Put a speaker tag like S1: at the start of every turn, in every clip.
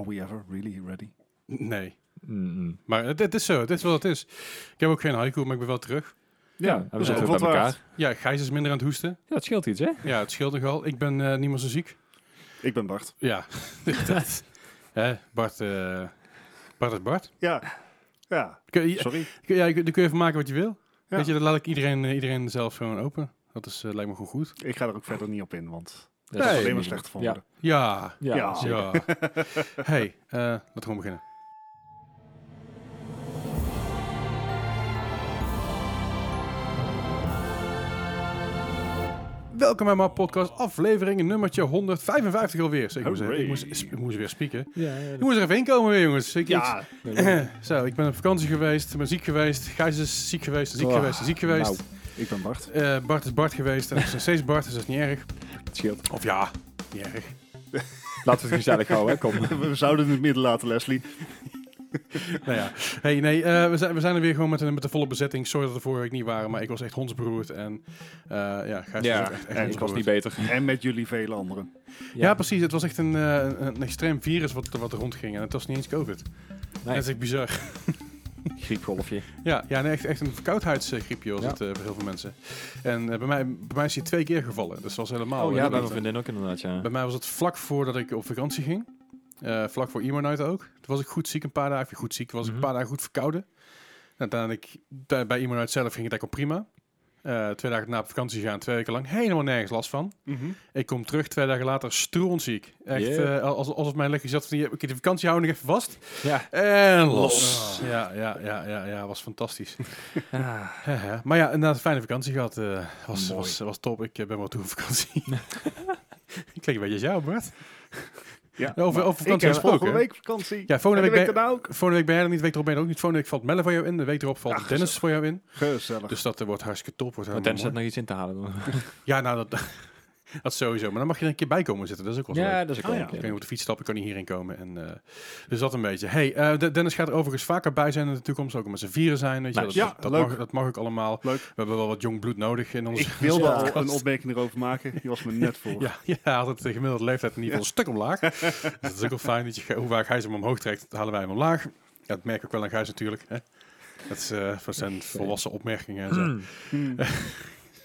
S1: we ever really ready?
S2: Nee.
S3: Mm-mm.
S2: Maar het, het is zo, het is wat het is. Ik heb ook geen haiku, maar ik ben wel terug.
S3: Ja,
S1: dat
S3: we
S1: is
S3: zitten
S1: wel
S3: bij
S1: wat waard.
S3: elkaar.
S2: Ja, Gijs is minder aan het hoesten.
S3: Ja, dat scheelt iets, hè?
S2: Ja, het scheelt nogal. Ik ben eh, niet meer zo ziek.
S1: Ik ben Bart.
S2: Ja, dat. Hè, Bart, eh, Bart is Bart.
S1: Ja, ja,
S2: Kun je,
S1: sorry.
S2: kun, ja, je- daar kun je van maken wat je wil.
S1: Ja.
S2: Weet je, dat laat ik iedereen, eh, iedereen zelf gewoon open. Dat is, eh, lijkt me gewoon goed.
S1: Ik ga er ook verder niet op in, want
S3: Dat
S2: Nee.
S3: is
S1: alleen maar slecht voor
S3: Ja.
S1: worden.
S2: Ja,
S3: Ja,
S1: Ja.
S3: zeker.
S2: ja. hey, eh, laten we gewoon beginnen. Welkom bij mijn podcast, aflevering nummertje 155 alweer. Zo, Ik moest,
S1: Hooray.
S2: ik, moest, ik moest weer spieken.
S3: Ja,
S2: Ik moest er even heen komen weer, jongens. Ik, ik-
S1: Ja,
S2: Zo, ik ben op vakantie geweest, ben ziek geweest. Gijs is ziek geweest, ziek
S3: Oh,
S2: geweest, ziek geweest.
S3: nou.
S1: ik ben Bart.
S2: Eh, Bart is Bart geweest en ik is nog steeds Bart, dus dat is niet erg.
S3: het scheelt.
S2: Of ja, niet erg.
S3: Laten we het gezellig houden, hè? Kom.
S1: We zouden het midden laten, Leslie.
S2: nou ja, hey, nee, eh, we, zijn, we zijn er weer gewoon met, een- met de volle bezetting. Sorry dat we vorige week niet waren, maar ik was echt hondsberoerd. En eh, ja, Gijs was
S3: Ja,
S2: ook echt, echt
S1: en
S3: Ik was
S2: hondsberoerd.
S3: niet beter.
S1: En met jullie vele anderen.
S2: Ja, precies. Het was echt een, eh, een- een extreem virus wat, wat er rondging. En het was niet eens COVID.
S3: Nee.
S2: Dat is echt bizar.
S3: Griepgolfje.
S2: Ja, ja nee, echt, echt een verkoudheidsgriepje was
S3: Ja.
S2: het eh, voor heel veel mensen. En eh, bij, mij, bij mij is hij twee keer gevallen. Dus dat was helemaal...
S3: Oh
S2: eh,
S3: ja, bij
S2: niet-
S3: mijn vriendin ook inderdaad, ja.
S2: Bij mij was het vlak voordat ik op vakantie ging. Eh, vlak voor Emo Night ook. Toen was ik goed ziek een paar dagen. Of goed ziek, was ik
S3: Mhm.
S2: een paar dagen goed verkouden. En uiteindelijk, daar- bij Emo Night zelf ging het eigenlijk al prima. Eh, twee dagen na op vakantie gaan, twee weken lang helemaal nergens last van.
S1: Mhm.
S2: Ik kom terug, twee dagen later strontziek. Echt,
S3: Yeah.
S2: eh, als, alsof mijn legje zat van, hier, oké, de vakantie houden nog even vast.
S3: Ja.
S2: En los.
S3: Los.
S2: Ja, ja, ja, ja, ja, was fantastisch.
S3: Ah,
S2: Hè, hè. maar ja, inderdaad, fijne vakantie gehad. eh, was,
S1: Mooi.
S2: was, was top. Ik eh, ben wel toe op vakantie. ik klink een beetje als jou, Bart.
S1: Ja,
S2: Ja, over-
S1: maar
S2: over
S1: ik
S2: vakantie
S1: heb
S2: gesproken,
S1: volgende
S2: hè?
S1: week vakantie.
S2: Ja, volgende
S1: En de
S2: week,
S1: week
S2: ben,
S1: daarna ook.
S2: volgende week ben jij er niet, de week erop ben je er ook niet. Volgende week valt Melle voor jou in, de week erop valt
S1: Ach,
S2: Dennis voor jou in.
S1: Gezellig.
S2: Dus dat eh, wordt hartstikke top. Wordt
S3: maar
S2: helemaal
S3: Dennis had nog iets in te halen.
S2: mooi. Ja, nou, dat, dat sowieso. Maar dan mag je er een keer bij komen zitten. Dat is ook wel zo leuk.
S3: Ja, dat is ook
S1: Ah,
S3: wel
S1: ja.
S3: een
S2: Ik
S3: keer.
S2: kan je op de fiets stappen, kan je hierin komen. En, eh, dus dat een beetje. Hey, eh, De- Dennis gaat er overigens vaker bij zijn in de toekomst. Ook met z'n vieren zijn. Weet je, wel.
S3: Nice.
S2: dat,
S1: Ja,
S2: dat,
S1: leuk.
S2: mag, dat mag ook allemaal.
S1: Leuk.
S2: We hebben wel wat jong bloed nodig in onze
S1: Dus Ik wilde
S2: onze
S1: al
S2: podcast.
S1: een opmerking erover maken. Die was me net voor.
S2: Ja, ja, hij had het de gemiddelde leeftijd in ieder geval een stuk omlaag. Dus dat is ook wel fijn. Dat je, hoe vaak hij hem omhoog trekt, halen wij hem omlaag. Ja, dat merk ik ook wel aan Gijs natuurlijk. Hè? Dat is, eh, voor zijn volwassen opmerkingen en zo.
S1: Hmm.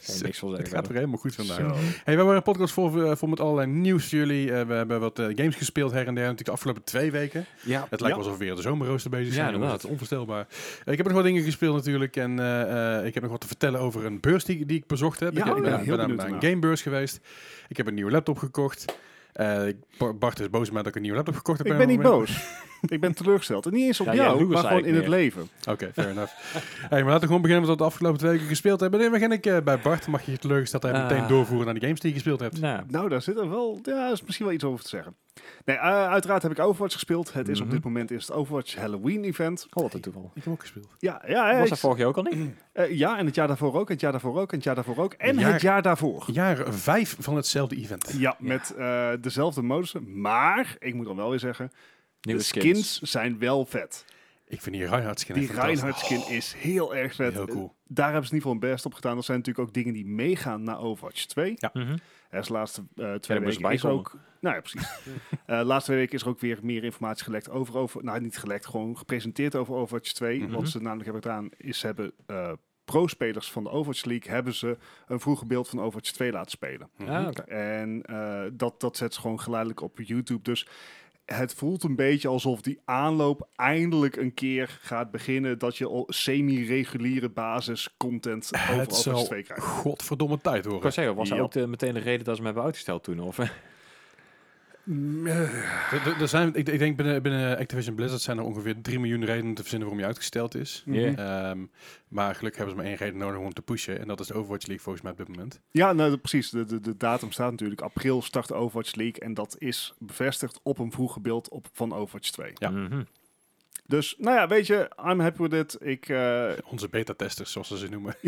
S3: Kan je Mm. niks van
S2: Het
S3: zeggen.
S2: gaat weer
S3: verder.
S2: helemaal goed vandaag.
S1: Zo.
S2: Hey, we hebben een podcast voor, eh, voor met allerlei nieuws voor jullie. Eh, we hebben wat eh, games gespeeld her en der. Natuurlijk de afgelopen twee weken.
S3: Ja,
S2: Het lijkt
S1: Ja.
S2: wel alsof we weer de zomerrooster bezig
S3: Ja,
S2: zijn. jongens.
S3: inderdaad.
S2: Het is onvoorstelbaar. Eh, ik heb nog wat dingen gespeeld natuurlijk. En eh, eh, ik heb nog wat te vertellen over een beurs die, die ik bezocht heb.
S1: Ja,
S2: ik, ik
S1: oh,
S2: ben,
S1: ja,
S2: ben
S1: heel
S2: naar-
S1: benieuwd
S2: naar een
S1: ernaar.
S2: gamebeurs geweest. Ik heb een nieuwe laptop gekocht. Eh, ik- Bar- Bart is boos op mij dat ik een nieuwe laptop gekocht heb.
S1: Ik
S2: op
S1: ben
S2: een
S1: niet
S2: moment.
S1: boos. Ik ben teleurgesteld. En niet eens op
S3: Ja, jij
S1: jou,
S3: doet
S1: maar
S3: het
S1: gewoon in het
S3: eigenlijk
S1: leven.
S2: Oké, fair enough. Hey, maar laten we gewoon beginnen met wat we de afgelopen twee weken gespeeld hebben. Nee, we beginnen ik eh, bij Bart. Mag je je teleurgesteld hebben
S3: Ah.
S2: meteen doorvoeren naar de games die je gespeeld hebt?
S3: Nou,
S1: Nou, daar zit er wel, ja, is misschien wel iets over te zeggen. Nee, eh, uiteraard heb ik Overwatch gespeeld. Het is op
S3: Mhm.
S1: dit moment is het Overwatch Halloween event.
S3: oh, wat een toeval.
S2: Ik heb ook gespeeld.
S1: Ja, ja, ja,
S3: Was
S1: ik-
S3: dat vorig jaar ook al niet?
S1: eh, ja, en het jaar daarvoor ook, en het jaar daarvoor ook, en het jaar daarvoor ook. En
S2: Een jaar-
S1: het jaar daarvoor.
S2: Jaar vijf van hetzelfde event.
S1: Ja, met eh, dezelfde modussen. Maar, ik moet dan wel weer zeggen,
S3: Nieuwe
S1: de skins, zijn wel vet.
S2: Ik vind die Reinhardt skin
S1: Die
S2: echt fantastisch.
S1: Reinhardt skin is heel erg vet.
S2: Heel cool.
S1: Daar hebben ze in ieder geval een best op gedaan. Dat zijn natuurlijk ook dingen die meegaan naar Overwatch 2.
S3: Mhm.
S1: Er is de laatste eh, twee
S3: moest
S1: weken is er
S3: bijkomen.
S1: ook. Nou ja, precies. Eh, de laatste twee weken is er ook weer meer informatie gelekt over over. Nou, niet gelekt, gewoon gepresenteerd over Overwatch 2.
S3: Mhm.
S1: Wat ze namelijk hebben gedaan is ze hebben eh, pro-spelers van de Overwatch League hebben ze een vroeger beeld van Overwatch 2 laten spelen.
S2: Mhm.
S3: Ah, oké.
S1: En eh, dat, dat zet ze gewoon geleidelijk op YouTube. Dus het voelt een beetje alsof die aanloop eindelijk een keer gaat beginnen. Dat je al semi-reguliere basis content over
S2: Het
S1: Overwatch
S2: zal-
S1: 2 krijgt.
S2: Godverdomme tijd
S3: Ik wou
S2: hoor.
S3: zeggen, was dat
S1: Ja.
S3: ook de- meteen de reden dat ze me hebben uitgesteld toen? Of?
S2: Er- er- er zijn, ik, ik denk binnen, binnen Activision Blizzard zijn er ongeveer 3 miljoen redenen te verzinnen waarom je uitgesteld is.
S3: Ja.
S2: Ehm, maar gelukkig hebben ze maar één reden nodig om hem te pushen. En dat is de Overwatch League volgens mij op dit moment.
S1: Ja, nou, de- precies. De, de, de datum staat natuurlijk. April start de Overwatch League. En dat is bevestigd op een vroege beeld op, van Overwatch 2.
S2: Ja.
S3: Mhm.
S1: Dus, nou ja, weet je, I'm happy with it. Ik, eh,
S2: Onze beta-testers, zoals ze ze noemen.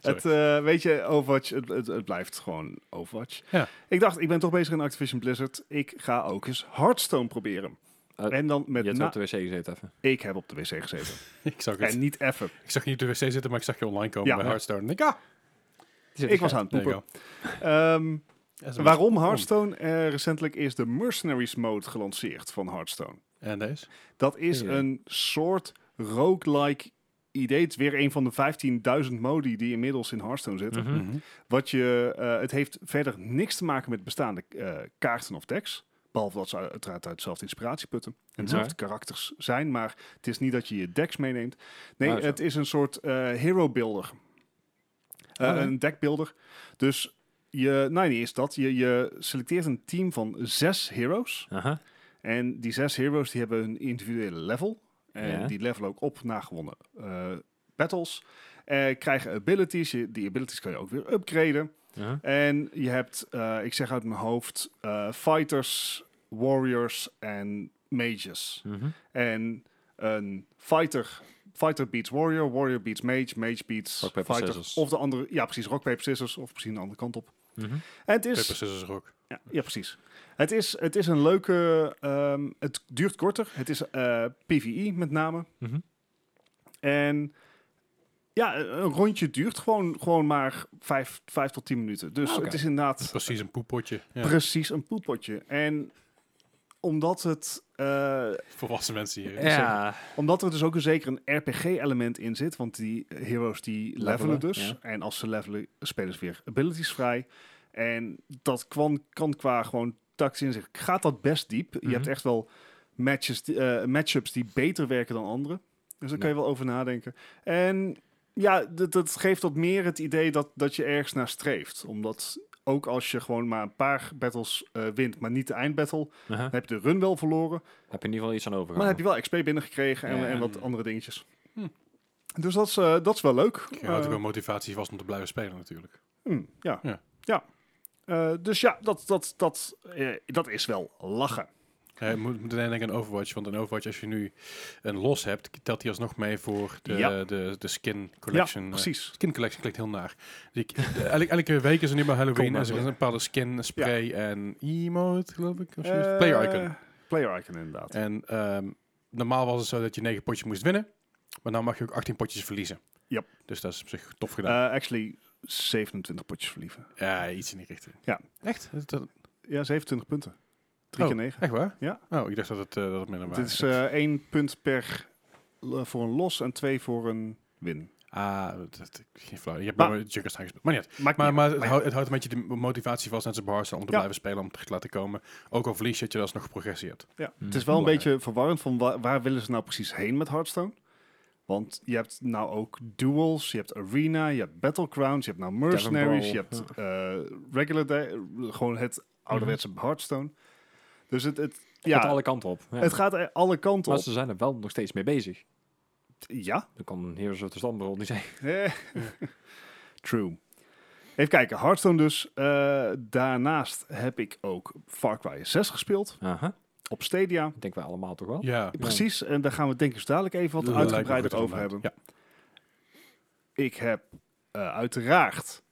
S2: Sorry.
S1: het, eh, weet je, Overwatch, het, het, het blijft gewoon Overwatch.
S2: Ja.
S1: Ik dacht, ik ben toch bezig in Activision Blizzard. Ik ga ook eens Hearthstone proberen.
S3: Eh,
S1: en dan met
S3: Je hebt
S1: na-
S3: op de wc gezeten even.
S1: Ik heb op de wc gezeten.
S2: ik, zag het.
S1: en niet even.
S2: ik zag je niet op de wc zitten, maar ik zag je online komen
S1: Ja.
S2: bij Hearthstone. En ik, ah,
S3: Die zit
S1: Ik
S3: in
S1: was
S3: de
S1: aan het
S2: there you
S1: poepen.
S2: go.
S1: Ehm,
S2: SMS.
S1: Waarom Hearthstone? Eh, recentelijk is de Mercenaries Mode gelanceerd van Hearthstone.
S2: En deze?
S1: Dat is
S3: Ja.
S1: een soort roguelike idee. Het is weer een van de 15.000 modi die inmiddels in Hearthstone zitten.
S3: Mhm.
S2: Mhm.
S1: Wat je, eh, het heeft verder niks te maken met bestaande eh, kaarten of decks. Behalve dat ze uiteraard uit dezelfde inspiratie putten. En dezelfde karakters zijn. Maar het is niet dat je je decks meeneemt. Nee,
S3: Ah, zo.
S1: het is een soort eh, hero builder. Eh,
S2: Oh.
S1: Een deck builder. Dus je, nou niet is dat. Je, je selecteert een team van zes heroes.
S3: Aha.
S1: En die zes heroes die hebben hun individuele level. En
S3: Ja.
S1: die level ook op na gewonnen eh, battles. Eh, krijgen abilities. Je- die abilities kan je ook weer upgraden.
S3: Aha.
S1: En je hebt, eh, ik zeg uit mijn hoofd, eh, fighters, warriors en mages.
S3: Mhm.
S1: En een fighter, fighter beats warrior, warrior beats mage, mage beats
S3: Rock, paper,
S1: fighter.
S3: scissors.
S1: Of de andere, ja precies, rock, paper, scissors of misschien de andere kant op.
S3: Mhm.
S1: En het
S2: Paper
S1: is,
S2: Scissors Rock.
S1: ja, ja, precies. Het is, het is een leuke, ehm, het duurt korter. Het is eh, PvE met name.
S3: Mhm.
S1: En ja, een rondje duurt gewoon, gewoon maar 5 tot 10 minuten. Dus
S3: Ah, oké.
S1: het is inderdaad
S2: Precies een poepotje. Ja.
S1: precies een poelpotje. En omdat het, eh,
S2: Volwassen mensen hier.
S3: Ja.
S1: omdat er dus ook een, zeker een RPG-element in zit, want die heroes die levelen,
S3: Levelen,
S1: dus.
S3: ja.
S1: En als ze levelen, spelen ze weer abilities vrij. En dat kan, kan qua gewoon tactisch inzicht, gaat dat best diep.
S3: Mhm.
S1: Je hebt echt wel matches, die- eh, matchups die beter werken dan anderen. Dus daar kan je wel over nadenken. En ja, dat, dat geeft wat meer het idee dat, dat je ergens naar streeft. Omdat ook als je gewoon maar een paar battles eh, wint, maar niet de eindbattle,
S3: Aha.
S1: dan heb je de run wel verloren.
S3: Dus, eh, Heb je in ieder geval iets aan
S1: Maar dan heb
S3: overgehouden?
S1: je wel XP binnengekregen en,
S3: Ja.
S1: en wat andere dingetjes.
S2: Hm.
S1: Dus dat is, eh, dat is wel leuk.
S2: Je houdt ook
S1: Eh,
S2: wel motivatie vast om te blijven spelen natuurlijk.
S1: hm, ja. ja.
S2: Ja.
S1: Eh, dus ja, dat, dat, dat, eh, dat is wel lachen.
S2: Ja, je moet moet alleen denken aan Overwatch, want in Overwatch als je nu een los hebt, telt die alsnog mee voor de,
S1: Ja.
S2: de, de skin collection.
S1: ja,
S2: eh,
S1: precies.
S2: skin collection klinkt heel naar. Dus ik, eh, elke, elke week is er nu bij
S1: Kom
S2: Halloween
S1: maar
S2: en er
S1: door.
S2: is een bepaalde skin, spray en emote, geloof ik. Of zoiets.
S1: Eh,
S2: Player icon.
S1: Player icon, inderdaad.
S2: En ehm, normaal was het zo dat je 9 potjes moest winnen, maar nu mag je ook 18 potjes verliezen.
S1: Yep.
S2: Dus dat is op zich tof gedaan.
S1: Eh, actually, 27 potjes verlieven.
S2: ja, iets in die richting.
S1: Eh. ja.
S2: Echt? Dat- dat-
S1: Ja, 27 punten. 3
S2: oh,
S1: keer 9.
S2: Echt waar?
S1: Ja.
S2: Oh, ik dacht dat het, eh, dat het minder was.
S1: Dit is eh één punt per l- voor een los en twee voor een win.
S2: Ah, dat, dat- geen flauw. Je hebt
S1: Maar-
S2: maar, Junkers gespeeld. Maar niet uit.
S1: Maakt
S2: Maar,
S1: niet
S2: maar
S1: uit.
S2: het,
S1: ja.
S2: houdt, het houdt een beetje de motivatie vast net zijn barsen om te
S1: Ja.
S2: blijven spelen, om terug te laten komen. Ook al verlies je, dat je alsnog progressie hebt.
S1: Ja.
S3: Hmm.
S1: Het is wel een
S2: Belangrijk.
S1: beetje verwarrend van wa- waar willen ze nou precies heen met Hearthstone? Want je hebt nou ook duels, je hebt arena, je hebt battlegrounds, je hebt nou mercenaries, je hebt eh, regular day, gewoon het ouderwetse Hearthstone. Dus het, het,
S3: Ja. Gaat
S1: ja,
S3: alle kanten op. Ja.
S1: het gaat eh, alle kanten
S3: Maar
S1: op.
S3: ze zijn er wel nog steeds mee bezig.
S1: Ja,
S3: Dan kan Heroes of the Storm bijvoorbeeld niet zijn.
S1: Eh, True. Even kijken, Hearthstone dus. Eh, daarnaast heb ik ook Far Cry 6 gespeeld
S3: Aha.
S1: op Stadia.
S3: Dat denken wij allemaal toch wel.
S2: Ja.
S1: Precies, en daar gaan we denk ik zo dadelijk even wat
S2: Lijkt me
S1: uitgebreider
S2: goed
S1: over hebben.
S2: inderdaad.
S1: Ik heb eh, uiteraard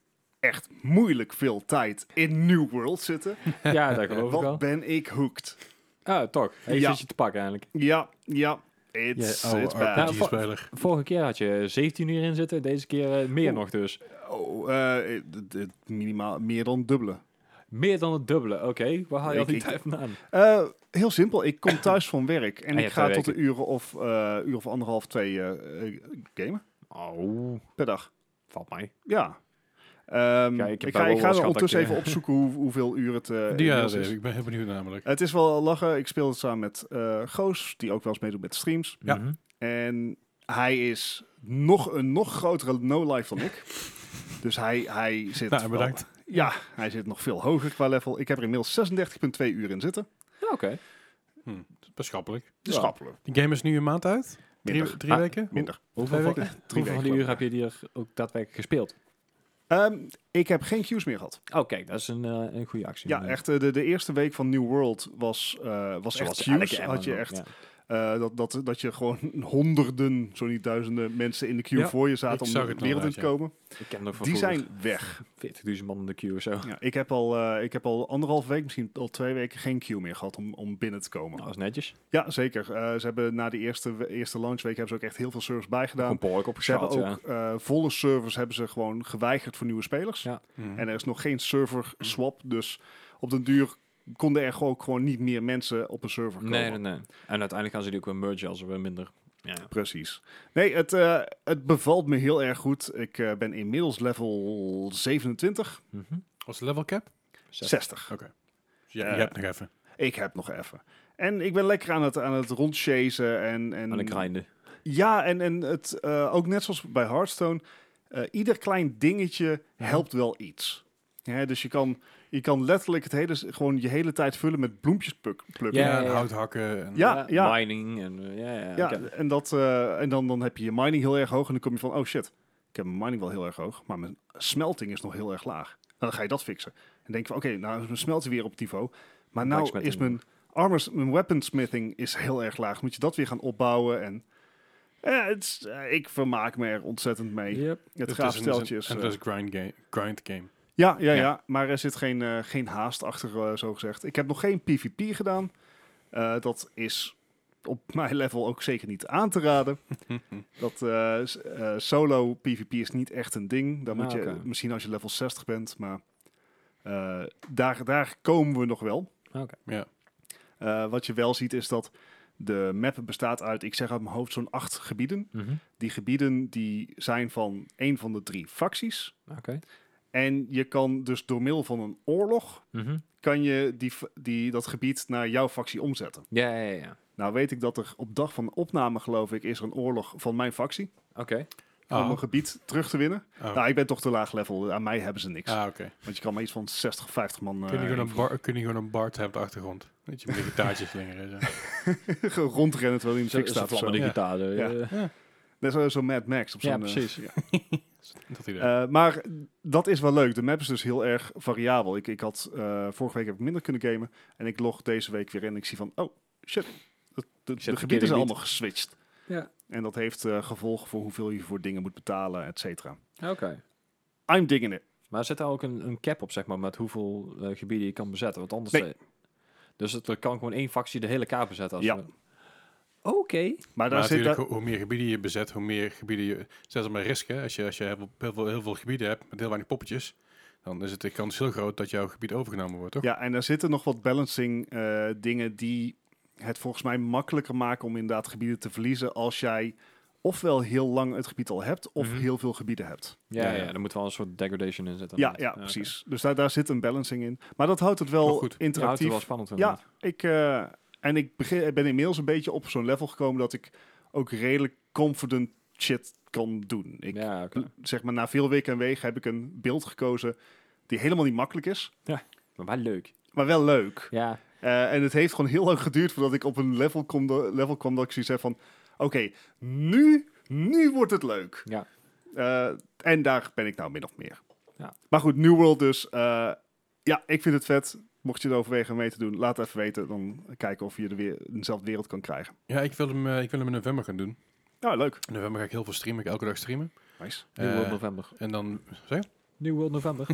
S1: echt moeilijk veel tijd in New World zitten.
S3: Ja, dat geloof ik
S1: Wat
S3: wel.
S1: ben ik hooked?
S3: Ah, toch. Hey,
S1: Ja.
S3: zit je te pakken eigenlijk.
S1: Ja, ja, it's,
S2: Ja, Oh, oude
S1: it's bad.
S3: Ja, oh, nou. voor-
S2: RPG-speler.
S3: Vorige keer had je 17 uur in zitten, deze keer eh, meer
S1: Oeh.
S3: nog dus.
S1: Oh, eh, het- het minimaal meer dan dubbele.
S3: Meer dan het dubbele, oké. Waar haal je
S1: Ik-
S3: al die
S1: ik-
S3: tijd vandaan?
S1: Eh, heel simpel, ik kom thuis van werk en
S3: Ah, je
S1: ik
S3: hebt
S1: ga
S3: twee
S1: tot een
S3: weken.
S1: uur of, eh, uur of anderhalf, twee eh, eh, gamen
S3: Oh,
S1: per dag.
S3: valt mij.
S1: Ja. Ehm,
S3: Ja, ik
S1: ik,
S3: heb
S1: ga,
S3: daar wel
S1: ik ga
S3: wat
S1: er ondertussen
S3: schat- eh,
S1: even opzoeken hoe, hoeveel uur het eh,
S2: Ja,
S1: inmiddels is.
S2: ik ben heel benieuwd namelijk.
S1: Het is wel lachen. Ik speel het samen met eh, Goos, die ook wel eens meedoet met streams.
S2: Ja.
S3: Mhm.
S1: En hij is nog een nog grotere no-life dan ik. Dus hij, hij zit...
S2: Nou,
S1: wel-
S2: bedankt.
S1: ja, hij zit nog veel hoger qua level. Ik heb er inmiddels 36,2 uur in zitten.
S3: Ja, oké.
S2: Beschappelijk.
S1: Dus
S3: Ja.
S1: schappelen.
S2: Die game is nu een maand uit? Drie,
S1: Minder.
S2: drie
S3: Ah,
S2: weken?
S1: Minder.
S3: Hoeveel,
S2: Twee
S3: van,
S2: weken?
S3: hoeveel van
S1: weken,
S3: die
S1: geloof
S3: uur heb je die er ook daadwerkelijk gespeeld?
S1: Ehm, ik heb geen cues meer gehad.
S3: Oh, kijk, dat is een, eh, een goede actie.
S1: Ja, echt. eh, De, de eerste week van New World was, eh was echt
S3: Zoals
S1: cues.
S3: elke
S1: Had je
S3: MMO,
S1: echt
S3: ja.
S1: Eh, dat, dat, dat je gewoon honderden, zo niet duizenden mensen in de queue
S2: Ja,
S1: voor je zaten
S2: ik
S1: om
S2: zag
S1: de
S2: het
S1: wereld in te
S2: inderdaad,
S1: komen.
S3: Ik ken nog van
S1: Die
S3: vroeger.
S1: zijn weg.
S3: 40.000 man in de queue of zo.
S1: Ja, ik, heb al, eh, ik heb al anderhalf week, misschien al twee weken, geen queue meer gehad om, om binnen te komen.
S3: Nou, dat is netjes.
S1: Ja, zeker. Eh, ze hebben na de eerste, we- eerste launchweek hebben ze ook echt heel veel servers bijgedaan.
S3: Gewoon behoorlijk
S1: Ze hebben
S3: opgeschaald, ja.
S1: ook eh, volle servers hebben ze gewoon geweigerd voor nieuwe spelers.
S3: Ja. Mm.
S2: Mhm.
S1: En er is nog geen server swap, dus op den duur konden er gewoon, gewoon niet meer mensen op een server komen.
S3: Nee, nee, nee. En uiteindelijk gaan ze die ook weer mergen als er weer minder... Ja.
S1: Precies. Nee, het, eh, het bevalt me heel erg goed. Ik eh, ben inmiddels level 27,
S3: Mhm.
S2: Wat is de level cap?
S1: 60.
S2: Oké. Dus jij-
S1: Eh,
S2: je hebt nog even.
S1: Ik heb nog even. En ik ben lekker aan het, aan het rondchasen. En, en,
S3: Aan de grinden.
S1: Ja, en, en het, eh, ook net zoals bij Hearthstone, eh, ieder klein dingetje helpt wel iets. Ja, dus je kan, je kan letterlijk het hele, gewoon je hele tijd vullen met bloempjes pluk- plukken.
S2: Ja,
S3: Ja,
S2: en
S3: ja.
S2: hout hakken. En
S1: Ja, ja.
S3: Mining en... eh, ja, ja,
S1: Ja,
S3: ik heb-
S1: en, dat, eh, en dan, dan heb je je mining heel erg hoog en dan kom je van, oh shit, ik heb mijn mining wel heel erg hoog, maar mijn smelting is nog heel erg laag. Nou, dan ga je dat fixen. En denk je van, oké, nou is mijn smelting weer op het niveau, maar nou
S3: Blacksmithing.
S1: is mijn armors, mijn weaponsmithing is heel erg laag. Moet je dat weer gaan opbouwen en... eh, het is- eh, ik vermaak me er ontzettend mee.
S3: Yep.
S1: Het
S2: is
S1: gaaf
S2: een-
S1: steltje is...
S2: En
S1: eh,
S2: dat is grind game. Grind game.
S1: ja, ja, ja,
S2: ja.
S1: maar er zit geen, eh, geen haast achter, eh, zo gezegd. Ik heb nog geen PvP gedaan. Eh, dat is op mijn level ook zeker niet aan te raden. dat eh, s- eh, solo PvP is niet echt een ding. Dan
S3: Ah,
S1: moet je
S3: oké.
S1: misschien als je level 60 bent, maar eh, daar, daar komen we nog wel.
S3: Oké.
S2: Ja.
S1: Eh, wat je wel ziet is dat de map bestaat uit, ik zeg uit mijn hoofd, zo'n acht gebieden.
S3: Mhm.
S1: Die gebieden die zijn van één van de drie facties.
S3: Oké.
S1: En je kan dus door middel van een oorlog,
S3: Mhm.
S1: kan je die, f- die, dat gebied naar jouw factie omzetten.
S3: Ja, ja, ja, ja.
S1: Nou weet ik dat er op dag van opname, geloof ik, is er een oorlog van mijn factie.
S3: Oké.
S1: Om een gebied terug te winnen.
S2: Oh.
S1: Nou, ik ben toch te laag level. Aan mij hebben ze niks.
S2: Ah, oké.
S1: Want je kan maar iets van 60, 50 man
S2: kun, je
S1: eh
S2: gewoon een bar, kun je gewoon een bard hebben op de achtergrond? Weet je, met een gitaartje slingeren. en Zo.
S1: rondrennen terwijl hij in de
S3: Zo
S1: fik
S3: Ze
S1: staat. of zo.
S3: vlammen de
S2: Ja.
S3: gitaar. eh,
S1: Ja.
S3: eh,
S1: Net zo- zo'n Mad Max. Op
S3: Ja,
S1: zo'n, eh,
S3: precies.
S2: Dat idee.
S1: Eh, maar dat is wel leuk. De map is dus heel erg variabel. Ik, ik had, eh, vorige week heb ik minder kunnen gamen. En ik log deze week weer in. En ik zie van, oh shit. De, de, de gebieden
S3: verkeerde
S1: zijn
S3: gebied.
S1: allemaal geswitcht.
S3: Ja.
S1: En dat heeft eh, gevolgen voor hoeveel je voor dingen moet betalen, et cetera.
S3: eh, Oké.
S1: I'm digging it.
S3: Maar zit daar ook een, een cap op, zeg maar, met hoeveel eh, gebieden je kan bezetten? Want anders...
S1: Nee.
S3: eh, dus het er kan gewoon één factie de hele kaart bezetten. Als
S1: Ja.
S3: we- Oké.
S1: Maar
S2: maar
S1: daar zit...
S2: natuurlijk,
S1: daar-
S2: hoe- hoe meer gebieden je bezet, hoe meer gebieden je... Zelfs maar risk, hè. Als je, als je heel, veel, heel, veel, heel veel gebieden hebt met heel weinig poppetjes, dan is het de kans heel groot dat jouw gebied overgenomen wordt, toch?
S1: Ja, en daar zitten nog wat balancing eh, dingen die het volgens mij makkelijker maken om inderdaad gebieden te verliezen als jij ofwel heel lang het gebied al hebt of
S2: Mhm.
S1: heel veel gebieden hebt.
S3: Ja,
S2: Ja,
S3: ja,
S2: ja.
S3: daar moet wel een soort degradation in zitten.
S1: Ja,
S3: inderdaad.
S1: ja,
S3: oké.
S1: precies. Dus daar, daar zit een balancing in. Maar dat houdt het
S2: Maar
S1: wel
S2: goed,
S3: Ja, houdt het
S1: interactief.
S3: wel spannend.
S1: Ja,
S3: inderdaad.
S1: ik, eh, en ik begin, ben inmiddels een beetje op zo'n level gekomen dat ik ook redelijk confident shit kan doen. Ik,
S3: ja, oké.
S1: Zeg maar, na veel weken en wegen heb ik een beeld gekozen die helemaal niet makkelijk is,
S3: Maar wel leuk.
S1: maar wel leuk.
S3: Ja.
S1: Eh, en het heeft gewoon heel lang geduurd voordat ik op een level, kom, level kwam dat ik zoiets heb van... Oké, nu, nu wordt het leuk.
S3: Ja.
S1: Eh, en daar ben ik nou min of meer.
S3: Ja.
S1: Maar goed, New World dus. eh, ja, ik vind het vet. Mocht je het overwegen om mee te doen, laat even weten. Dan kijken of je de weer, dezelfde wereld kan krijgen.
S2: Ja, ik, wil hem, eh, ik wil hem in november gaan doen.
S1: Nou, leuk.
S2: In november ga ik heel veel streamen. Ik ga elke dag streamen.
S1: Nice.
S3: New
S2: Eh,
S3: World November.
S2: en dan...
S3: New World November.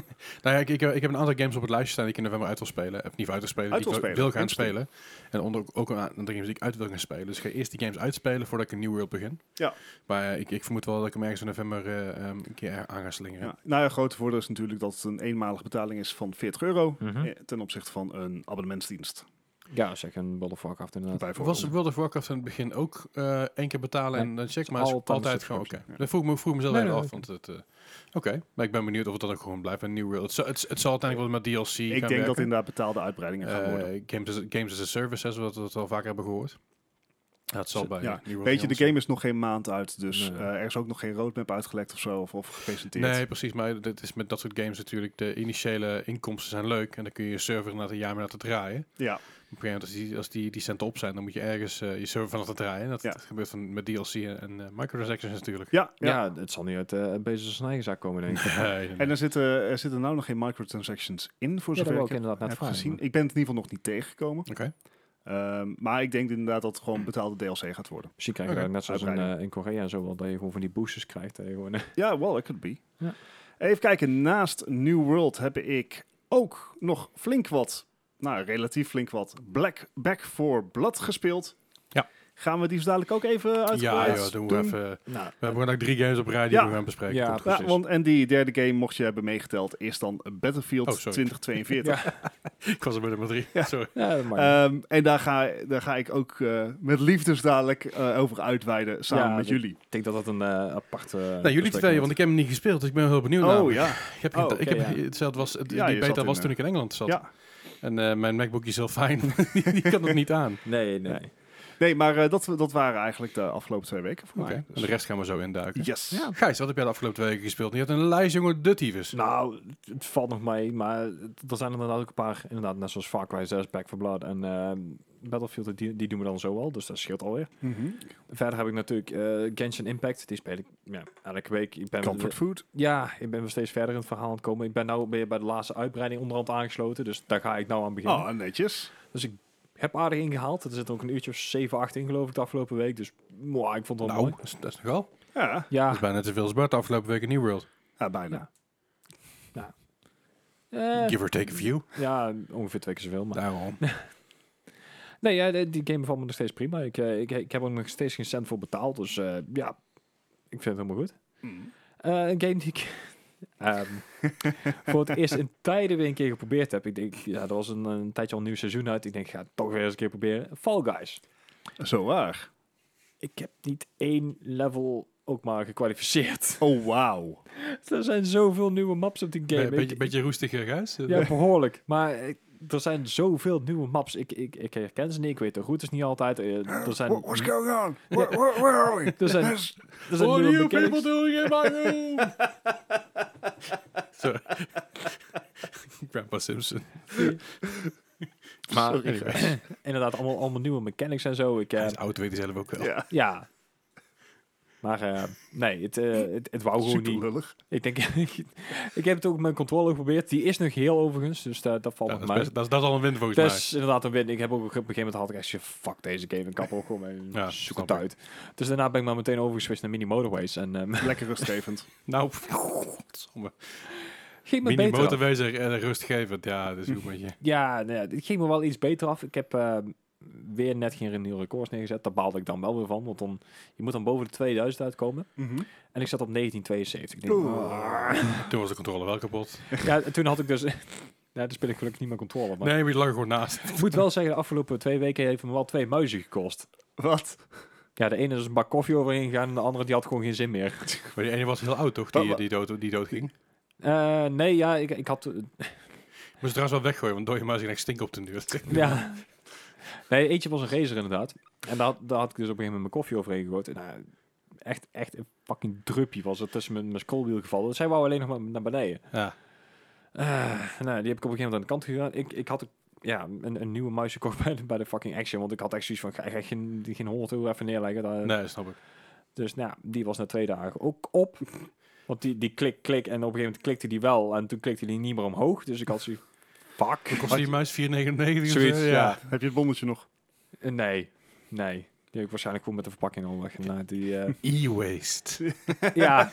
S2: Nou ja, ik, ik, ik heb een aantal games op het lijstje staan die ik in november uit wil spelen. Of niet uit wil spelen,
S1: Uit
S2: die ik
S1: wil
S2: wil-
S1: spelen,
S2: wil gaan
S1: interesting.
S2: spelen. En onder ook een aantal games die ik uit wil gaan spelen. Dus ik ga eerst die games uitspelen voordat ik een New World begin.
S1: Ja.
S2: Maar eh, ik, ik vermoed wel dat ik hem ergens in november eh, ehm, een keer aan ga slingeren.
S1: Ja. Nou ja, grote voordeel is natuurlijk dat het een eenmalige betaling is van 40 euro.
S3: Mhm.
S1: eh, Ten opzichte van een abonnementsdienst.
S3: ja, zeg een World of Warcraft inderdaad.
S1: Bijvoorbeeld.
S2: Was World of Warcraft in het begin ook eh, één keer betalen en dan check, maar is
S3: altijd
S2: altijd,
S3: een
S2: gewoon oké.
S1: subscription. Ja.
S2: Dat vroeg ik me vroeg ik mezelf
S3: Nee,
S2: even
S3: nee,
S2: af, want het... eh, Oké, maar ik ben benieuwd of het dan ook gewoon blijft een New World. Het zal, het, het zal uiteindelijk wel met
S1: Ik
S2: DLC gaan
S1: denk dat
S2: werken.
S1: inderdaad betaalde uitbreidingen gaan
S2: Eh,
S1: worden.
S2: games, as, games as a Service, hè, zoals we dat al vaker hebben gehoord. Dat zal
S3: Zo-
S2: bij
S1: ja.
S2: New World
S1: Weet je, de
S2: niet
S1: game is nog geen maand uit, dus
S3: Nee.
S1: eh, er is ook nog geen roadmap uitgelekt of zo, of, of gepresenteerd.
S2: Nee, precies. Maar dat is met dat soort games natuurlijk. De initiële inkomsten zijn leuk. En dan kun je je server na een jaar mee laten draaien. Op
S1: Ja,
S2: een gegeven moment, als die, als die, die centen op zijn, dan moet je ergens eh, je server van laten draaien. En dat,
S1: Ja.
S2: dat gebeurt van, met DLC en, en eh, microtransactions natuurlijk.
S1: ja, ja.
S3: Ja, het zal niet uit eh Bezos zijn eigen zaak komen, denk ik.
S2: Nee,
S1: En er zitten, er zitten nou nog geen microtransactions in, voor
S3: Ja,
S1: zover
S3: dat wou
S1: ik
S3: ik inderdaad
S1: heb
S3: net vragen.
S1: gezien. Ik ben het in ieder geval nog niet tegengekomen.
S2: Oké.
S1: Eh, Ehm, maar ik denk inderdaad dat het gewoon betaalde DLC gaat worden.
S3: Misschien krijgen we
S2: Oké,
S3: net zoals in,
S1: uitbreiding.
S3: eh, in Korea en zo wel, dat je gewoon van die boosters krijgt. Dat je gewoon, eh,
S1: Ja, well, it could be.
S3: Ja.
S1: Even kijken, naast New World heb ik ook nog flink wat, nou relatief flink wat, Black Back for Blood gespeeld.
S2: Ja.
S1: Gaan we die zo dadelijk ook even
S2: Ja,
S1: uitgebreid
S2: joh, doen we even.
S1: Nou,
S2: We hebben ook drie games op rij die
S1: Ja.
S2: we gaan bespreken.
S3: Ja,
S2: Komt goed,
S1: ja,
S2: is.
S1: want, en die derde game, mocht je hebben meegeteld, is dan Battlefield
S2: Oh, sorry.
S1: 2042.
S2: Ik was er bij nummer drie. Sorry.
S3: ja, dat mag.
S1: Ehm, en daar ga, daar ga ik ook eh, met liefde zo dadelijk eh, over uitweiden samen
S3: Ja,
S1: met
S3: dat-
S1: jullie.
S3: ik denk dat dat een eh, aparte...
S2: Nou, jullie twee, want ik heb hem niet gespeeld, dus ik ben wel heel benieuwd naar.
S1: Oh ja,
S2: Ik heb,
S1: Oh,
S2: ik
S3: oké,
S2: heb
S3: ja.
S2: hetzelfde was, het-
S1: Ja,
S2: die
S1: je
S2: beta
S1: zat
S2: was
S1: in,
S2: toen ik in Engeland zat.
S1: ja.
S2: En eh, mijn MacBook is heel fijn, die, die kan het niet aan.
S3: Nee, nee.
S1: Nee, maar eh, dat, dat waren eigenlijk de afgelopen twee weken voor
S2: Oké,
S1: mij.
S2: En de rest gaan we zo induiken.
S1: Yes.
S2: Gijs, wat heb jij de afgelopen twee weken gespeeld? Je had een lijst, jongen, de tyfus.
S3: Nou, het- het valt nog mee, maar het- er zijn inderdaad ook een paar, inderdaad, net zoals Far Cry 6, Back 4 Blood en ehm, Battlefield, die, die doen we dan zo al, dus dat scheelt alweer.
S1: Mhm.
S3: Verder heb ik natuurlijk eh, Genshin Impact, die speel ik ja, elke week. Ik ben
S1: Comfort food.
S3: Ja, ik ben weer steeds verder in het verhaal aan het komen. Ik ben nou weer bij de laatste uitbreiding onderhand aangesloten, dus daar ga ik nou aan beginnen.
S1: Oh, netjes.
S3: Dus ik heb aardig ingehaald. Er zit ook een uurtje of 7, 8 in geloof ik de afgelopen week, dus mwah, ik vond het wel
S2: Nou,
S3: mooi.
S2: dat is, dat is nogal.
S1: Ja,
S2: Dat
S3: Ja,
S2: is bijna te veel als Bart de afgelopen week in New World.
S1: ja bijna.
S3: eh,
S2: Give or take a few.
S3: ja, ongeveer twee keer zoveel, maar...
S2: Daarom.
S3: Nee, ja, de- die game valt me nog steeds prima. Ik, eh, ik, ik heb er nog steeds geen cent voor betaald. Dus eh, ja, ik vind het helemaal goed.
S1: Mm.
S3: Eh, een game die ik ehm, voor het eerst in tijden weer een keer geprobeerd heb. Ik denk, ja, er was een, een tijdje al een nieuw seizoen uit. Ik denk, ik ga het toch weer eens een keer proberen. Fall Guys.
S1: Zo waar.
S3: Ik heb niet één level ook maar gekwalificeerd.
S1: Oh, wauw.
S3: er zijn zoveel nieuwe maps op die game.
S2: Be- beetje,
S3: Ik-
S2: beetje roestig, eh, Gijs.
S3: Ja, behoorlijk. Maar eh, er zijn zoveel nieuwe maps. Ik, ik, ik herken ze niet. Ik weet de routes niet altijd. Eh, er
S2: Oh,
S3: zijn,
S1: What- What's going on? Where, where, where are we?
S3: er zijn, er zijn
S2: What are
S3: nieuwe
S2: you
S3: mechanics.
S2: people doing in my room? Zo. Grandpa Simpson.
S3: Maar inderdaad, allemaal, allemaal nieuwe mechanics en zo. Ik, eh,
S2: Dat auto weet hij zelf ook wel.
S1: Ja,
S3: ja. Maar eh, nee, het, eh, het, het wou gewoon
S1: super
S3: niet.
S1: lullig.
S3: Ik denk, ik heb het ook met mijn controller geprobeerd. Die is nog heel overigens, dus dat, dat valt
S2: Ja,
S3: nog
S2: dat, is
S3: mee.
S2: best- dat, is, dat is al een win volgens
S3: Dat is inderdaad een win. Ik heb ook op een gegeven moment had ik echt, fuck deze game, ik kap ook gewoon mee.
S2: Ja,
S3: zoek
S2: snap
S3: het uit. Dus daarna ben ik maar meteen overgeswitcht naar Mini Motorways. En ehm
S1: Lekker rustgevend.
S2: mij. Nou, godsamme.
S3: ging me
S2: mini
S3: beter af.
S2: motorwezer en rustgevend. Ja, dat is goed met je.
S3: Ja, nou ja, het ging me wel iets beter af. Ik heb eh, weer net geen nieuwe records neergezet. Daar baalde ik dan wel weer van, want dan, je moet dan boven de 2000 uitkomen.
S1: Mhm.
S3: En ik zat op 1972. Ik denk,
S1: Oeh.
S2: Toen was de controle wel kapot.
S3: ja, toen had ik dus... nou, dan speel ik gelukkig niet meer controle. Maar
S2: Nee, maar die lag er gewoon naast.
S3: ik moet wel zeggen, de afgelopen twee weken heeft me wel twee muizen gekost.
S1: Wat?
S3: Ja, de ene is een bak koffie overheen gegaan en de andere die had gewoon geen zin meer.
S2: Maar die ene was heel oud, toch? Die,
S1: Wat-
S2: die, dood, die dood ging.
S3: Eh, nee, ja, ik, ik had... eh,
S2: Moest trouwens wel weggooien, want dode muizen gaan echt stinken op de duur.
S3: ja. Nee, eentje was een racer inderdaad. En daar, had- daar had ik dus op een gegeven moment mijn koffie overheen gegooid. En, nou, echt, echt een fucking druppie was er tussen mijn, mijn schoolwiel gevallen. Dus zij wou alleen nog maar naar beneden.
S2: Ja.
S3: Eh, nou, die heb ik op een gegeven moment aan de kant gedaan. Ik, ik had ja, een, een nieuwe muis gekocht bij de, bij de fucking Action. Want ik had echt zoiets van, ga ik echt geen, geen 100 euro even neerleggen. Daar-
S2: Nee, snap ik.
S3: Dus nou, die was na twee dagen ook op. Want die, die klik, klik. En op een gegeven moment klikte die wel. En toen klikte die niet meer omhoog. Dus ik had zoiets fuck.
S2: Kost die muis 4,99? of zo?
S3: Zoiets, ja.
S1: Heb je het bonnetje nog?
S3: Eh, Nee, nee. Die heb ik waarschijnlijk gewoon met de verpakking al weggedaan. Die, eh,
S2: E-waste.
S3: ja,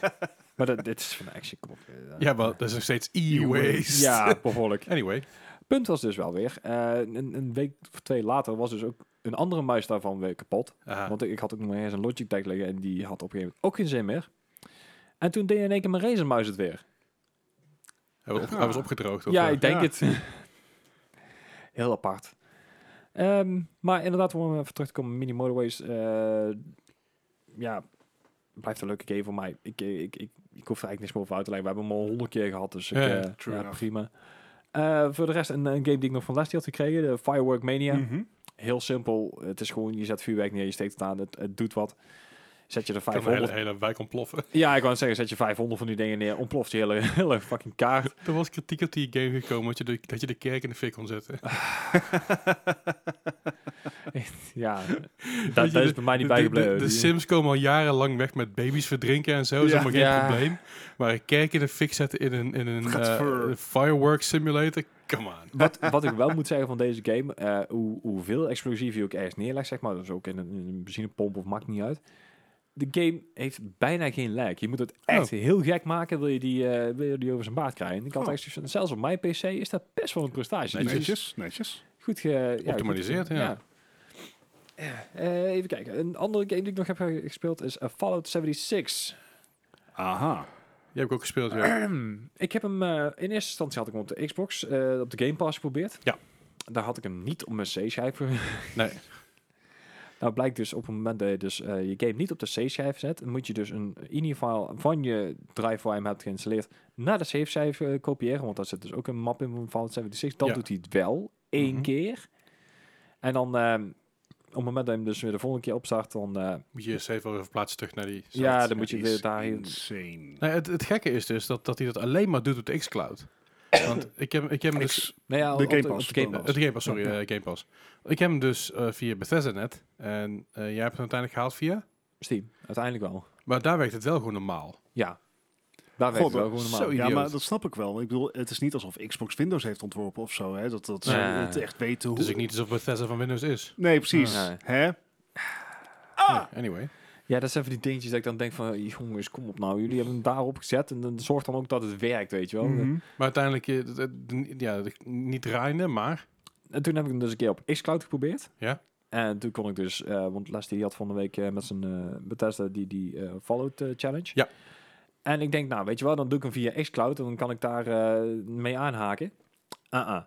S3: maar dat, dit is van de Action. Kom op. eh,
S2: Ja, maar dat is nog steeds e-waste.
S3: Ja, behoorlijk.
S2: Anyway.
S3: Punt was dus wel weer. eh, een, een week of twee later was dus ook een andere muis daarvan weer kapot.
S2: Aha.
S3: Want ik, ik had ook nog eens een Logitech liggen en die had op een gegeven moment ook geen zin meer. En toen deed in één keer mijn Razer muis het weer.
S2: Hij was, op- hij was opgedroogd. of,
S3: ja,
S2: eh?
S3: ik denk
S1: Ja.
S3: het. Heel apart. Ehm, maar inderdaad, om even terug te komen, Mini Motorways. eh, ja, blijft een leuke game voor mij. Ik, eh, ik, ik, ik hoef er eigenlijk niks meer over uit te leggen. We hebben hem al honderd keer gehad, dus ik,
S2: Ja,
S3: eh,
S1: true
S3: ja,
S1: enough.
S3: prima. Eh, voor de rest een, een game die ik nog van Leslie had gekregen, de Firework Mania.
S1: Mhm.
S3: Heel simpel. Het is gewoon, je zet vuurwerk neer, je steekt het aan, het, het doet wat. Zet je er
S2: Kan de hele,
S3: 500...
S2: hele wijk ontploffen.
S3: Ja, ik wou net zeggen, zet je 500 van die dingen neer, ontploft je hele, hele fucking kaart.
S2: Er was kritiek op die game gekomen dat je de, dat je de kerk in de fik kon
S3: Ah,
S2: zetten.
S3: Ja,
S2: Weet
S3: dat,
S2: je,
S3: dat is
S2: de-
S3: bij mij niet
S2: de- de-
S3: bijgebleven.
S2: De, de
S3: Die-
S2: Sims komen al jarenlang weg met baby's verdrinken en zo. Dat is
S1: Ja.
S2: helemaal geen
S3: Ja.
S2: probleem. Maar een kerk in de fik zetten in een, in een eh,
S1: Gadver.
S2: fireworks simulator. Come on.
S3: Wat, wat ik wel moet zeggen van deze game, eh, hoe, hoeveel explosieven je ook ergens neerlegt, zeg maar, dus ook in een, in een benzinepomp of maakt niet uit. De game heeft bijna geen lag. Je moet
S2: Oh.
S3: het echt heel gek maken, wil je die, eh, wil je die over zijn baard krijgen. Ik had
S1: Oh.
S3: echt zoiets van, zelfs op mijn PC is dat best wel een prestatie.
S2: Netjes.
S3: Dus
S1: Netjes, netjes.
S3: Goed ge, ja, goed
S2: Optimaliseerd,
S3: ge-
S2: ja.
S3: Eh, even kijken. Een andere game die ik nog heb eh, gespeeld is eh, Fallout 76.
S1: Aha.
S2: Je hebt ook gespeeld,
S3: Ah.
S2: ja.
S3: Ik heb hem eh, in eerste instantie had ik hem op de Xbox, eh, op de Game Pass geprobeerd.
S2: Ja.
S3: Daar had ik hem niet op mijn C-schijf. ge-
S2: Nee.
S3: nou blijkt dus op het moment dat je dus, eh, je game niet op de C-schijf zet, dan moet je dus een INI-file van je drive waar je hem hebt geïnstalleerd naar de save-schijf eh, kopiëren, want daar zit dus ook een map in van Fallout 76. Dan
S2: Ja.
S3: doet hij het wel één
S2: Mhm.
S3: keer. En dan ehm, op het moment dat je hem dus weer de volgende keer opstart, dan eh,
S2: Moet je je save wel weer verplaatsen terug naar die site.
S3: ja, dan moet je
S1: Het is
S3: weer daarheen.
S1: Insane.
S2: Nee, het, het gekke is dus dat, dat hij dat alleen maar doet op de xCloud. Want ik heb, ik heb hem dus...
S1: X-
S3: Nou ja,
S1: de
S3: op
S1: Game
S3: op
S1: Pass.
S3: de Game
S1: Eh,
S3: Pass.
S2: Het Game Pass, sorry, eh Game Pass. Ik heb hem dus eh, via Bethesda net. En eh, jij hebt hem uiteindelijk gehaald via...
S3: Steam, uiteindelijk wel.
S2: Maar daar werkt het wel gewoon normaal.
S3: Ja. Daar
S1: God,
S3: werkt het wel gewoon normaal.
S2: zo
S1: Ja,
S2: idioot.
S1: maar dat snap ik wel. Ik bedoel, het is niet alsof Xbox Windows heeft ontworpen of zo. Hè? Dat, dat ze
S3: Nee.
S1: het echt weten hoe...
S2: Dus ik niet alsof Bethesda van Windows is.
S1: Nee, precies.
S3: Nee.
S1: Hè?
S3: Ah.
S2: Nee, anyway.
S3: Ja, dat zijn van die dingetjes dat ik dan denk van, jongens, kom op nou. Jullie hebben hem daarop gezet en dan zorg dan ook dat het werkt, weet je wel.
S1: Mhm.
S2: Maar uiteindelijk, eh, dat- dat- ja, dat- niet draaiende, maar...
S3: En toen heb ik hem dus een keer op xCloud geprobeerd.
S2: Ja.
S3: En toen kon ik dus, eh, want Leslie die had van de week eh, met zijn eh Bethesda die, die eh, Fallout eh, Challenge.
S2: Ja.
S3: En ik denk, nou, weet je wel, dan doe ik hem via xCloud en dan kan ik daar eh, mee aanhaken. Ah, ah.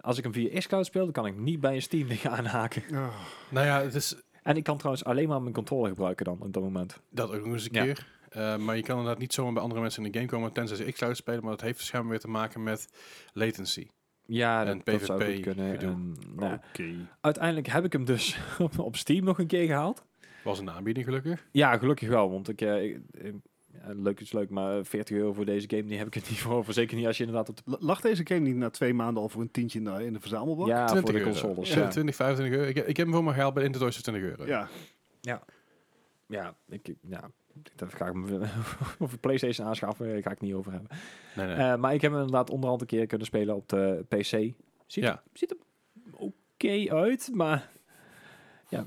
S3: Als ik hem via xCloud speel, dan kan ik niet bij een Steam ding aanhaken.
S1: Ah.
S2: Nou ja, het is
S3: En ik kan trouwens alleen maar mijn controller gebruiken dan op dat moment.
S2: dat ook nog eens een
S3: Ja.
S2: keer. Eh, maar je kan inderdaad niet zomaar bij andere mensen in de game komen, tenzij ze X-Cloud spelen. Maar dat heeft waarschijnlijk weer te maken met latency.
S3: Ja,
S2: En
S3: dat, dat zou
S2: PvP
S3: goed kunnen.
S2: gedoe.
S3: En, nou,
S1: Oké.
S3: uiteindelijk heb ik hem dus op, op Steam nog een keer gehaald.
S2: Was een aanbieding gelukkig.
S3: Ja, gelukkig wel, want ik, eh, ik- ik- ja, leuk is leuk, maar eh, 40 euro voor deze game, die heb ik het niet voor. over. Zeker niet als je inderdaad op de,
S1: L- Lag deze game niet na twee maanden al voor een tientje in de, in de verzamelbak?
S3: ja, voor
S2: 20
S3: de
S2: euro.
S3: consoles.
S2: Ja,
S3: Ja,
S2: 20, 25 euro. Ik, ik heb hem voor mijn gehaald bij Intertoys voor 20 euro.
S1: Ja.
S3: ja, ik, ja daar ga ik me over PlayStation aanschaffen, eh, ga ik niet over hebben.
S2: Nee, nee.
S3: Eh, maar ik heb hem inderdaad onderhand een keer kunnen spelen op de PC. Ziet,
S2: Ja.
S3: ziet er oké uit, maar ja. ja,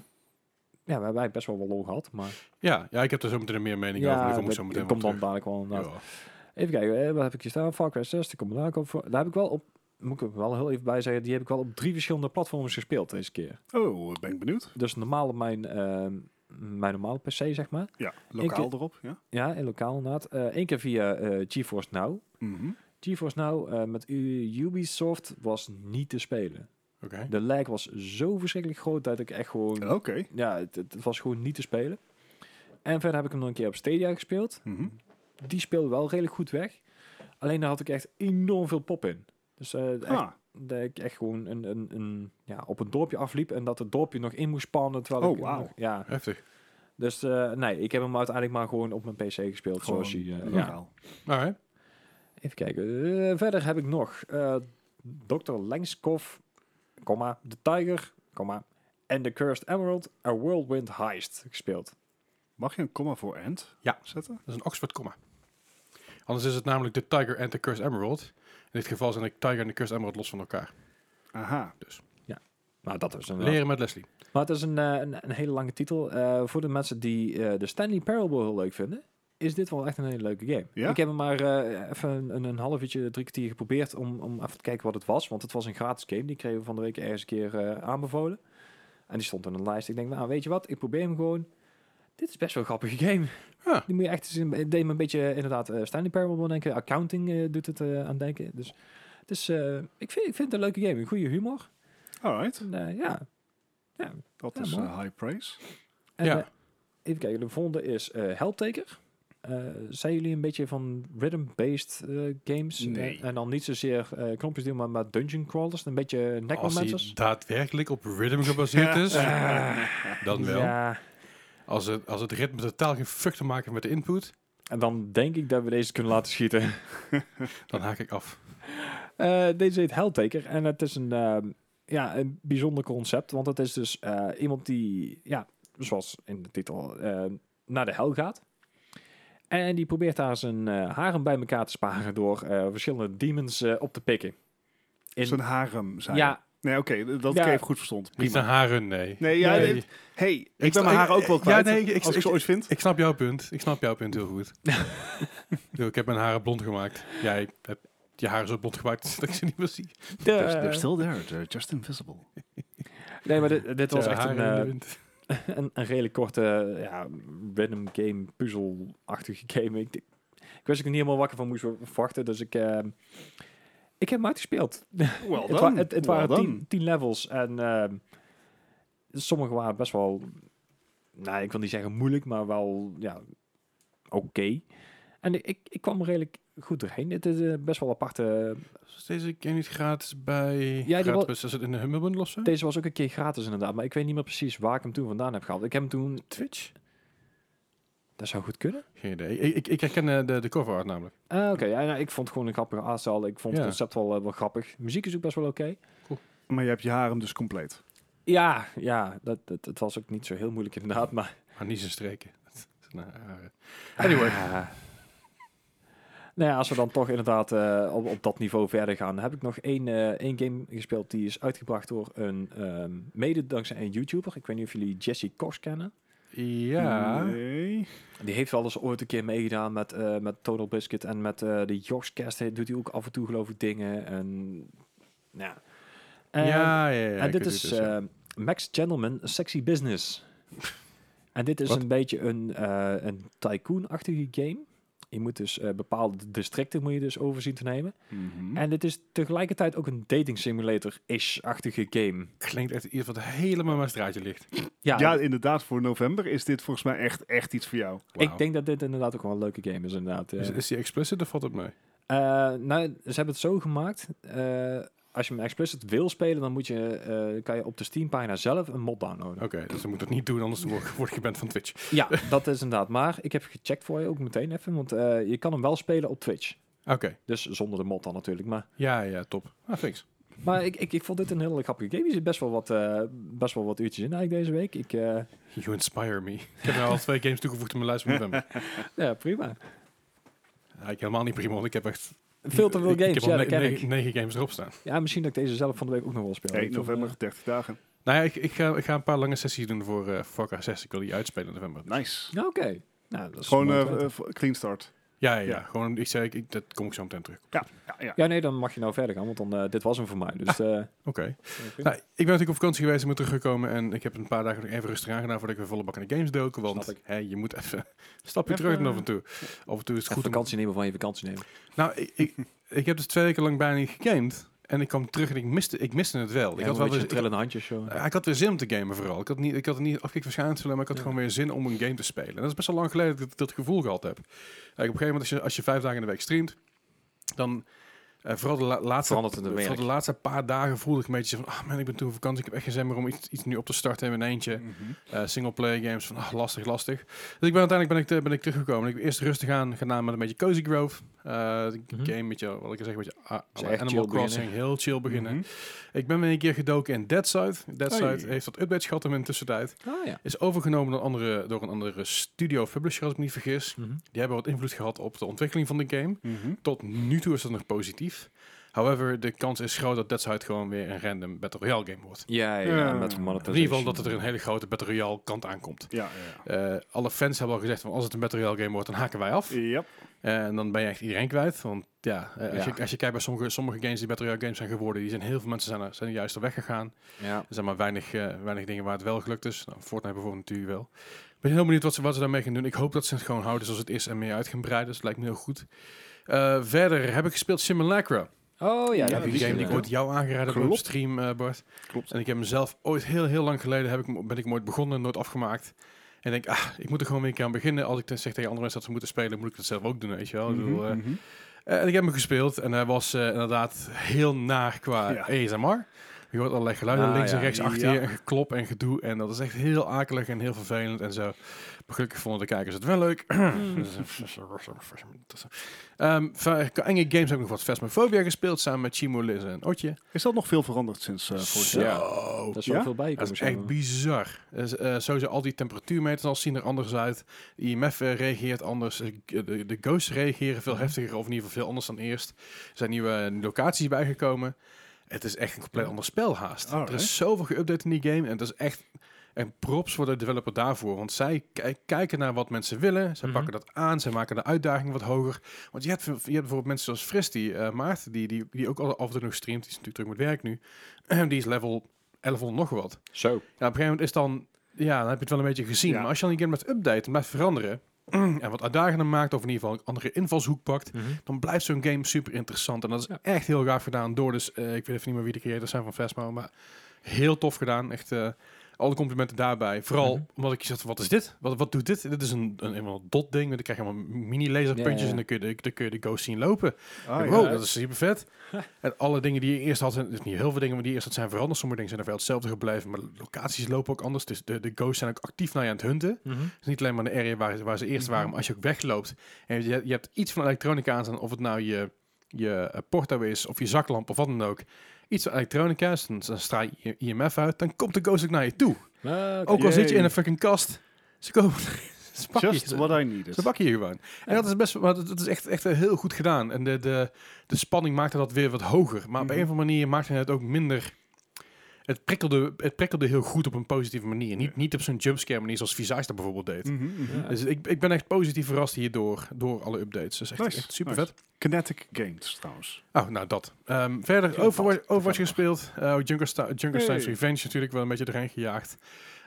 S3: we hebben eigenlijk best wel wel lol gehad. Maar
S2: ja, ja, ik heb er zo meteen een meer mening over.
S3: ja,
S2: dus daar kom ik
S3: dat-
S2: zo meteen
S3: dat
S2: op
S3: komt dan
S2: terug.
S3: dadelijk wel inderdaad.
S2: Ja.
S3: Even kijken, eh, wat heb ik hier staan? Far Cry 6, daar kom ik daar ook voor. Daar heb ik wel op, moet ik er wel heel even bij zeggen, die heb ik wel op drie verschillende platforms gespeeld deze keer.
S1: Oh, ben ik benieuwd.
S3: Dus normaal op mijn, ehm, mijn normale PC, zeg maar.
S1: Ja, lokaal
S3: Ik-
S1: erop. Ja.
S3: Ja, in lokaal inderdaad. Eén keer via eh, GeForce Now.
S1: Mhm.
S3: GeForce Now eh, met U- Ubisoft was niet te spelen.
S2: Oké.
S3: De lag was zo verschrikkelijk groot dat ik echt gewoon...
S1: Oké.
S3: Ja, het, het- het was gewoon niet te spelen. En verder heb ik hem nog een keer op Stadia gespeeld.
S1: Mhm.
S3: Die speelde wel redelijk goed weg. Alleen daar had ik echt enorm veel pop in. Dus eh, echt
S1: Ah,
S3: dat ik echt gewoon een, een, een, ja, op een dorpje afliep en dat het dorpje nog in moest spannen. Terwijl
S1: Oh,
S3: ik
S1: wauw.
S3: nog- ja,
S2: Heftig.
S3: dus eh, nee, ik heb hem uiteindelijk maar gewoon op mijn PC gespeeld.
S1: Gewoon
S3: zoals hij, eh, ja.
S1: lokaal.
S2: Alright.
S3: Even kijken. Eh, verder heb ik nog eh Dr. Langskov, comma, The Tiger, comma, en The Cursed Emerald, A Whirlwind Heist gespeeld.
S1: Mag je een comma voor end
S2: Ja.
S1: zetten?
S2: Dat is een Oxford comma. Anders is het namelijk de Tiger en de Cursed Emerald. In dit geval zijn de Tiger en de Cursed Emerald los van elkaar.
S1: Aha.
S3: Nou, dat is een
S2: Leren met Leslie.
S3: Maar het is een, eh, een, een hele lange titel. Eh, voor de mensen die eh, de Stanley Parable heel leuk vinden, is dit wel echt een hele leuke game.
S1: Ja?
S3: Ik heb hem maar eh, even een, een half uurtje, drie kwartier geprobeerd om, om even te kijken wat het was. Want het was een gratis game. Die kregen we van de week ergens een keer eh, aanbevolen. En die stond in een lijst. Ik denk, nou weet je wat, ik probeer hem gewoon. Dit is best wel een grappige game.
S2: Ja.
S3: Die moet je echt eens in, het deed me een beetje eh, inderdaad eh, Stanley Parable aan denken. Accounting eh, doet het eh, aan denken. Dus het is, eh, ik, vind, ik vind het een leuke game. Een goede humor.
S1: Alright.
S3: En, eh, ja,
S1: Dat
S3: Ja,
S1: is
S3: mooi.
S1: eh, high praise.
S3: En,
S2: Ja.
S3: eh, even kijken, de volgende is eh Helptaker. Eh, zijn jullie een beetje van rhythm-based eh, games?
S1: Nee.
S3: Eh, en dan niet zozeer eh knopjes doen, maar, maar dungeon crawlers. Een beetje
S2: Als hij
S3: necromancers. dus?
S1: Ah,
S2: daadwerkelijk op rhythm gebaseerd is, dan wel.
S3: Ja,
S2: Als het, als het ritme totaal geen fuck te maken heeft met de input,
S3: En dan denk ik dat we deze kunnen laten schieten.
S2: dan haak ik af.
S3: Eh, deze heet Helltaker en het is een, ehm, ja, een bijzonder concept. Want het is dus eh, iemand die, ja, zoals in de titel, eh, naar de hel gaat. En die probeert daar zijn eh, haren bij elkaar te sparen door eh, verschillende demons eh, op te pikken. In-
S1: Zo'n harem zijn.
S3: ja,
S1: Nee, oké, dat dat
S3: Ja.
S1: ik even goed verstond.
S2: Niet
S1: Prima.
S2: naar haren, nee.
S1: Nee, ja,
S3: Nee.
S1: dit- hey, ik,
S2: Ik
S1: ben mijn
S2: sta-
S1: haar ook wel
S2: ja,
S1: kwijt.
S2: nee, ik- ik-
S1: als ik ze
S2: ik-
S1: ooit vind.
S2: Ik snap jouw punt. Ik snap jouw punt heel goed. Yo, ik heb mijn haren blond gemaakt. Jij hebt je haren zo blond gemaakt dat ik ze niet meer zie.
S3: de-
S1: still there. They're just invisible.
S3: nee, maar dit, dit was
S2: Ja,
S3: echt een,
S2: haren in de
S3: eh,
S2: wind.
S3: een, een redelijk korte, eh, ja, random game, puzzel-achtige game. Ik, ik wist dat ik er niet helemaal wakker van moest verwachten, dus ik, ehm, ik heb hem uitgespeeld.
S1: Well
S3: Het, wa-
S1: done.
S3: het, het
S1: well
S3: waren
S1: done.
S3: tien, tien levels en ehm, sommige waren best wel, nou ik wil niet zeggen moeilijk, maar wel ja, oké. En ik, ik kwam er redelijk goed doorheen. Het is eh, best wel aparte.
S2: Is deze game niet gratis bij...
S3: die
S2: gratis,
S3: wel-
S2: bij- Is het in de Hummelbundle of zo?
S3: Deze was ook een keer gratis inderdaad, maar ik weet niet meer precies waar ik hem toen vandaan heb gehaald. Ik heb hem toen... Twitch? Dat zou goed kunnen.
S2: Geen idee. Ik, ik, ik herken eh, de, de cover art namelijk.
S3: Ah, oké. Ja, nou, ik vond het gewoon een grappige aanstel. Ik vond
S2: Ja.
S3: het concept wel, eh, wel grappig. Muziek is ook best wel oké.
S1: Maar je hebt je harem dus compleet.
S3: Ja, ja. Dat, dat, het was ook niet zo heel moeilijk inderdaad, maar...
S2: Maar niet zijn streken. Dat zijn haar haren.
S3: Anyway. Ah. nou ja, als we dan toch inderdaad eh, op, op dat niveau verder gaan, heb ik nog één, eh, één game gespeeld die is uitgebracht door een ehm, mede dankzij een YouTuber. Ik weet niet of jullie Jesse Kors kennen.
S2: Ja.
S1: Nee.
S3: Die heeft wel eens ooit een keer meegedaan met, eh, met Total Biscuit en met eh de Jogscast. Hij Doet hij ook af en toe geloof ik dingen. En, nou ja. En-
S2: ja, ja, ja. ik
S3: en dit
S2: weet
S3: is
S2: het, dus, ja.
S3: eh, Max Gentleman, Sexy Business. en dit is
S2: Wat?
S3: een beetje een, eh, een tycoon-achtige game. Je moet dus eh, bepaalde districten moet je dus overzien te nemen.
S2: Hm.
S1: Mhm.
S3: En dit is tegelijkertijd ook een dating simulator-ish-achtige game.
S2: Klinkt echt iets wat helemaal mijn straatje ligt.
S3: Ja,
S1: Ja, inderdaad, voor november is dit volgens mij echt, echt iets voor jou.
S2: Wauw.
S3: ik denk dat dit inderdaad ook wel een leuke game is inderdaad. Eh, ja.
S2: Is, is die explicit of valt het mee?
S3: Eh, nou, ze hebben het zo gemaakt. eh, als je hem explicit wil spelen, dan moet je, eh, kan je op de Steam-pagina zelf een mod downloaden.
S2: Oké, dus dan moet ik het niet doen, anders word word ik geband van Twitch.
S3: Ja, dat is inderdaad. Maar ik heb gecheckt voor je ook meteen even, want eh, je kan hem wel spelen op Twitch.
S2: Oké,
S3: Dus zonder de mod dan natuurlijk. Maar,
S2: ja, ja, top. Ah, thanks.
S3: maar ik, ik, ik vond dit een hele grappige game. Er zit best wel wat, eh, best wel wat uurtjes in eigenlijk deze week. Ik, eh,
S2: You inspire me. Ik heb nou al twee games toegevoegd aan mijn lijst van november.
S3: ja, prima.
S2: Ja, ik helemaal niet prima, want ik heb echt...
S3: Veel te veel
S2: ik-
S3: games,
S2: ik heb al
S3: ja, dat
S2: ne-
S3: ken ik.
S2: negen- negen games erop staan.
S3: Ja, misschien dat ik deze zelf van de week ook nog wel speel.
S1: 1
S3: Ik vond,
S1: november, 30 dagen.
S2: Nou ja, ik, ik, ga, ik ga een paar lange sessies doen voor eh Far 6. Ik wil die uitspelen in november.
S1: Nice.
S3: eh, ja, oké. Nou, dat is
S1: Gewoon
S3: mooi om te
S1: eh,
S3: weten.
S1: eh, clean start.
S2: Ja, ja, ja.
S1: Ja.
S2: Gewoon, ik zei, ik, ik- dat kom ik zo meteen terug.
S1: Ja, ja, ja.
S3: ja, nee, dan mag je nou verder gaan, want dan, eh, dit was hem voor mij. Dus, eh,
S2: Oké.
S3: prima.
S2: Nou, ik ben natuurlijk op vakantie geweest, ik ben teruggekomen en ik heb een paar dagen nog even rustig aangedaan voordat ik weer volle bak in de games doken, want
S3: Snap ik.
S2: hè, je moet even een stapje
S1: Even-
S2: terug doen af en toe. Af en toe is het goed
S3: Goed
S2: om-
S3: vakantie nemen van je vakantie nemen.
S2: Nou, ik, ik, ik heb dus twee weken lang bijna niet gegamed en ik kwam terug en ik miste, ik miste het wel. ik,
S3: Ja,
S2: had
S3: een
S2: wel
S3: beetje
S2: weer, ik,
S3: trillende handjes zo.
S2: ik had weer zin om te gamen vooral. Ik had, niet, ik had het niet afgekeken waarschijnlijk, maar ik had
S3: Ja.
S2: gewoon weer zin om een game te spelen. En dat is best wel lang geleden dat ik dat gevoel gehad heb. Kijk, op een gegeven moment, als je, als je vijf dagen in de week streamt, dan... eh, vooral, de la- laatste,
S3: Verandert het een
S2: vooral
S3: werk.
S2: de laatste paar dagen voelde ik een beetje zo van... Ah man, ik ben toen op vakantie. Ik heb echt geen zin meer om iets, iets nu op te starten in mijn eentje.
S1: Mhm.
S2: Eh, Singleplayer games van ah, lastig, lastig. Dus ik ben uiteindelijk ben ik, te- ben ik teruggekomen. Ik ben eerst rustig aan gedaan met een beetje Cozy Grove. Eh, de
S3: Mhm.
S2: Game met je, wat ik zeg, een beetje ah,
S3: Dus
S2: alle
S3: echt
S2: Animal
S3: chill beginnen.
S2: Crossing. Heel chill beginnen.
S1: Mhm.
S2: Ik ben weer een keer gedoken in Deadside. Deadside
S1: Hey.
S2: heeft wat updates gehad in de tussentijd.
S3: Ah ja.
S2: Is overgenomen door, andere, door een andere studio of publisher, als ik me niet vergis.
S3: Mhm.
S2: Die hebben wat invloed gehad op de ontwikkeling van de game.
S1: Mhm.
S2: Tot nu toe is dat nog positief. However, de kans is groot dat Deadside gewoon weer een random Battle Royale game wordt.
S3: Ja, ja,
S1: Ja.
S3: ja, met
S1: In
S2: In
S3: monetization.
S2: ieder geval dat het er een hele grote Battle Royale kant aankomt.
S1: Ja, ja.
S2: Eh, alle fans hebben al gezegd van als het een Battle Royale game wordt, dan haken wij af. Eh,
S1: ja. Yep.
S2: en dan ben je echt iedereen kwijt. Want ja, eh, als,
S3: Ja.
S2: Je, als je kijkt bij sommige, sommige games die Battle Royale games zijn geworden, die zijn heel veel mensen zijn er, zijn er juist al weggegaan.
S3: Ja.
S2: Er zijn maar weinig, eh, weinig dingen waar het wel gelukt is. Nou, Fortnite bijvoorbeeld natuurlijk wel. Ik ben heel benieuwd wat ze, wat ze daarmee gaan doen. Ik hoop dat ze het gewoon houden zoals het is en meer uit gaan breiden. Dus dat lijkt me heel goed. Eh, verder heb ik gespeeld Simulacra.
S3: Oh ja,
S1: Ja,
S3: dat
S2: die,
S1: die
S2: game
S1: ken
S2: die
S1: ik
S2: ik ooit jou aangeraden heb op
S1: Klopt.
S2: stream, eh, Bart.
S1: Klopt.
S2: En ik heb hem zelf ooit heel, heel lang geleden heb ik, hem- ben ik hem ooit begonnen en nooit afgemaakt. En ik denk, ah, ik moet er gewoon weer een keer aan beginnen. Als ik dan zeg tegen andere mensen dat ze moeten spelen, moet ik dat zelf ook doen, weet je wel. Ik bedoel, eh,
S1: Mhm, mhm.
S2: eh, en ik heb hem gespeeld en hij was eh, inderdaad heel naar qua
S1: Ja.
S2: ASMR. Je hoort allerlei geluiden
S3: Ah,
S2: links en
S3: ja.
S2: rechts achter
S1: Ja.
S2: je en geklop en gedoe. En dat is echt heel akelig en heel vervelend en zo. Maar gelukkig vonden de kijkers het wel leuk. Dus, eh, Ehm, van enge games heb ik nog wat Phasmophobia gespeeld samen met Chimo, Liz en Otje.
S1: Is dat nog veel veranderd sinds eh vorig
S2: Zo.
S1: jaar?
S3: Dat is
S1: Ja?
S3: wel veel bij.
S2: Dat is echt bizar. Dus, eh, sowieso al die temperatuurmeters al zien er anders uit. IMF eh, reageert anders. Eh, g- De, de ghosts reageren veel heftiger, of in ieder geval veel anders dan eerst. Er zijn nieuwe eh, locaties bijgekomen. Het is echt een compleet ander spel haast.
S1: Alright.
S2: Er is zoveel geüpdate in die game. En het is echt... En props voor de developer daarvoor. Want zij kijk- kijken naar wat mensen willen. Zij
S3: Mhm.
S2: pakken dat aan. Zij maken de uitdaging wat hoger. Want je hebt, je hebt bijvoorbeeld mensen zoals Fristy, eh Maarten, die, die, die ook al af en toe nog streamt. Die is natuurlijk terug met werk nu. die is level 1100 nog wat.
S3: Zo.
S2: Ja, op een gegeven moment is dan, ja, dan heb je het wel een beetje gezien.
S1: Ja.
S2: Maar als je dan een keer met update en blijft veranderen en wat uitdagender maakt, of in ieder geval een andere invalshoek pakt,
S3: Mhm.
S2: dan blijft zo'n game super interessant. En dat is
S3: Ja.
S2: echt heel gaaf gedaan door, dus eh, ik weet even niet meer wie de creators zijn van Vesmo, maar heel tof gedaan. Echt eh, alle complimenten daarbij. Vooral
S3: Mhm.
S2: omdat ik zat, wat is dit? Wat, wat doet dit? Dit is een, een, een dot ding, dan krijg je allemaal mini laserpuntjes
S3: Ja, ja.
S2: en dan kun, je de, dan kun je de ghost zien lopen.
S1: Ah,
S2: wow,
S1: ja.
S2: dat is super vet. en alle dingen die je eerst had, zijn, dus niet heel veel dingen, maar die je eerst had zijn veranderd. Sommige dingen zijn er wel hetzelfde gebleven, maar locaties lopen ook anders. Dus de, de ghosts zijn ook actief naar je aan het hunten.
S3: Mhm.
S2: Dus niet alleen maar in de area waar, waar ze
S1: Mhm.
S2: eerst waren, maar als je ook wegloopt en je, je hebt iets van elektronica aan, staan, of het nou je, je eh, porto is of je zaklamp of wat dan ook. Iets van elektronica, dus dan, dan straal je IMF uit, dan komt de ghost ook naar je toe.
S3: Oh,
S2: Ook al zit je in een fucking kast, ze komen. ze pakken je.
S1: Just what I needed.
S2: Ze bakken je gewoon. En dat is best maar dat dat is echt, echt eh, heel goed gedaan. En de, de, de spanning maakte dat weer wat hoger. Maar op
S1: Mhm.
S2: een of andere manier maakte het ook minder. Het prikkelde, het prikkelde heel goed op een positieve manier. Niet, niet op zo'n jumpscare manier zoals Visage dat bijvoorbeeld deed.
S1: Mhm, mhm.
S2: Dus ik, ik ben echt positief verrast hierdoor door alle updates. Dus echt,
S1: Nice,
S2: echt super
S1: nice.
S2: vet.
S1: Kinetic Games trouwens.
S2: Oh, nou dat. Ehm, verder
S1: Ja,
S2: Overwatch,
S1: dat.
S2: Overwatch gespeeld. Eh Junker Sta- Junker
S1: Hey.
S2: Steins Revenge natuurlijk wel een beetje erin gejaagd.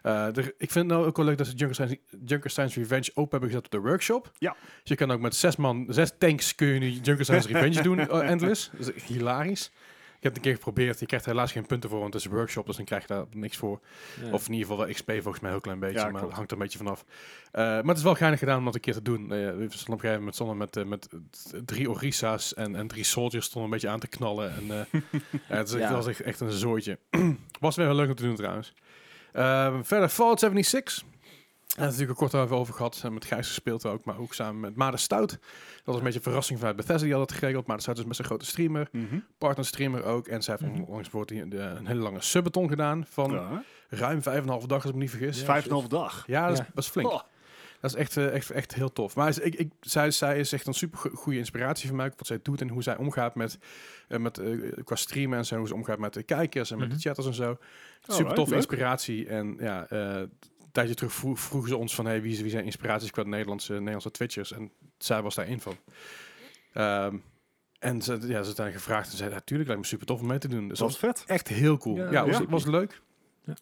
S2: Eh, er- ik vind het nou ook wel leuk dat ze Junker Steins, Junker Steins Revenge open hebben gezet op de workshop.
S1: Ja.
S2: Dus je kan ook met zes man, zes tanks kun je nu Junker Steins Revenge doen, eh, endless. Dat is echt hilarisch. Ik heb het een keer geprobeerd. Je krijgt er helaas geen punten voor, want het is een workshop, dus dan krijg je daar niks voor. Of in ieder geval wel XP volgens mij een heel klein beetje,
S1: Ja,
S2: maar
S1: klopt.
S2: dat hangt er een beetje vanaf. Eh, maar het is wel geinig gedaan om dat een keer te doen. Eh, we stonden op een gegeven moment stonden met, eh, met eh, drie Orissa's en, en drie soldiers stonden een beetje aan te knallen. En, eh, ja, het is echt-
S3: Ja.
S2: was echt, echt een zooitje. was weer heel leuk om te doen trouwens. Eh, verder Fallout 76. Daar hebben we natuurlijk ook kort even over gehad. En met Gijs gespeeld ook, maar ook samen met Maarten Stout. Dat was een beetje een verrassing vanuit Bethesda. Die had het geregeld. Maarten Stout is best een grote streamer.
S1: Mhm.
S2: Partnerstreamer ook. En zij heeft
S3: Mhm.
S2: onlangs bijvoorbeeld een, een hele lange subathon gedaan. Van
S1: Ja.
S2: ruim 5,5 dag, als ik me niet vergis.
S1: Is Vijf en een half dag.
S2: Ja, dat is,
S3: Ja.
S2: dat is flink.
S1: Oh.
S2: Dat is echt, eh, echt, echt heel tof. Maar ze- ik, ik, zij, zij is echt een super go- goede inspiratie voor mij. ook Wat zij doet en hoe zij omgaat met, eh, met eh, qua streamen en zo. Hoe ze omgaat met de kijkers en met
S3: Mhm.
S2: de chatters en zo. Super
S1: Alright,
S2: tof
S1: leuk.
S2: inspiratie. En ja, eh, een tijdje terug vro- vroegen ze ons van... Hey, wie, is- wie zijn inspiraties qua Nederlandse, Nederlandse Twitchers? En zij was daar één van. Ehm, en ze, ja, ze zijn gevraagd en zeiden... Natuurlijk lijkt me super tof om mee te doen.
S1: Dat
S2: Dus
S1: was
S2: dat
S1: vet.
S2: was echt heel cool. Ja,
S3: Ja,
S2: was,
S1: ja.
S2: was leuk.
S3: Ja.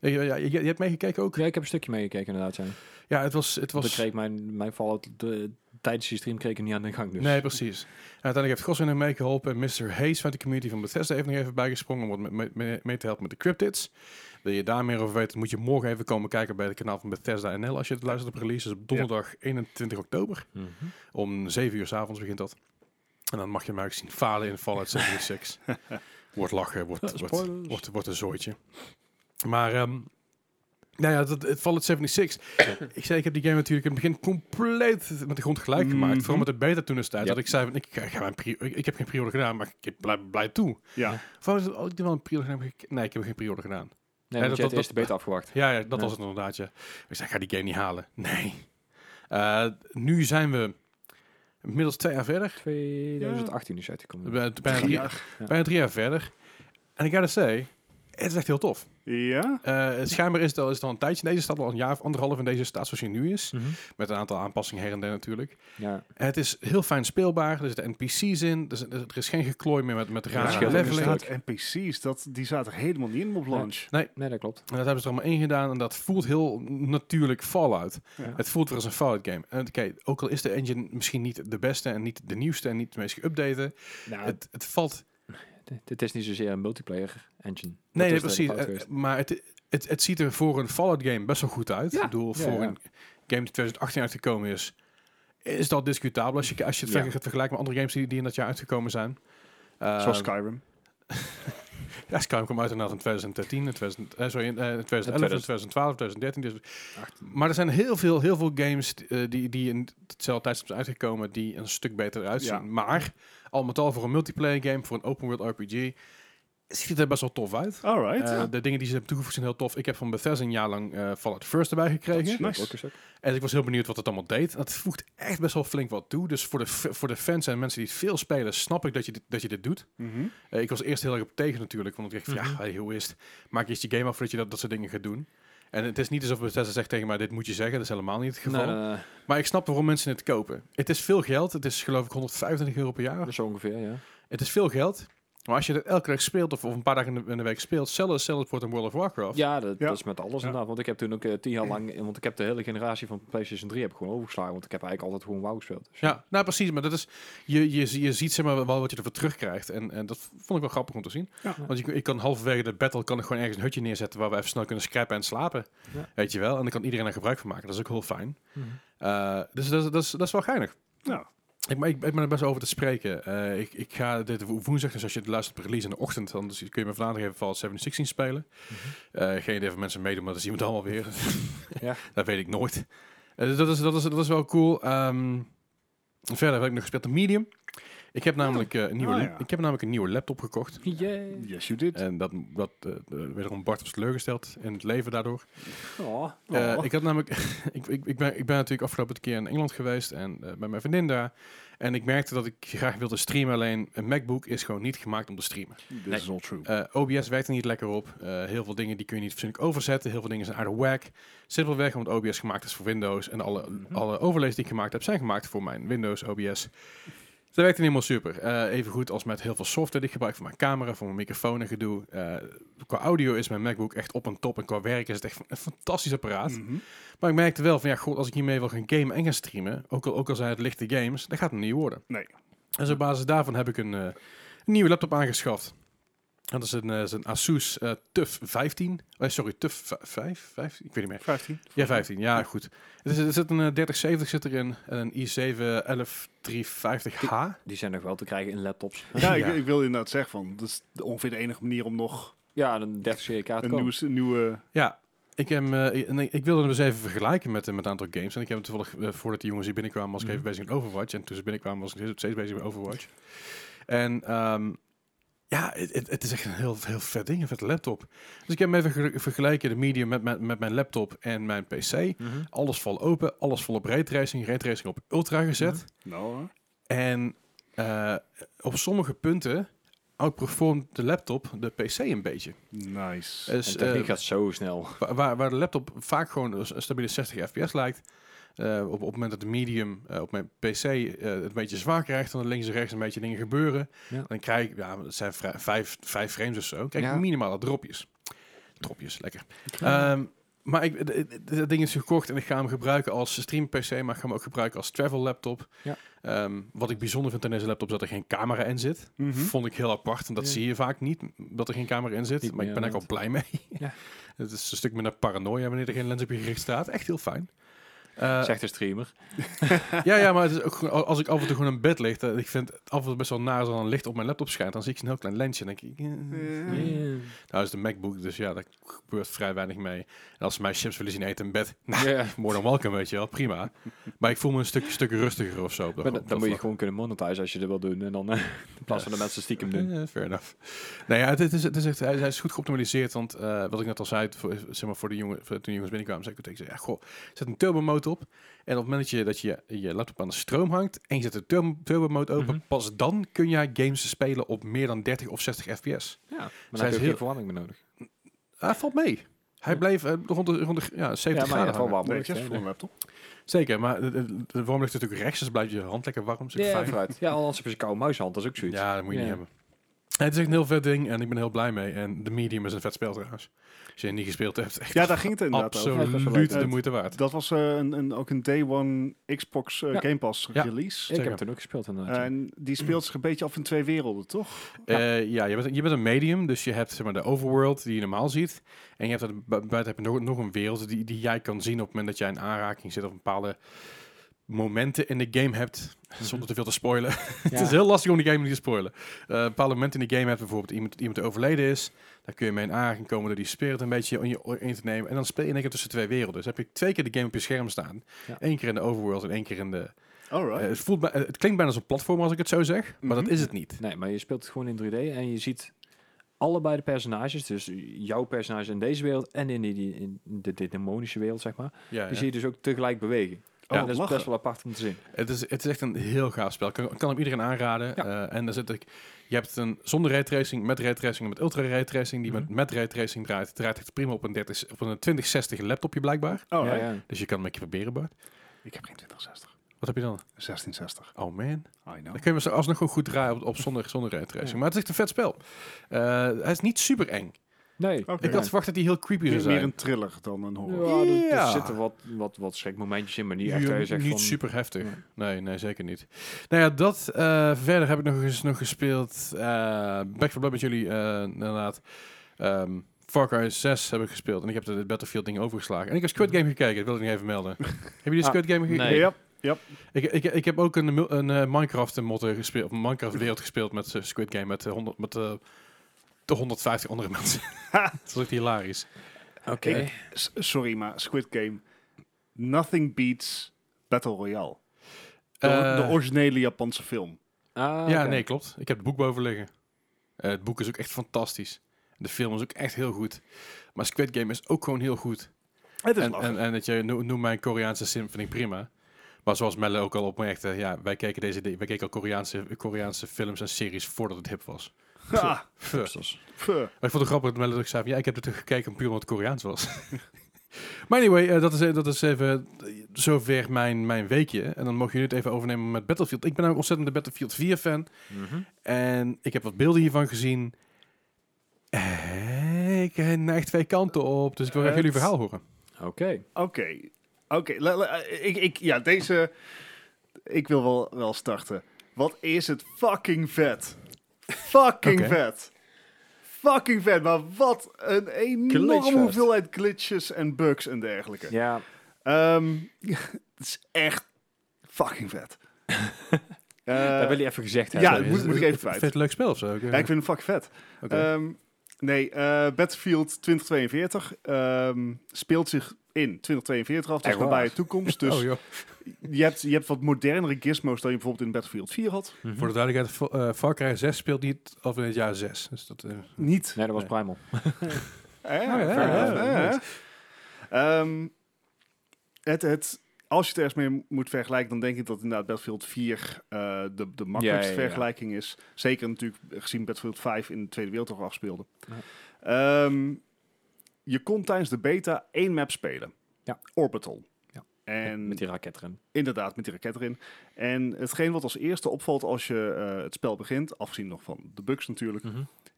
S2: Eh, Ja, ja, je, je hebt meegekeken ook?
S3: Ja, ik heb een stukje meegekeken inderdaad. Ja.
S2: Ja, het was... Het
S3: Was...
S2: was
S3: Ik kreeg mijn, mijn Fallout de, tijdens die stream kreeg ik hem niet aan de gang. Dus.
S2: Nee, precies. En uiteindelijk heeft Goswin hem meegeholpen. En Mr. Hayes van de community van Bethesda heeft nog even bijgesprongen om wat me- me- mee, te helpen met de cryptids. Wil je daar meer over weten, moet je morgen even komen kijken bij het kanaal van Bethesda NL als je het luistert op release. Dus op donderdag 21 oktober
S3: Mhm.
S2: om 7 uur 's avonds begint dat. En dan mag je hem eigenlijk zien falen in Fallout 76. wordt lachen, wordt,
S3: Ja,
S2: wordt,
S3: spoilers.
S2: wordt, wordt een zooitje. Maar ehm nou ja, dat, het Fallout 76. ik zei, ik heb die game natuurlijk in het begin compleet met de grond gelijk gemaakt.
S1: Mhm.
S2: Vooral met de beta toen tijd.
S3: Ja.
S2: Dat ik zei, van, ik, ga- ik ga mijn pre- ik, ik heb geen pre-order gedaan, maar ik blijf, blijf toe.
S1: Ja.
S2: Van, oh, ik doe wel een pre-order gedaan. Nee, ik heb geen pre-order gedaan.
S3: Nee,
S2: Ja,
S3: want
S2: dat-
S3: je
S2: dat-
S3: hebt eerst de beta afgewacht.
S2: Ja, ja dat
S3: Ja.
S2: was het inderdaad. Ja. Ik zei, ik ga die game niet halen. Nee. Eh, nu zijn we inmiddels twee jaar verder.
S3: 2018 is uitgekomen.
S2: Bij- Bijna
S1: Drie
S2: drie,
S1: jaar.
S2: bijna drie jaar verder. En ik ga dat zeggen, het is echt heel tof.
S1: Ja.
S2: Eh schijnbaar is het, al, is het al een tijdje in deze staat, al een jaar of anderhalf in deze staat zoals hij nu is.
S3: Mhm.
S2: Met een aantal aanpassingen her en der natuurlijk.
S3: Ja.
S2: En het is heel fijn speelbaar, er zitten NPC's in, er, zit- er is geen geklooi meer met, met
S3: Ja,
S1: Ja,
S2: rare
S3: scheelt
S2: leveling.
S1: inderdaad. NPC's, dat, die zaten er helemaal niet in op launch.
S3: Nee, dat klopt.
S2: En dat hebben ze er allemaal in gedaan en dat voelt heel natuurlijk Fallout.
S1: Ja.
S2: Het voelt weer als een Fallout game. En oké, ook al is de engine misschien niet de beste en niet de nieuwste en niet de meest geüpdate,
S3: Nou,
S2: het, het valt
S3: d- dit is niet zozeer een multiplayer engine. Dat
S2: Nee, nee,
S3: is de hele
S2: precies.
S3: fout
S2: Eh,
S3: geweest.
S2: maar het, het, het ziet er voor een Fallout game best wel goed uit.
S3: Ja,
S2: Ik bedoel,
S3: ja,
S2: voor
S3: ja.
S2: een game die 2018 uitgekomen is, is dat discutabel als je, als je het
S3: Ja.
S2: vergelijkt met andere games die, die in dat jaar uitgekomen zijn. Eh,
S1: Zoals Skyrim.
S2: Ja, Skyrim kwam uit inderdaad in 2013, in 2000, eh, sorry, in, eh, in 2011, in 2012, 2013. Dus. Maar er zijn heel veel, heel veel games eh, die, die in hetzelfde tijdstip zijn uitgekomen die een stuk beter uitzien.
S1: Ja.
S2: Maar al met al voor een multiplayer game, voor een open world RPG, ziet het er best wel tof uit.
S1: Alright.
S2: Eh, de dingen die ze hebben toegevoegd zijn heel tof. Ik heb van Bethesda een jaar lang eh, Fallout First erbij gekregen.
S1: Nice.
S2: En ik was heel benieuwd wat het allemaal deed. Dat voegt echt best wel flink wat toe. Dus voor de, f- voor de fans en mensen die het veel spelen, snap ik dat je dit, dat je dit doet.
S1: Mhm.
S2: Eh, ik was eerst heel erg op tegen natuurlijk, want ik dacht van
S3: Mhm.
S2: ja, hey, hoe is het? Maak eerst je game af voordat je dat, dat soort dingen gaat doen. En het is niet alsof Bethesda zegt tegen mij, dit moet je zeggen. Dat is helemaal niet het geval.
S3: Nee, nee, nee.
S2: Maar ik snap waarom mensen het kopen. Het is veel geld. Het is geloof ik 125 euro per jaar.
S3: Dat is zo dus ongeveer, ja.
S2: Het is veel geld. Maar als je het elke dag speelt, of, of een paar dagen in de, in de week speelt, zelfs zelfs voor een World of Warcraft.
S3: Ja dat,
S1: Ja.
S3: dat is met alles
S1: Ja.
S3: inderdaad. Want ik heb toen ook eh, tien jaar lang... Want ik heb de hele generatie van PlayStation 3 heb ik gewoon overgeslagen. Want ik heb eigenlijk altijd gewoon WoW gespeeld. Dus
S2: Ja, nou precies, maar dat is, je, je, je ziet zeg maar wel wat je ervoor terugkrijgt. En, en dat vond ik wel grappig om te zien.
S1: Ja.
S2: Want ik, ik kan halverwege de battle kan ik gewoon ergens een hutje neerzetten waar we even snel kunnen scrappen en slapen.
S3: Ja.
S2: Weet je wel? En dan kan iedereen er gebruik van maken. Dat is ook heel fijn.
S3: Mhm.
S2: Eh, dus dat, is- dat, is, dat is wel geinig.
S1: Nou.
S2: Ik, maar ik, ik ben er best over te spreken. Eh, ik, ik ga dit wo- woensdag, dus als je het luistert op release in de ochtend, dan dus kun je me vanavond even Fallout 716 spelen.
S1: Mhm.
S2: Eh, geen idee of mensen meedoen, maar dat zien we dan wel weer.
S3: Ja.
S2: dat weet ik nooit. Eh, dus dat, is, dat, is, dat is wel cool. Ehm, verder heb ik nog gespeeld op Medium. Ik heb namelijk, eh, een, nieuwe,
S1: Ah,
S2: la-
S1: ja.
S2: ik heb namelijk een nieuwe laptop gekocht.
S3: Yay.
S1: Yes, you did.
S2: En dat, dat eh, eh, wederom Bart was teleurgesteld in het leven daardoor.
S3: Oh.
S2: Eh, ik had namelijk, ik, ik, ik, ben, ik ben natuurlijk afgelopen keer in Engeland geweest en eh, bij mijn vriendin daar. En ik merkte dat ik graag wilde streamen, alleen een MacBook is gewoon niet gemaakt om te streamen.
S1: This
S3: nee.
S1: is all true.
S2: Eh, OBS werkt er niet lekker op. Eh, heel veel dingen die kun je niet fatsoenlijk overzetten. Heel veel dingen zijn out of whack. Simpelweg omdat OBS gemaakt is voor Windows. En alle,
S3: Mhm.
S2: alle overlays die ik gemaakt heb, zijn gemaakt voor mijn Windows OBS. Dus Dat werkt helemaal super. Eh even goed als met heel veel software die ik gebruik voor mijn camera, voor mijn microfoon en gedoe. Eh, qua audio is mijn MacBook echt op en top. En qua werk is het echt een fantastisch apparaat.
S1: Mhm.
S2: Maar ik merkte wel van ja, god, als ik hiermee wil gaan gamen en gaan streamen, ook al, ook al zijn het lichte games, dat gaat het niet worden.
S1: Nee.
S2: En dus op basis daarvan heb ik een, eh, een nieuwe laptop aangeschaft. Dat is een, eh, is een Asus eh, TUF 15. Oh, sorry, TUF 5? 15? Ik weet niet meer.
S1: 15.
S2: Ja, 15. Ja, goed. Er zit, er zit een eh, 3070 zit erin en een i7 11350H.
S3: Die zijn nog wel te krijgen in laptops.
S1: Ja, ik,
S2: Ja.
S1: ik wil inderdaad zeggen van, dat is de- ongeveer de enige manier om nog
S3: Ja, en een 30 serie kaart
S1: een
S3: komen.
S1: nieuwe, s- nieuwe...
S2: Ja, ik, heb, eh, ik- en ik, ik wilde hem eens even vergelijken met, eh, met een aantal games. En ik heb hem toevallig, eh, voordat die jongens hier binnenkwamen,
S3: Mhm.
S2: was ik even bezig met Overwatch. En toen ze binnenkwamen, was ik nog steeds bezig met Overwatch. En ehm, ja, het, het- het is echt een heel, heel vet ding, een vette laptop. Dus ik heb hem even ge- vergelijken, de medium, met, mijn- met mijn laptop en mijn PC.
S3: Mhm.
S2: Alles vol open, alles vol op raytracing, raytracing op ultra gezet.
S3: Mhm.
S1: Nou, hoor.
S2: En eh, op sommige punten outperformt de laptop de PC een beetje.
S1: nice.
S2: Dus,
S3: En techniek
S2: eh,
S3: gaat zo snel.
S2: Wa- Waar, waar de laptop vaak gewoon een s- een stabiele 60 fps lijkt. eh, op, op het moment dat de medium eh, op mijn PC eh, het een beetje zwaar krijgt, dan links en rechts een beetje dingen gebeuren.
S3: Ja.
S2: Dan krijg ik, ja, het zijn vrij- vijf, vijf frames of zo, krijg ik
S3: Ja.
S2: minimaal wat dropjes. Dropjes, lekker. Ehm, maar ik, d- d- d- dat ding is gekocht en ik ga hem gebruiken als stream PC, maar ik ga hem ook gebruiken als travel laptop.
S3: Ja.
S2: Ehm, wat ik bijzonder vind aan deze laptop is dat er geen camera in zit.
S1: Mhm.
S2: Vond ik heel apart. En dat
S3: Ja.
S2: zie je vaak niet, m, dat er geen camera in zit.
S3: Niet
S2: maar ik ben
S3: meer,
S2: er ook al blij mee.
S3: Ja.
S2: Het is een stuk minder paranoia wanneer er geen lens op je gericht staat. Echt heel fijn. Eh,
S3: Zegt de streamer.
S2: ja, ja, maar het is ook, gewoon- al- als ik af en toe gewoon in bed lig, dan- ik vind het af en toe best wel naar als er een licht op mijn laptop schijnt. Dan zie ik een heel klein lensje en denk ik... eh,
S1: Ja.
S2: Nou is de MacBook, dus ja, daar gebeurt vrij weinig mee. En als ze mij chips willen zien eten in bed, nou,
S3: Ja.
S2: more than welcome, weet je wel, prima. Maar ik voel me een stuk, stuk rustiger of zo. op dat-
S3: Maar
S2: op
S3: dan,
S2: dat
S3: moet je
S2: vlak.
S3: gewoon kunnen monetizen als je dat wil doen. En dan eh, in plaats van de mensen stiekem doen.
S2: Eh, fair enough. Nou ja, het, het is, het is echt, hij, hij is goed geoptimaliseerd, want eh, wat ik net al zei, voor, zeg maar voor de jongen, voor, toen de jongens binnenkwamen, zei ik tegen ze, ja, goh, zet een turbomoot op. En op het moment dat je, dat je je laptop aan de stroom hangt en je zet de turbo, turbomoot open,
S3: Mhm.
S2: pas dan kun jij games spelen op meer dan 30 of 60 fps.
S3: Ja, maar dan
S2: Zij is
S3: heb je ook
S2: heel-
S3: geen verwarming meer nodig.
S2: Hij valt mee. Hij bleef eh, rond de, rond de ja, 70
S3: Ja, maar
S2: graden
S3: je hebt wel
S2: hangen.
S3: warm.
S1: Netjes
S3: lucht,
S1: voor
S3: hè?
S1: een laptop.
S2: Zeker, maar eh, de, de, de warm lucht is natuurlijk rechts, dus blijft je hand lekker warm. dus Super
S3: Ja,
S2: fijn.
S3: vooruit. Ja, anders heb je een koude muishand. Dat is ook zoiets.
S2: Ja, dat moet je
S3: Ja.
S2: niet hebben. Het is echt een heel vet ding en ik ben heel blij mee. En de Medium is een vet spel trouwens. Als je het niet gespeeld hebt, echt
S1: Ja, daar ging het inderdaad over.
S3: Ja, dat is wel leuk.
S2: absoluut de moeite waard.
S1: Dat was eh, een, een, ook een day one Xbox eh,
S3: Ja.
S1: Game Pass
S2: Ja.
S1: release.
S3: ik heb
S2: zeker.
S3: het toen ook gespeeld inderdaad.
S1: En die speelt zich een beetje af in twee werelden, toch?
S2: Eh, Ja, je, bent, je bent een medium, dus je hebt zeg maar, de overworld die je normaal ziet. En je hebt dat, bu- buiten heb je nog, nog een wereld die, die jij kan zien op het moment dat jij in aanraking zit of een bepaalde momenten in de game hebt, zonder te veel te spoilen.
S3: Ja.
S2: Het is heel lastig om die game niet te spoilen. Eh bepaalde momenten in de game hebt, bijvoorbeeld iemand, iemand die overleden is, daar kun je mee in aanraking komen door die spirit een beetje in, je, oor in te nemen. En dan speel je in één keer tussen twee werelden. Dus heb je twee keer de game op je scherm staan.
S3: Ja.
S2: Eén keer in de overworld en één keer in de... eh,
S1: Alright.
S2: het, voelt bij- eh, het klinkt bijna als een platform als ik het zo zeg, maar dat
S1: Mhm.
S2: is het niet.
S3: Nee, maar je speelt het gewoon in 3D en je ziet allebei de personages, dus jouw personage in deze wereld en in, die, die- in de, de demonische wereld, zeg maar.
S2: Ja,
S3: Die
S2: ja.
S3: zie je dus ook tegelijk bewegen.
S1: Oh,
S3: en dat is
S1: lachen.
S3: best wel apart om te zien.
S2: Het is, het is echt een heel gaaf spel. Ik kan, ik kan hem iedereen aanraden. Eh, en dan zit ik. Je hebt een zonder raytracing, met raytracing en met ultra raytracing. Die
S3: Mhm.
S2: met, met raytracing draait. Draait het prima op een, 30, op een 2060 laptopje blijkbaar.
S1: Oh,
S3: ja, ja.
S2: Dus je kan hem een keer proberen, Bart.
S1: Ik heb geen 2060.
S2: Wat heb je dan?
S1: 1660.
S2: Oh man.
S1: I know.
S2: Dan kun je hem alsnog gewoon goed draaien op, op zonder, zonder raytracing. Maar het is echt een vet spel. Eh, hij is niet super eng.
S3: Nee.
S1: Oké.
S2: Ik had verwacht dat hij heel creepy zou
S1: Meer, meer
S2: zijn.
S1: een thriller dan een horror.
S3: Ja, er, er
S2: Ja.
S3: zitten wat, wat, wat schrikmomentjes in, maar niet echt.
S2: Ja,
S3: dat je zegt
S2: niet
S3: van,
S2: super heftig.
S3: Ja.
S2: Nee, nee, zeker niet. Nou ja, dat eh, verder heb ik nog eens nog gespeeld. eh Back 4 Blood met jullie, eh, inderdaad. Ehm, Far Cry 6 heb ik gespeeld. En ik heb de Battlefield ding overgeslagen. En ik heb Squid Game gekeken, dat wil ik nog even melden. heb je die
S3: Mhm. Ah,
S2: Squid Game gekeken?
S3: Nee.
S1: Ja,
S2: Ik, ik, ik heb ook een, mil- een eh, Minecraft mod eh, gespeeld, of een Minecraft wereld gespeeld met eh, Squid Game, met, eh, 100, met eh, de 150 andere mensen. dat is echt hilarisch.
S3: Oké.
S1: Ik- S- sorry, maar Squid Game. Nothing beats Battle Royale. De,
S2: Eh,
S1: de originele Japanse film.
S3: Ah,
S2: Ja,
S3: oké.
S2: nee, klopt. Ik heb het boek boven liggen. Eh, het boek is ook echt fantastisch. De film is ook echt heel goed. Maar Squid Game is ook gewoon heel goed.
S1: Het is
S2: En,
S1: lachen.
S2: en, en dat je no- noem mijn Koreaanse symphony prima. Maar zoals Melle ook al opmerkte, ja, wij keken, deze, di- wij keken al Koreaanse, Koreaanse films en series voordat het hip was.
S1: Ha,
S2: Fuh.
S3: Hupsels.
S1: fuh.
S2: Maar ik vond het grappig dat Melle ook zei van, ja, ik heb het gekeken puur omdat het Koreaans was. maar anyway, eh, dat, is, eh, dat is even eh, zover mijn, mijn weekje. En dan mogen jullie het even overnemen met Battlefield. Ik ben ook ontzettend de Battlefield 4 fan.
S3: Mhm.
S2: En ik heb wat beelden hiervan gezien. Eh, Ik neig twee kanten op, dus ik wil graag
S1: Het-
S2: jullie verhaal horen.
S3: Oké.
S1: Oké. Oké. la- la- eh, Ik, ik, ja, deze... Ik wil wel, wel starten. Wat is het fucking vet. Fucking
S2: Oké.
S1: vet. Fucking vet. Maar wat een enorme
S3: Glitchfest.
S1: hoeveelheid glitches en bugs en dergelijke.
S3: Ja,
S1: Ehm, het is echt fucking vet. Eh,
S3: dat wil je even gezegd
S1: ja,
S3: hebben.
S1: dat moet- moet ik even kwijt.
S2: Vet leuk spel of zo. eh,
S1: ja, ik vind hem fucking vet.
S2: Oké.
S1: Ehm, nee, eh, Battlefield 2042 ehm, speelt zich in 2042 af. Dat
S3: Echt
S1: is
S3: waar?
S1: nabije toekomst. Dus
S2: oh joh.
S1: je, hebt, je hebt wat modernere gizmos dan je bijvoorbeeld in Battlefield 4 had.
S3: Mhm.
S2: Voor de duidelijkheid, Fa- eh, Far Cry 6 speelt niet af in het jaar 6. Dus dat, eh,
S1: Niet.
S3: Nee, dat was
S2: Nee.
S3: Primal.
S1: Eh,
S2: ja,
S1: eh,
S2: ja,
S1: eh,
S2: nice.
S1: eh. Ehm, het, het, als je het ergens mee moet vergelijken, dan denk ik dat inderdaad Battlefield 4 eh, de, de makkelijkste
S3: Ja, ja, ja.
S1: vergelijking is. Zeker natuurlijk gezien Battlefield 5 in de Tweede Wereldoorlog afspeelde.
S3: Ja.
S1: Ehm, je kon tijdens de beta één map spelen.
S3: Ja.
S1: Orbital.
S3: Ja.
S1: En
S3: Met die raketren.
S1: Inderdaad, met die raket erin. En hetgeen wat als eerste opvalt als je eh, het spel begint, afzien nog van de bugs natuurlijk,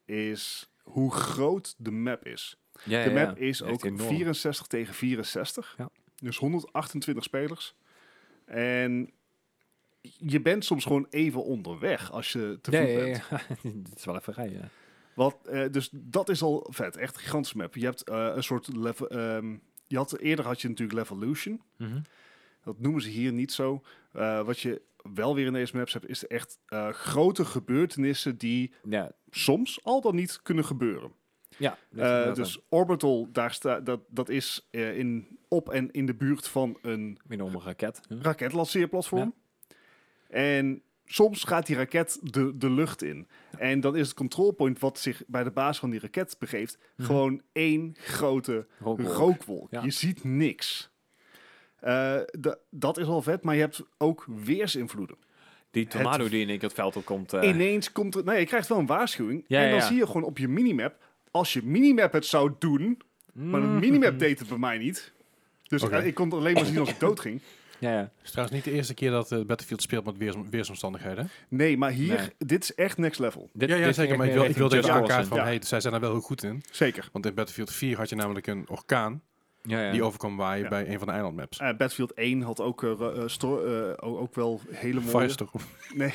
S1: is hoe groot de map is.
S3: Ja,
S1: De
S3: ja, ja.
S1: map is
S3: Echt
S1: ook
S3: enorm.
S1: 64 tegen 64.
S3: Ja.
S1: Dus 128 spelers. En je bent soms gewoon even onderweg als je te
S3: Ja,
S1: voet
S3: ja,
S1: bent.
S3: ja. Dit is wel even rijden. ja.
S1: Wat, eh, dus dat is al vet. Echt een gigantische map. Je hebt eh, een soort level... ehm, je had, eerder had je natuurlijk Levolution. Dat noemen ze hier niet zo. Eh, wat je wel weer in deze maps hebt, is echt eh, grote gebeurtenissen die
S3: Ja,
S1: soms al dan niet kunnen gebeuren.
S3: ja.
S1: Eh, dus Orbital, daar sta, dat, dat is eh, in, op en in de buurt van een
S3: enorme raket. Ja.
S1: raketlanceerplatform. En soms gaat die raket de, de lucht in. En dan is het controlpoint wat zich bij de baas van die raket begeeft,
S3: Mhm.
S1: gewoon één grote
S3: Rookwolk.
S1: rookwolk.
S3: Ja.
S1: Je ziet niks. Eh, da- dat is al vet, maar je hebt ook weersinvloeden.
S3: Die tornado die in één keer het veld opkomt. eh
S1: Ineens komt er... Nee, je krijgt wel een waarschuwing.
S3: Ja,
S1: en dan
S3: ja, ja.
S1: zie je gewoon op je minimap... Als je minimap het zou doen...
S3: Hmm.
S1: Maar de
S3: Mhm.
S1: minimap deed het bij mij niet. Dus
S2: Oké.
S1: eh, ik kon het alleen maar zien als ik dood ging.
S3: Ja, ja.
S2: Het is trouwens niet de eerste keer dat eh, Battlefield speelt met weers, weersomstandigheden.
S1: Nee, maar hier...
S3: Nee.
S1: Dit is echt next level.
S3: Dit,
S2: ja, ja
S3: dit
S2: zeker.
S3: ging
S2: Maar ik
S3: echt
S2: wil,
S3: meer
S2: ik wil even
S3: richting Jaws
S2: aankaarten
S3: in.
S2: van,
S1: Ja.
S2: hey, zij zijn daar wel heel goed in.
S1: Zeker.
S2: Want in Battlefield 4 had je namelijk een orkaan
S3: Ja, ja.
S2: die overkwam waaien
S1: Ja.
S2: bij een van de eilandmaps.
S1: Eh, Battlefield 1 had ook, eh, eh, sto- eh, ook, ook wel hele mooie...
S2: Firestorm.
S1: Nee.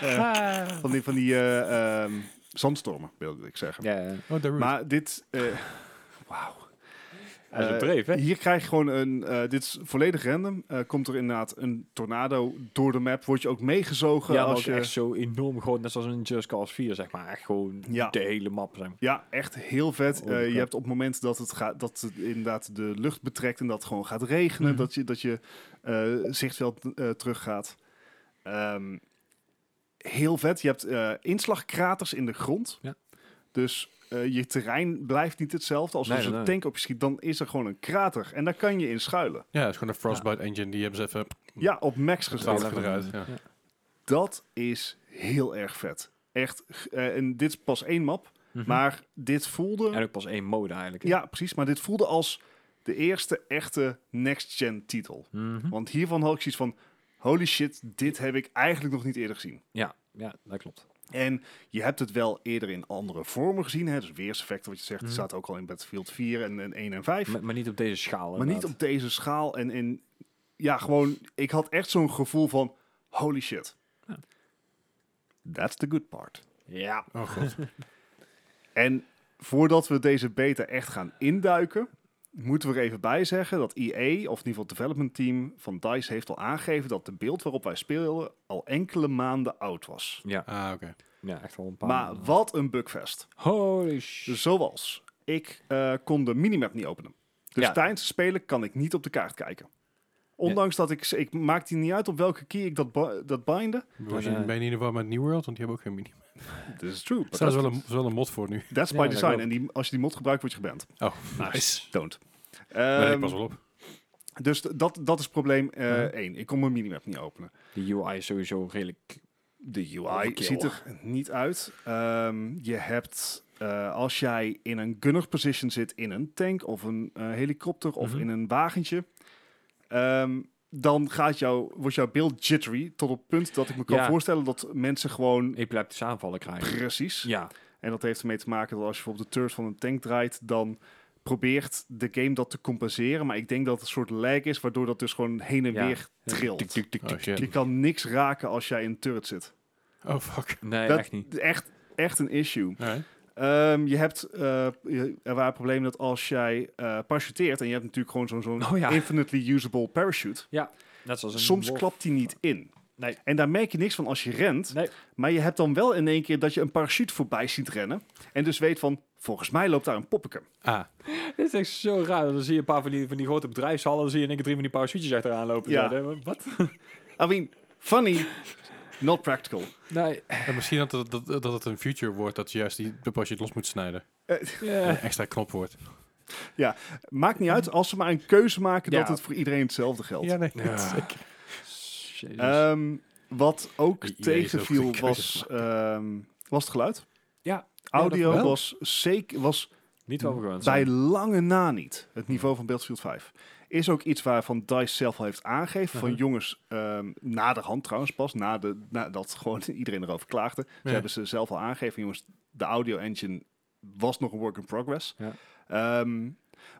S1: eh,
S3: Ah.
S1: van die, van die eh, ehm, zandstormen, wilde ik zeggen.
S3: Ja, ja.
S2: Oh, Darude.
S1: Maar dit... eh, Wauw.
S4: Hij is
S1: Eh,
S4: een dreef, hè?
S1: Hier krijg je gewoon een, eh, dit is volledig random. Eh, komt er inderdaad een tornado door de map, word je ook meegezogen
S3: Ja, maar
S1: als
S3: ook
S1: je...
S3: echt zo enorm gewoon, net zoals in Just Cause 4, zeg maar. Echt gewoon
S1: Ja.
S3: de hele map, zeg maar.
S1: Ja, echt heel vet.
S3: Oh,
S1: Eh,
S3: crap.
S1: je hebt op het moment dat het, gaat, dat het inderdaad de lucht betrekt en dat het gewoon gaat regenen,
S2: Mhm.
S1: dat je, dat je eh, zichtveld eh, teruggaat. Ehm, heel vet. Je hebt eh, inslagkraters in de grond.
S3: Ja.
S1: Dus eh, je terrein blijft niet hetzelfde. Als er
S3: Nee,
S1: zo'n
S3: nee, nee.
S1: tank op je schiet, dan is er gewoon een krater. En daar kan je in schuilen.
S2: Ja, het is gewoon een Frostbite engine. Die hebben ze even
S3: Mhm.
S1: Ja, op max gezet.
S2: twaalf keer eruit. Ja.
S1: Dat is heel erg vet. Echt. eh, en dit is pas één map.
S3: Mhm.
S1: Maar dit voelde...
S3: En ook pas één mode eigenlijk.
S1: Ja, precies. Maar dit voelde als de eerste echte next-gen titel.
S3: Mhm.
S1: Want hiervan had ik zoiets van... Holy shit, dit heb ik eigenlijk nog niet eerder gezien.
S3: ja, ja, dat klopt.
S1: En je hebt het wel eerder in andere vormen gezien. Hè? Dus weerseffecten, wat je zegt,
S3: Mhm.
S1: staat ook al in Battlefield 4 en, en 1 en 5.
S3: Maar, maar niet op deze schaal.
S1: maar niet
S3: inderdaad.
S1: op deze schaal. En, en ja, gewoon... Ik had echt zo'n gevoel van... Holy shit.
S3: Ja.
S1: That's the good part.
S3: Ja.
S2: Oh god.
S1: En voordat we deze beta echt gaan induiken, moeten we er even bij zeggen dat EA, of in ieder geval het development team van DICE, heeft al aangegeven dat de beeld waarop wij speelden al enkele maanden oud was.
S2: Ah, oké.
S3: ja, echt wel een paar. eh.
S1: Maar wat Dus- een bugfest.
S3: Holy shit.
S1: Zoals, ik eh, kon de minimap niet openen. Dus
S3: Ja.
S1: tijdens het spelen kan ik niet op de kaart kijken. Ondanks dat ik, ik maakte niet uit op welke key ik dat, ba- dat binde.
S2: Was je
S3: nee.
S2: Ben je in ieder geval met New World? Want die hebben ook geen mini.
S1: This is true.
S2: Er staat wel een, er is wel een mod voor nu.
S1: That's by
S3: Ja, dat
S1: design.
S3: klopt.
S1: En die, als je die mod gebruikt, word je geband.
S2: Oh,
S1: Don't.
S2: Maar ik
S1: Ehm,
S2: pas wel op.
S1: Dus d- dat, dat is probleem 1. Ik kon mijn minimap niet openen.
S3: De UI is sowieso redelijk...
S1: De UI
S3: Overkill.
S1: ziet er niet uit. Ehm, je hebt, eh, als jij in een gunner position zit in een tank of een eh, helikopter of
S3: Mhm.
S1: in een wagentje, ehm, dan gaat jouw, wordt jouw beeld jittery tot op het punt dat ik me kan
S3: Ja.
S1: voorstellen dat mensen gewoon
S3: epileptische aanvallen krijgen.
S1: precies.
S3: Ja.
S1: En dat heeft ermee te maken dat als je bijvoorbeeld de turret van een tank draait, dan probeert de game dat te compenseren. Maar ik denk dat het een soort lag is, waardoor dat dus gewoon heen en
S3: Ja.
S1: weer trilt.
S3: Tuk, tuk, tuk,
S2: Oh,
S3: tuk.
S2: shit.
S1: Je kan niks raken als jij in een turret zit.
S2: Oh, fuck.
S3: Nee,
S1: Dat-
S3: echt niet.
S1: Echt, echt een issue.
S2: Alright.
S1: Ehm, je hebt, eh, je- er waren problemen dat als jij eh parachuteert... en je hebt natuurlijk gewoon zo'n zo'n
S3: Oh ja.
S1: infinitely usable parachute...
S3: Net zoals een
S1: soms
S3: wolf.
S1: klapt die niet in.
S3: Nee.
S1: En daar merk je niks van als je rent.
S3: Nee.
S1: Maar je hebt dan wel in één keer dat je een parachute voorbij ziet rennen... en dus weet van, volgens mij loopt daar een poppeke.
S2: Ah,
S3: Dit is echt zo raar. Dan zie je een paar van die, van die grote bedrijfshallen. Dan zie je in één keer drie van die parachutes achteraan lopen.
S1: Ja.
S3: Zo, hè, Wat?
S1: I mean, funny, not practical.
S3: Nee.
S2: en misschien dat het, dat, dat het een future wordt dat je juist die je los moet snijden.
S3: Ja.
S2: Een extra knop wordt.
S1: Maakt niet uit als ze maar een keuze maken...
S3: Ja.
S1: dat het voor iedereen hetzelfde geldt.
S2: Ja, nee.
S3: Ja.
S2: zeker.
S3: Jezus.
S1: Ehm, wat ook
S2: Jezus,
S1: tegenviel
S2: goede
S1: was, ehm, was het geluid.
S3: Ja.
S1: Audio
S3: Ja, dat wel.
S1: was, zeker, was
S3: niet wel gewoon.
S1: bij lange na niet het niveau van Battlefield 5. Is ook iets waarvan DICE zelf al heeft aangegeven. Van
S2: Mhm.
S3: Uh-huh.
S1: jongens, ehm na de hand trouwens pas, na de, nadat gewoon iedereen erover klaagde. Ze
S2: Ja.
S1: hebben ze zelf al aangegeven, jongens, de audio engine was nog een work in progress.
S3: Ja.
S1: Ehm,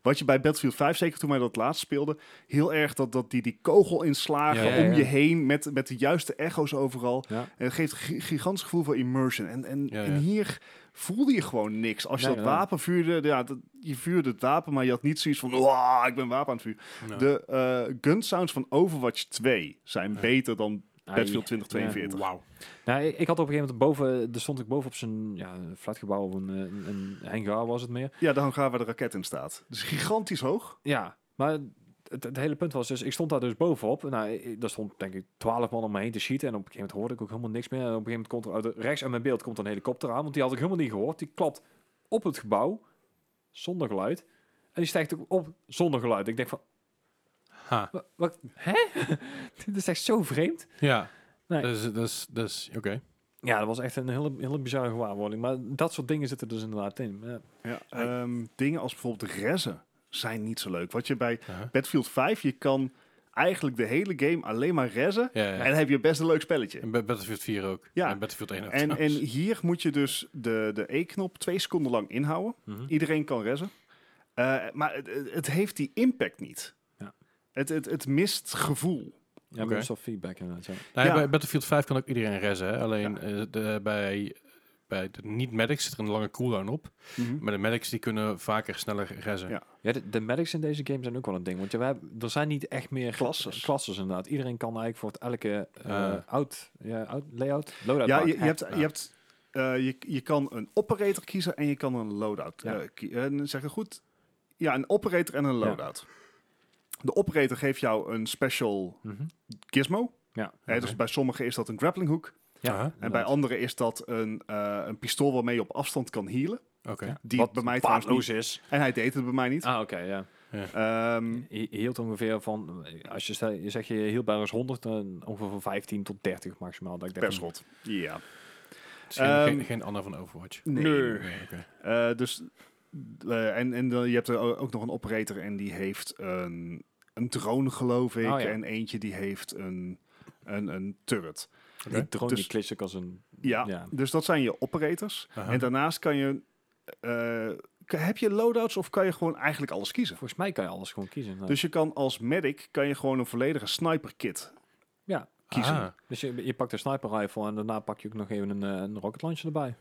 S1: wat je bij Battlefield 5, zeker toen wij dat laatst speelden, heel erg dat, dat die, die kogelinslagen
S3: Ja, ja, ja.
S1: om je heen met, met de juiste echo's overal.
S3: Ja.
S1: En het geeft gi- gigantisch gevoel van immersion. En, en,
S2: Ja,
S1: en
S2: ja.
S1: hier voelde je gewoon niks. Als je
S3: Nee,
S1: dat
S3: nee.
S1: wapen vuurde, ja, dat, je vuurde het wapen, maar je had niet zoiets van, "Wah, ik ben wapen aan het vuren.
S2: Nou.
S1: De eh gun sounds van Overwatch 2 zijn
S2: Ja.
S1: beter dan
S3: Ai.
S1: Battlefield 2042.
S2: Wauw.
S3: Nou, ik, ik had op een gegeven moment boven, er stond ik boven op zijn ja, een flatgebouw of een, eh, een, een hangar was het meer.
S1: Ja, dan gaan we de raket in staat. Dus gigantisch hoog.
S3: Ja, maar het, het hele punt was dus, ik stond daar dus bovenop. Nou, ik- daar stond denk ik twaalf man om me heen te schieten. En op een gegeven moment hoorde ik ook helemaal niks meer. En op een gegeven moment komt er uit de- rechts uit mijn beeld komt een helikopter aan. Want die had ik helemaal niet gehoord. Die klapt op het gebouw, zonder geluid. En die stijgt ook op zonder geluid. Ik denk van,
S2: Ha.
S3: wa- wat, hè? Dit is echt zo vreemd.
S2: Ja.
S3: Nee.
S2: Dat is, dat is, dat is oké.
S3: Ja, dat was echt een hele, hele bizarre gewaarwording. Maar dat soort dingen zitten dus inderdaad in. Ja.
S1: Ja,
S3: Ai.
S1: ehm, dingen als bijvoorbeeld rezen zijn niet zo leuk. Wat je bij
S2: Uh-huh.
S1: Battlefield 5, je kan eigenlijk de hele game alleen maar rezen.
S2: Ja, ja.
S1: En dan heb je best een leuk spelletje.
S2: En Ba- Battlefield 4 ook.
S1: Ja.
S2: En Battlefield 1 ook.
S1: En, en
S2: trouwens.
S1: hier moet je dus de, de E-knop twee seconden lang inhouden.
S3: Mhm.
S1: Iedereen kan rezen. Eh, maar het, het- het heeft die impact niet.
S3: Ja.
S1: Het, het, het mist gevoel.
S3: Ja,
S2: Oké.
S3: maar dat is wel feedback inderdaad. Ja.
S2: Nou ja,
S1: ja.
S2: Bij Battlefield 5 kan ook iedereen rezen. Hè? Alleen eh, de, bij bij de niet-medics zit er een lange cooldown op.
S1: Mhm.
S2: Maar de medics die kunnen vaker sneller rezen.
S1: Ja.
S3: Ja, de, de medics in deze game zijn ook wel een ding. Want ja, we hebben, er zijn niet echt meer
S1: Klasses.
S3: klasses inderdaad. Iedereen kan eigenlijk voor het elke eh
S2: Eh.
S3: out, ja, out, layout, loadout
S1: Ja,
S3: maken.
S1: je, je hebt,
S2: Ja.
S1: je, hebt, eh, je, je kan een operator kiezen en je kan een loadout
S3: Ja.
S1: eh, kie- en zeg ik goed? Ja, een operator en een
S3: Ja.
S1: loadout. De operator geeft jou een special
S3: Mhm.
S1: gizmo.
S3: Ja.
S1: Hè, dus
S2: Oké.
S1: bij sommigen is dat een grapplinghoek.
S3: Ja,
S2: Aha.
S1: En bij
S3: inderdaad.
S1: anderen is dat een, eh, een pistool waarmee je op afstand kan healen.
S2: Oké.
S3: Ja.
S1: Die
S3: Wat
S1: het bij mij trouwens
S3: waardeloos is.
S1: En hij deed het bij mij niet.
S3: Ah, oké, ja.
S1: Ehm,
S3: Je je hield ongeveer van, eh, als je, stel- je zegt je hield bij ons 100, dan ongeveer van 15 tot 30 maximaal. Dat ik denk
S1: per
S3: van-
S1: schot. Ja.
S2: Het is Dus geen,
S1: Ehm,
S2: geen, geen Anna van Overwatch.
S1: nee.
S2: oké.
S1: Eh, dus, eh, en en dan- je hebt er o- ook nog een operator en die heeft een, een drone, geloof ik.
S3: Oh, ja.
S1: En eentje die heeft een, een, een turret.
S2: Oké.
S3: hmm, Die drone die
S1: Dus-
S3: klits ook als een...
S1: Ja,
S3: Ja.
S1: dus dat zijn je operators.
S2: Aha.
S1: En daarnaast kan je... eh, k- heb je loadouts of kan je gewoon eigenlijk alles kiezen?
S3: Volgens mij kan je alles gewoon kiezen. inderdaad.
S1: Dus je kan als medic kan je gewoon een volledige sniper kit
S3: ja,
S1: kiezen.
S2: Ah.
S3: dus je, je pakt een sniper rifle en daarna pak je ook nog even een, eh, een rocket launcher erbij.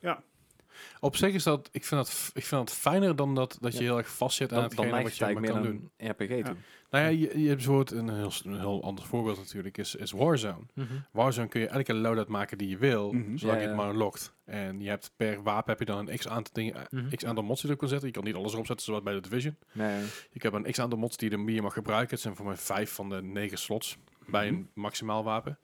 S2: Op zich is dat, ik vind dat, f- ik vind dat fijner dan dat, dat je
S3: Ja.
S2: heel erg vast zit aan
S3: Dan, dan
S2: hetgene
S3: lijkt
S2: wat
S3: het
S2: je maar
S3: eigenlijk
S2: kan
S3: meer
S2: doen.
S3: een RPG toe.
S2: Nou ja, je, je hebt bijvoorbeeld een heel, s- een heel ander voorbeeld natuurlijk, is, is Warzone.
S3: Mhm.
S2: Warzone kun je elke loadout maken die je wil,
S1: Mhm.
S2: zolang
S3: Ja,
S2: je het
S3: ja.
S2: maar lokt. En je hebt per wapen heb je dan een x aantal dingen, eh,
S3: Mhm.
S2: x aantal mods die je erop kan zetten. Je kan niet alles erop zetten, zoals bij de Division.
S3: Nee,
S2: Ik heb een x aantal mods die je die je mag gebruiken. Het zijn voor mij vijf van de negen slots bij
S1: Mhm.
S2: een maximaal wapen.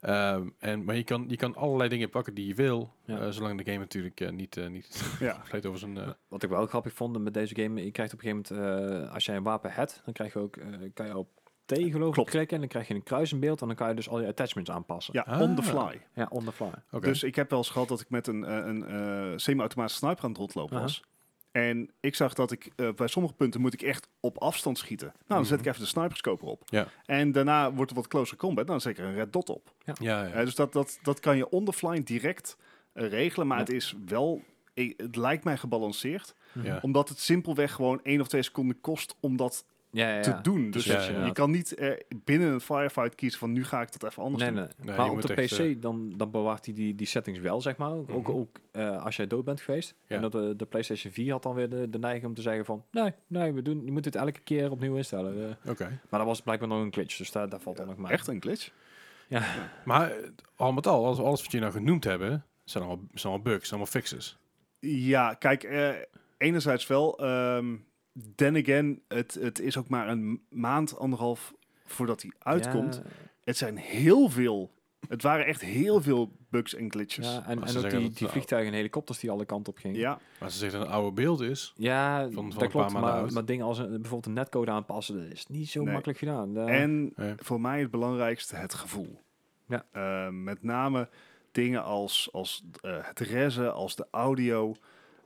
S2: Ehm, en, maar je kan, je kan allerlei dingen pakken die je wil,
S3: Ja.
S2: eh, zolang de game natuurlijk eh, niet, eh, niet
S1: Ja.
S2: compleet over zijn... eh,
S3: Wat ik wel grappig vond met deze game, je krijgt op een gegeven moment, eh, als jij een wapen hebt, dan krijg je ook, eh, kan je op T geloof ik
S1: Klopt.
S3: klikken en dan krijg je een kruis in beeld en dan kan je dus al je attachments aanpassen.
S1: Ja,
S2: Ah.
S1: on the fly.
S3: Ja, on the fly.
S2: oké.
S1: Dus ik heb wel eens gehad dat ik met een, eh, een eh, semi-automatische sniper aan het rondlopen was. En ik zag dat ik eh, bij sommige punten moet ik echt op afstand schieten. Nou, dan zet ik even de sniperscoper op.
S2: Mhm. Ja.
S1: En daarna wordt er wat closer combat. Nou, dan zet ik er een red dot op.
S2: ja, ja.
S1: Eh, dus dat, dat, dat kan je on the fly direct eh, regelen. Maar
S3: Ja.
S1: het is wel... eh, het lijkt mij gebalanceerd.
S2: ja.
S3: Mhm.
S1: Omdat het simpelweg gewoon één of twee seconden kost om dat
S3: Ja, ja, ja.
S1: te doen. Dus
S2: Precies,
S1: je
S2: inderdaad.
S1: kan niet eh, binnen een firefight kiezen van nu ga ik dat even anders
S3: Nee,
S1: doen.
S3: nee.
S2: Nee,
S3: maar
S2: je
S3: op
S2: moet
S3: de
S2: echt,
S3: PC dan, dan bewaart hij die, die settings wel, zeg maar. Ook, ook,
S2: Mhm.
S3: ook, eh, als jij dood bent geweest.
S2: Ja.
S3: En dat eh, de, de PlayStation 4 had dan weer de, de neiging om te zeggen van... Nee, nee, we doen, je moet het elke keer opnieuw instellen. eh.
S2: Oké.
S3: maar dat was blijkbaar nog een glitch, dus daar, daar valt dan nog maar.
S1: Echt een glitch.
S2: Maar eh, al met al, alles, alles wat je nou genoemd hebben, zijn allemaal, zijn allemaal bugs, zijn allemaal fixes.
S1: Ja, kijk, eh, enerzijds wel. ehm then again, het, het is ook maar een maand, anderhalf voordat hij uitkomt. Het zijn heel veel. Het waren echt heel veel bugs en glitches.
S3: Ja,
S1: Ja.
S3: en,
S2: Maar
S3: en
S2: ze
S3: ook
S2: zeggen
S3: die,
S2: dat-
S3: die vliegtuigen en helikopters die alle kanten op gingen.
S2: Maar ze zeggen dat een oude beeld is.
S3: Ja,
S2: van een
S3: dat
S2: paar
S3: klopt.
S2: maanden
S3: Maar,
S2: oud.
S3: maar dingen als een, bijvoorbeeld een netcode aanpassen, dat is niet zo
S1: Nee.
S3: makkelijk gedaan. Eh,
S1: en
S2: Ja.
S1: voor mij het belangrijkste, het gevoel.
S3: Ja.
S1: Eh, met name dingen als, als eh, het rezen, als de audio.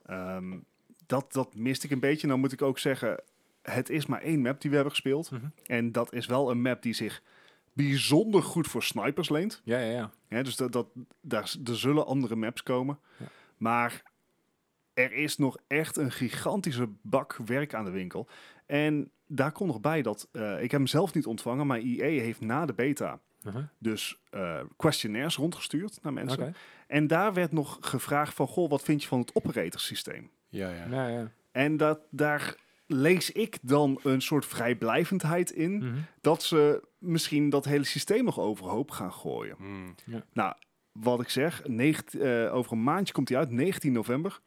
S1: Ehm, dat, dat miste ik een beetje. Nou moet ik ook zeggen, het is maar één map die we hebben gespeeld.
S3: Mhm.
S1: En dat is wel een map die zich bijzonder goed voor snipers leent.
S3: Ja, ja, ja.
S1: Hè, dus dat, dat, daar, z- er zullen andere maps komen.
S3: Ja.
S1: Maar er is nog echt een gigantische bak werk aan de winkel. En daar komt nog bij dat, eh, ik heb hem zelf niet ontvangen, maar IE heeft na de beta
S3: Uh-huh.
S1: dus eh, questionnaires rondgestuurd naar mensen.
S3: Oké.
S1: En daar werd nog gevraagd van, goh, wat vind je van het operatorsysteem?
S2: Ja, ja.
S3: Ja, ja.
S1: En dat, daar lees ik dan een soort vrijblijvendheid in,
S3: Mhm.
S1: dat ze misschien dat hele systeem nog overhoop gaan gooien.
S2: Hmm.
S1: Nou, wat ik zeg, 19 eh, over een maandje komt hij uit, 19 november.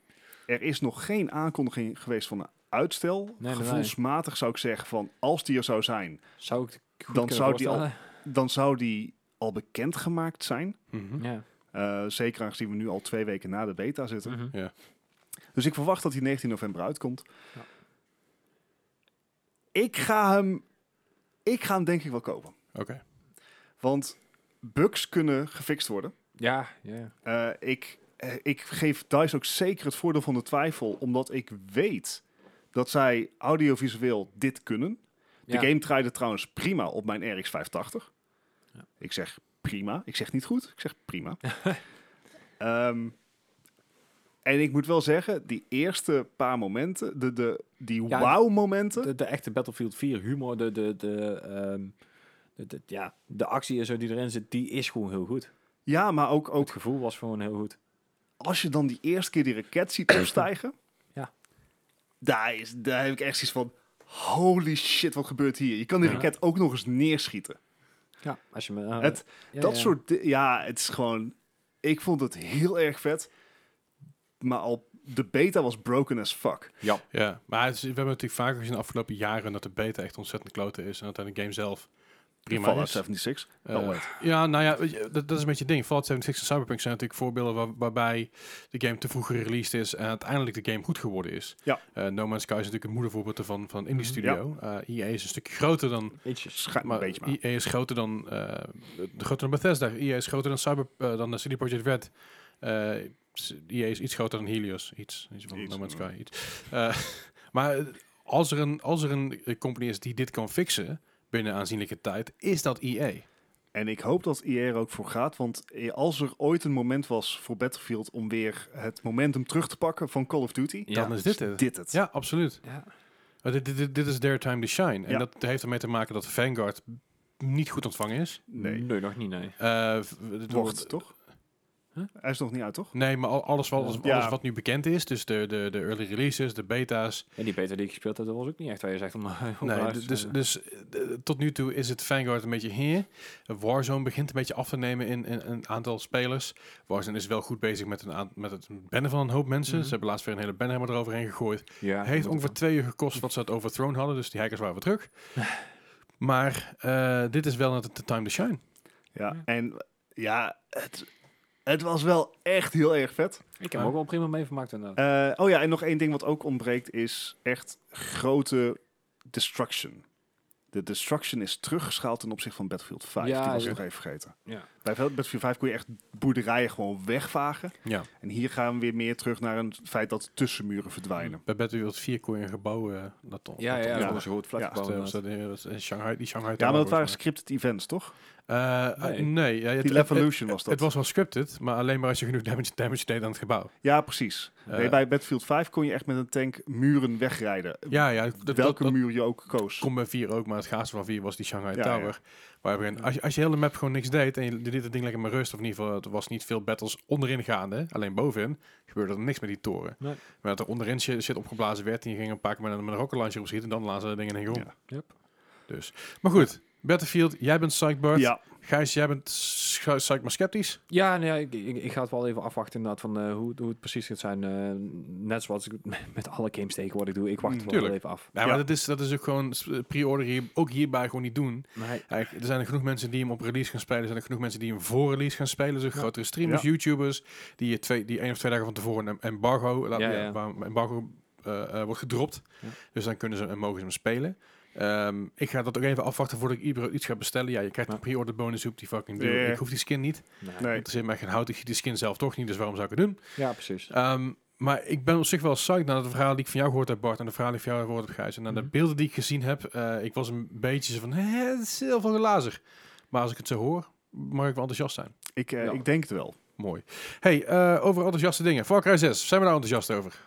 S1: Er is nog geen aankondiging geweest van een uitstel.
S3: nee, nee.
S1: Gevoelsmatig zou ik zeggen van, als die er zou zijn,
S3: Zou ik het goed
S1: Dan
S3: kunnen
S1: zou die al-
S3: voorstellen?
S1: dan zou die al bekendgemaakt zijn.
S2: Mhm.
S3: Ja.
S1: Eh, zeker aangezien we nu al twee weken na de beta zitten.
S3: Mhm.
S1: Dus ik verwacht dat hij 19 november uitkomt.
S3: Ja.
S1: Ik ga hem, ik ga hem denk ik wel kopen.
S2: Oké.
S1: Want bugs kunnen gefixt worden.
S3: Ja, ja, ja.
S1: Eh, ik, eh, ik geef DICE ook zeker het voordeel van de twijfel, omdat ik weet dat zij audiovisueel dit kunnen. De
S3: Ja.
S1: game draaide trouwens prima op mijn RX 580.
S3: Ja.
S1: Ik zeg prima. Ik zeg niet goed. Ik zeg prima. Ehm, en ik moet wel zeggen, die eerste paar momenten, de, de, die
S3: Ja,
S1: wow-momenten.
S3: De, de echte Battlefield 4 humor, de, de, de, ehm, de, de- ja, de actie en zo die erin zit, die is gewoon heel goed.
S1: Ja, maar ook, ook
S3: Het gevoel was gewoon heel goed.
S1: als je dan die eerste keer die raket ziet opstijgen,
S3: Ja.
S1: daar, is, daar heb ik echt zoiets van, holy shit, wat gebeurt hier? Je kan die
S2: Ja.
S1: raket ook nog eens neerschieten.
S3: Ja, als je me... eh,
S1: Het-
S3: ja,
S1: dat
S3: ja.
S1: soort, di- ja, het is gewoon, ik vond het heel erg vet, maar al de beta was broken as fuck.
S3: Ja.
S2: Ja, maar het is- we hebben natuurlijk vaker gezien de afgelopen jaren dat de beta echt ontzettend klote is en dat dan de game zelf prima
S1: Fallout
S2: is.
S1: 76.
S2: Eh,
S1: Oh, wait.
S2: ja, nou ja, weet je, dat, dat is een beetje het ding. Fallout 76 en Cyberpunk zijn natuurlijk voorbeelden waar- waarbij de game te vroeg gereleased is en uiteindelijk de game goed geworden is.
S1: Ja.
S2: Eh, no Man's Sky is natuurlijk een moedervoorbeeld ervan van een indie studio. Eh EA is een stukje groter dan
S3: Eetjes.
S1: Schuim een
S2: maar
S1: beetje maar.
S2: EA is groter dan, eh, groter dan Bethesda. EA is groter dan, Cyber, eh, dan eh, CD Projekt Red. Eh EA is iets groter dan Helios. Iets, iets van
S1: Iets,
S2: No Man's
S1: ja.
S2: Sky. Iets. Eh, maar als er, een, als er een eh, company is die dit kan fixen binnen aanzienlijke tijd, is dat E. EA.
S1: En ik hoop dat IR er ook voor gaat, want eh, als er ooit een moment was voor Battlefield om weer het momentum terug te pakken van Call of Duty,
S2: Ja. Dan is dit het.
S1: Dit het.
S2: Ja, absoluut.
S3: Ja.
S2: Maar dit, dit- dit, dit is their time to shine. En
S1: Ja.
S2: dat heeft ermee te maken dat Vanguard niet goed ontvangen is.
S1: Nee.
S3: Nee, nog niet, nee.
S2: Eh, v- het
S1: Wordt, toch?
S3: Huh?
S1: Hij is nog niet uit, toch?
S2: Nee, maar al- alles, wat- alles,
S1: Ja.
S2: alles wat nu bekend is, dus de, de, de early releases, de beta's,
S3: En die beta die ik gespeeld heb, dat was ook niet echt waar je zegt om... om
S2: Nee,
S3: eruit
S2: d-
S3: te
S2: dus,
S3: zijn.
S2: dus eh, tot nu toe is het Vanguard een beetje hier. Warzone begint een beetje af te nemen in, in een aantal spelers. Warzone is wel goed bezig met, een aan- met het bannen van een hoop mensen.
S3: Mhm.
S2: Ze hebben laatst weer een hele banner eroverheen gegooid.
S3: ja,
S2: Heeft
S3: moet het
S2: ongeveer twee uur gekost wat ze het overthrown hadden, dus die hackers waren weer terug. maar eh, dit is wel het de time to shine.
S1: Ja.
S3: Ja.
S1: En ja, het, het was wel echt heel erg vet.
S3: wel. Ik heb er ook wel prima mee vermaakt inderdaad.
S1: Eh, oh ja, en nog één ding wat ook ontbreekt is echt grote destruction. De destruction is teruggeschaald ten opzichte van Battlefield 5.
S3: Ja,
S1: Die was
S3: ja.
S1: ik nog even vergeten.
S2: Eh,
S3: Ja.
S1: Bij Battlefield 5 kon je echt boerderijen gewoon wegvagen.
S2: Ja.
S1: En hier gaan we weer meer terug naar een feit dat tussenmuren
S3: Mm.
S1: verdwijnen.
S2: Bij Battlefield 4 kon je een gebouw eh, dat al.
S3: Ja,
S2: dat
S3: ja,
S2: al-
S1: ja.
S3: dat was een groot
S1: Ja,
S2: dat, eh,
S3: vlakgebouw.
S2: was dat, eh, was in Shanghai, die Shanghai
S1: Ja, maar dat waren
S2: Tower, volgens
S1: scripted events, toch?
S2: mij. Eh, eh,
S3: Nee.
S2: nee, ja, het-
S1: Die
S2: het- het-
S1: Levolution was dat.
S2: Het was wel scripted, maar alleen maar als je genoeg damage, damage deed aan het gebouw.
S1: Ja, precies.
S2: Eh,
S1: nee, bij Battlefield 5 kon je echt met een tank muren wegrijden.
S2: ja, ja, dat- dat,
S1: Welke
S2: dat
S1: muur je ook koos.
S2: kon bij 4 ook, maar het gaatste van 4 was die Shanghai
S1: Ja,
S2: Tower. Waar we als, je, als je heel de map gewoon niks deed en je liet het ding lekker maar rust, of in ieder geval, er was niet veel battles onderin gaande, alleen bovenin, gebeurde er niks met die toren.
S3: Nee.
S2: Maar dat er onderin shit, shit opgeblazen werd en je ging een paar keer met een, met een rocket launcher op schieten, dan lazen de dingen in één keer om.
S1: Ja.
S3: Yep.
S2: Dus. Maar goed, Battlefield, jij bent psyched, Bart.
S1: Ja,
S2: Gijs, jij bent schu- psyched, maar sceptisch.
S3: Ja, nee, ik, ik, ik ga het wel even afwachten inderdaad van eh, hoe, hoe het precies gaat zijn. Eh, net zoals ik met alle games tegenwoordig doe, ik wacht
S1: Mm,
S3: het wel
S2: tuurlijk.
S3: even af.
S2: Ja, maar
S1: Ja.
S2: dat is, dat is ook gewoon s- pre-order hier, ook hierbij gewoon niet doen.
S3: Nee,
S2: Eigenlijk, er zijn er genoeg mensen die hem op release gaan spelen. Er zijn er genoeg mensen die hem voor release gaan spelen. Dus ook
S3: Ja.
S2: grotere streamers,
S1: Ja.
S2: YouTubers, die, je twee, die één of twee dagen van tevoren een embargo, laat,
S3: Ja,
S2: ja,
S3: ja.
S2: waar een embargo eh, eh, wordt gedropt.
S3: Ja.
S2: Dus dan kunnen ze en mogen ze hem spelen. Ehm, ik ga dat ook even afwachten voordat ik überhaupt iets ga bestellen. Ja, je krijgt
S3: Ja.
S2: een pre-order bonus op die fucking deal.
S1: Ja.
S2: Ik hoef die skin niet.
S3: nee.
S1: nee.
S2: Het is mij geen hout. Ik zie die skin zelf toch niet, dus waarom zou ik het doen?
S3: Ja, precies.
S2: Ehm, maar ik ben op zich wel psyched naar de verhaal die ik van jou gehoord heb, Bart. En de verhaal die ik van jou gehoord heb, Gijs. En naar
S3: Mhm.
S2: de beelden die ik gezien heb. eh, ik was een beetje zo van, hè, het is heel veel glazer. Maar als ik het zo hoor, mag ik wel enthousiast zijn.
S1: Ik, eh,
S3: Ja.
S1: ik denk het wel.
S2: Mooi. hey, eh, over enthousiaste dingen. Far Cry 6, zijn we daar enthousiast over?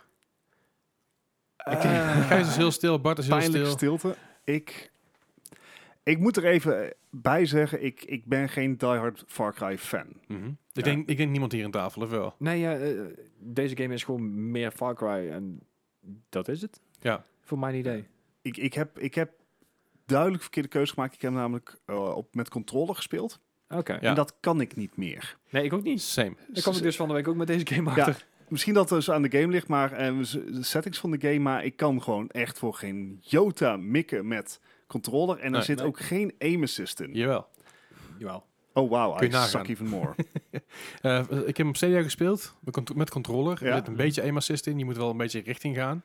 S2: Eh, Gijs is heel stil, Bart is heel
S1: Pijnlijke
S2: stil.
S1: stilte. Ik, ik moet er even bij zeggen, ik, ik ben geen diehard Far Cry fan.
S2: Mhm. ik,
S1: Ja.
S2: denk, ik denk niemand hier aan tafel, of wel?
S3: Nee, ja, eh, deze game is gewoon meer Far Cry en dat is het.
S2: Ja.
S3: Voor mijn idee.
S1: Ik, ik, heb, ik heb duidelijk verkeerde keuze gemaakt. Ik heb namelijk eh, op, met controller gespeeld.
S3: Oké.
S2: Ja.
S1: En dat kan ik niet meer.
S3: Nee, ik ook niet.
S2: Same.
S3: Dan kwam ik dus van de week ook met deze game achter.
S1: Misschien dat het dus aan de game ligt, maar eh, z- de settings van de game. Maar ik kan gewoon echt voor geen jota mikken met controller. En er
S2: Nee.
S1: zit
S3: Nee.
S1: ook geen aim assist in.
S2: Jawel.
S3: Jawel.
S1: Oh wow,
S2: Kun
S1: I
S2: je nagaan.
S1: suck even more.
S2: Eh, ik heb hem Stadia gespeeld, met cont- met controller.
S1: Ja.
S2: Er zit een beetje E aim assist in, je moet wel een beetje richting gaan.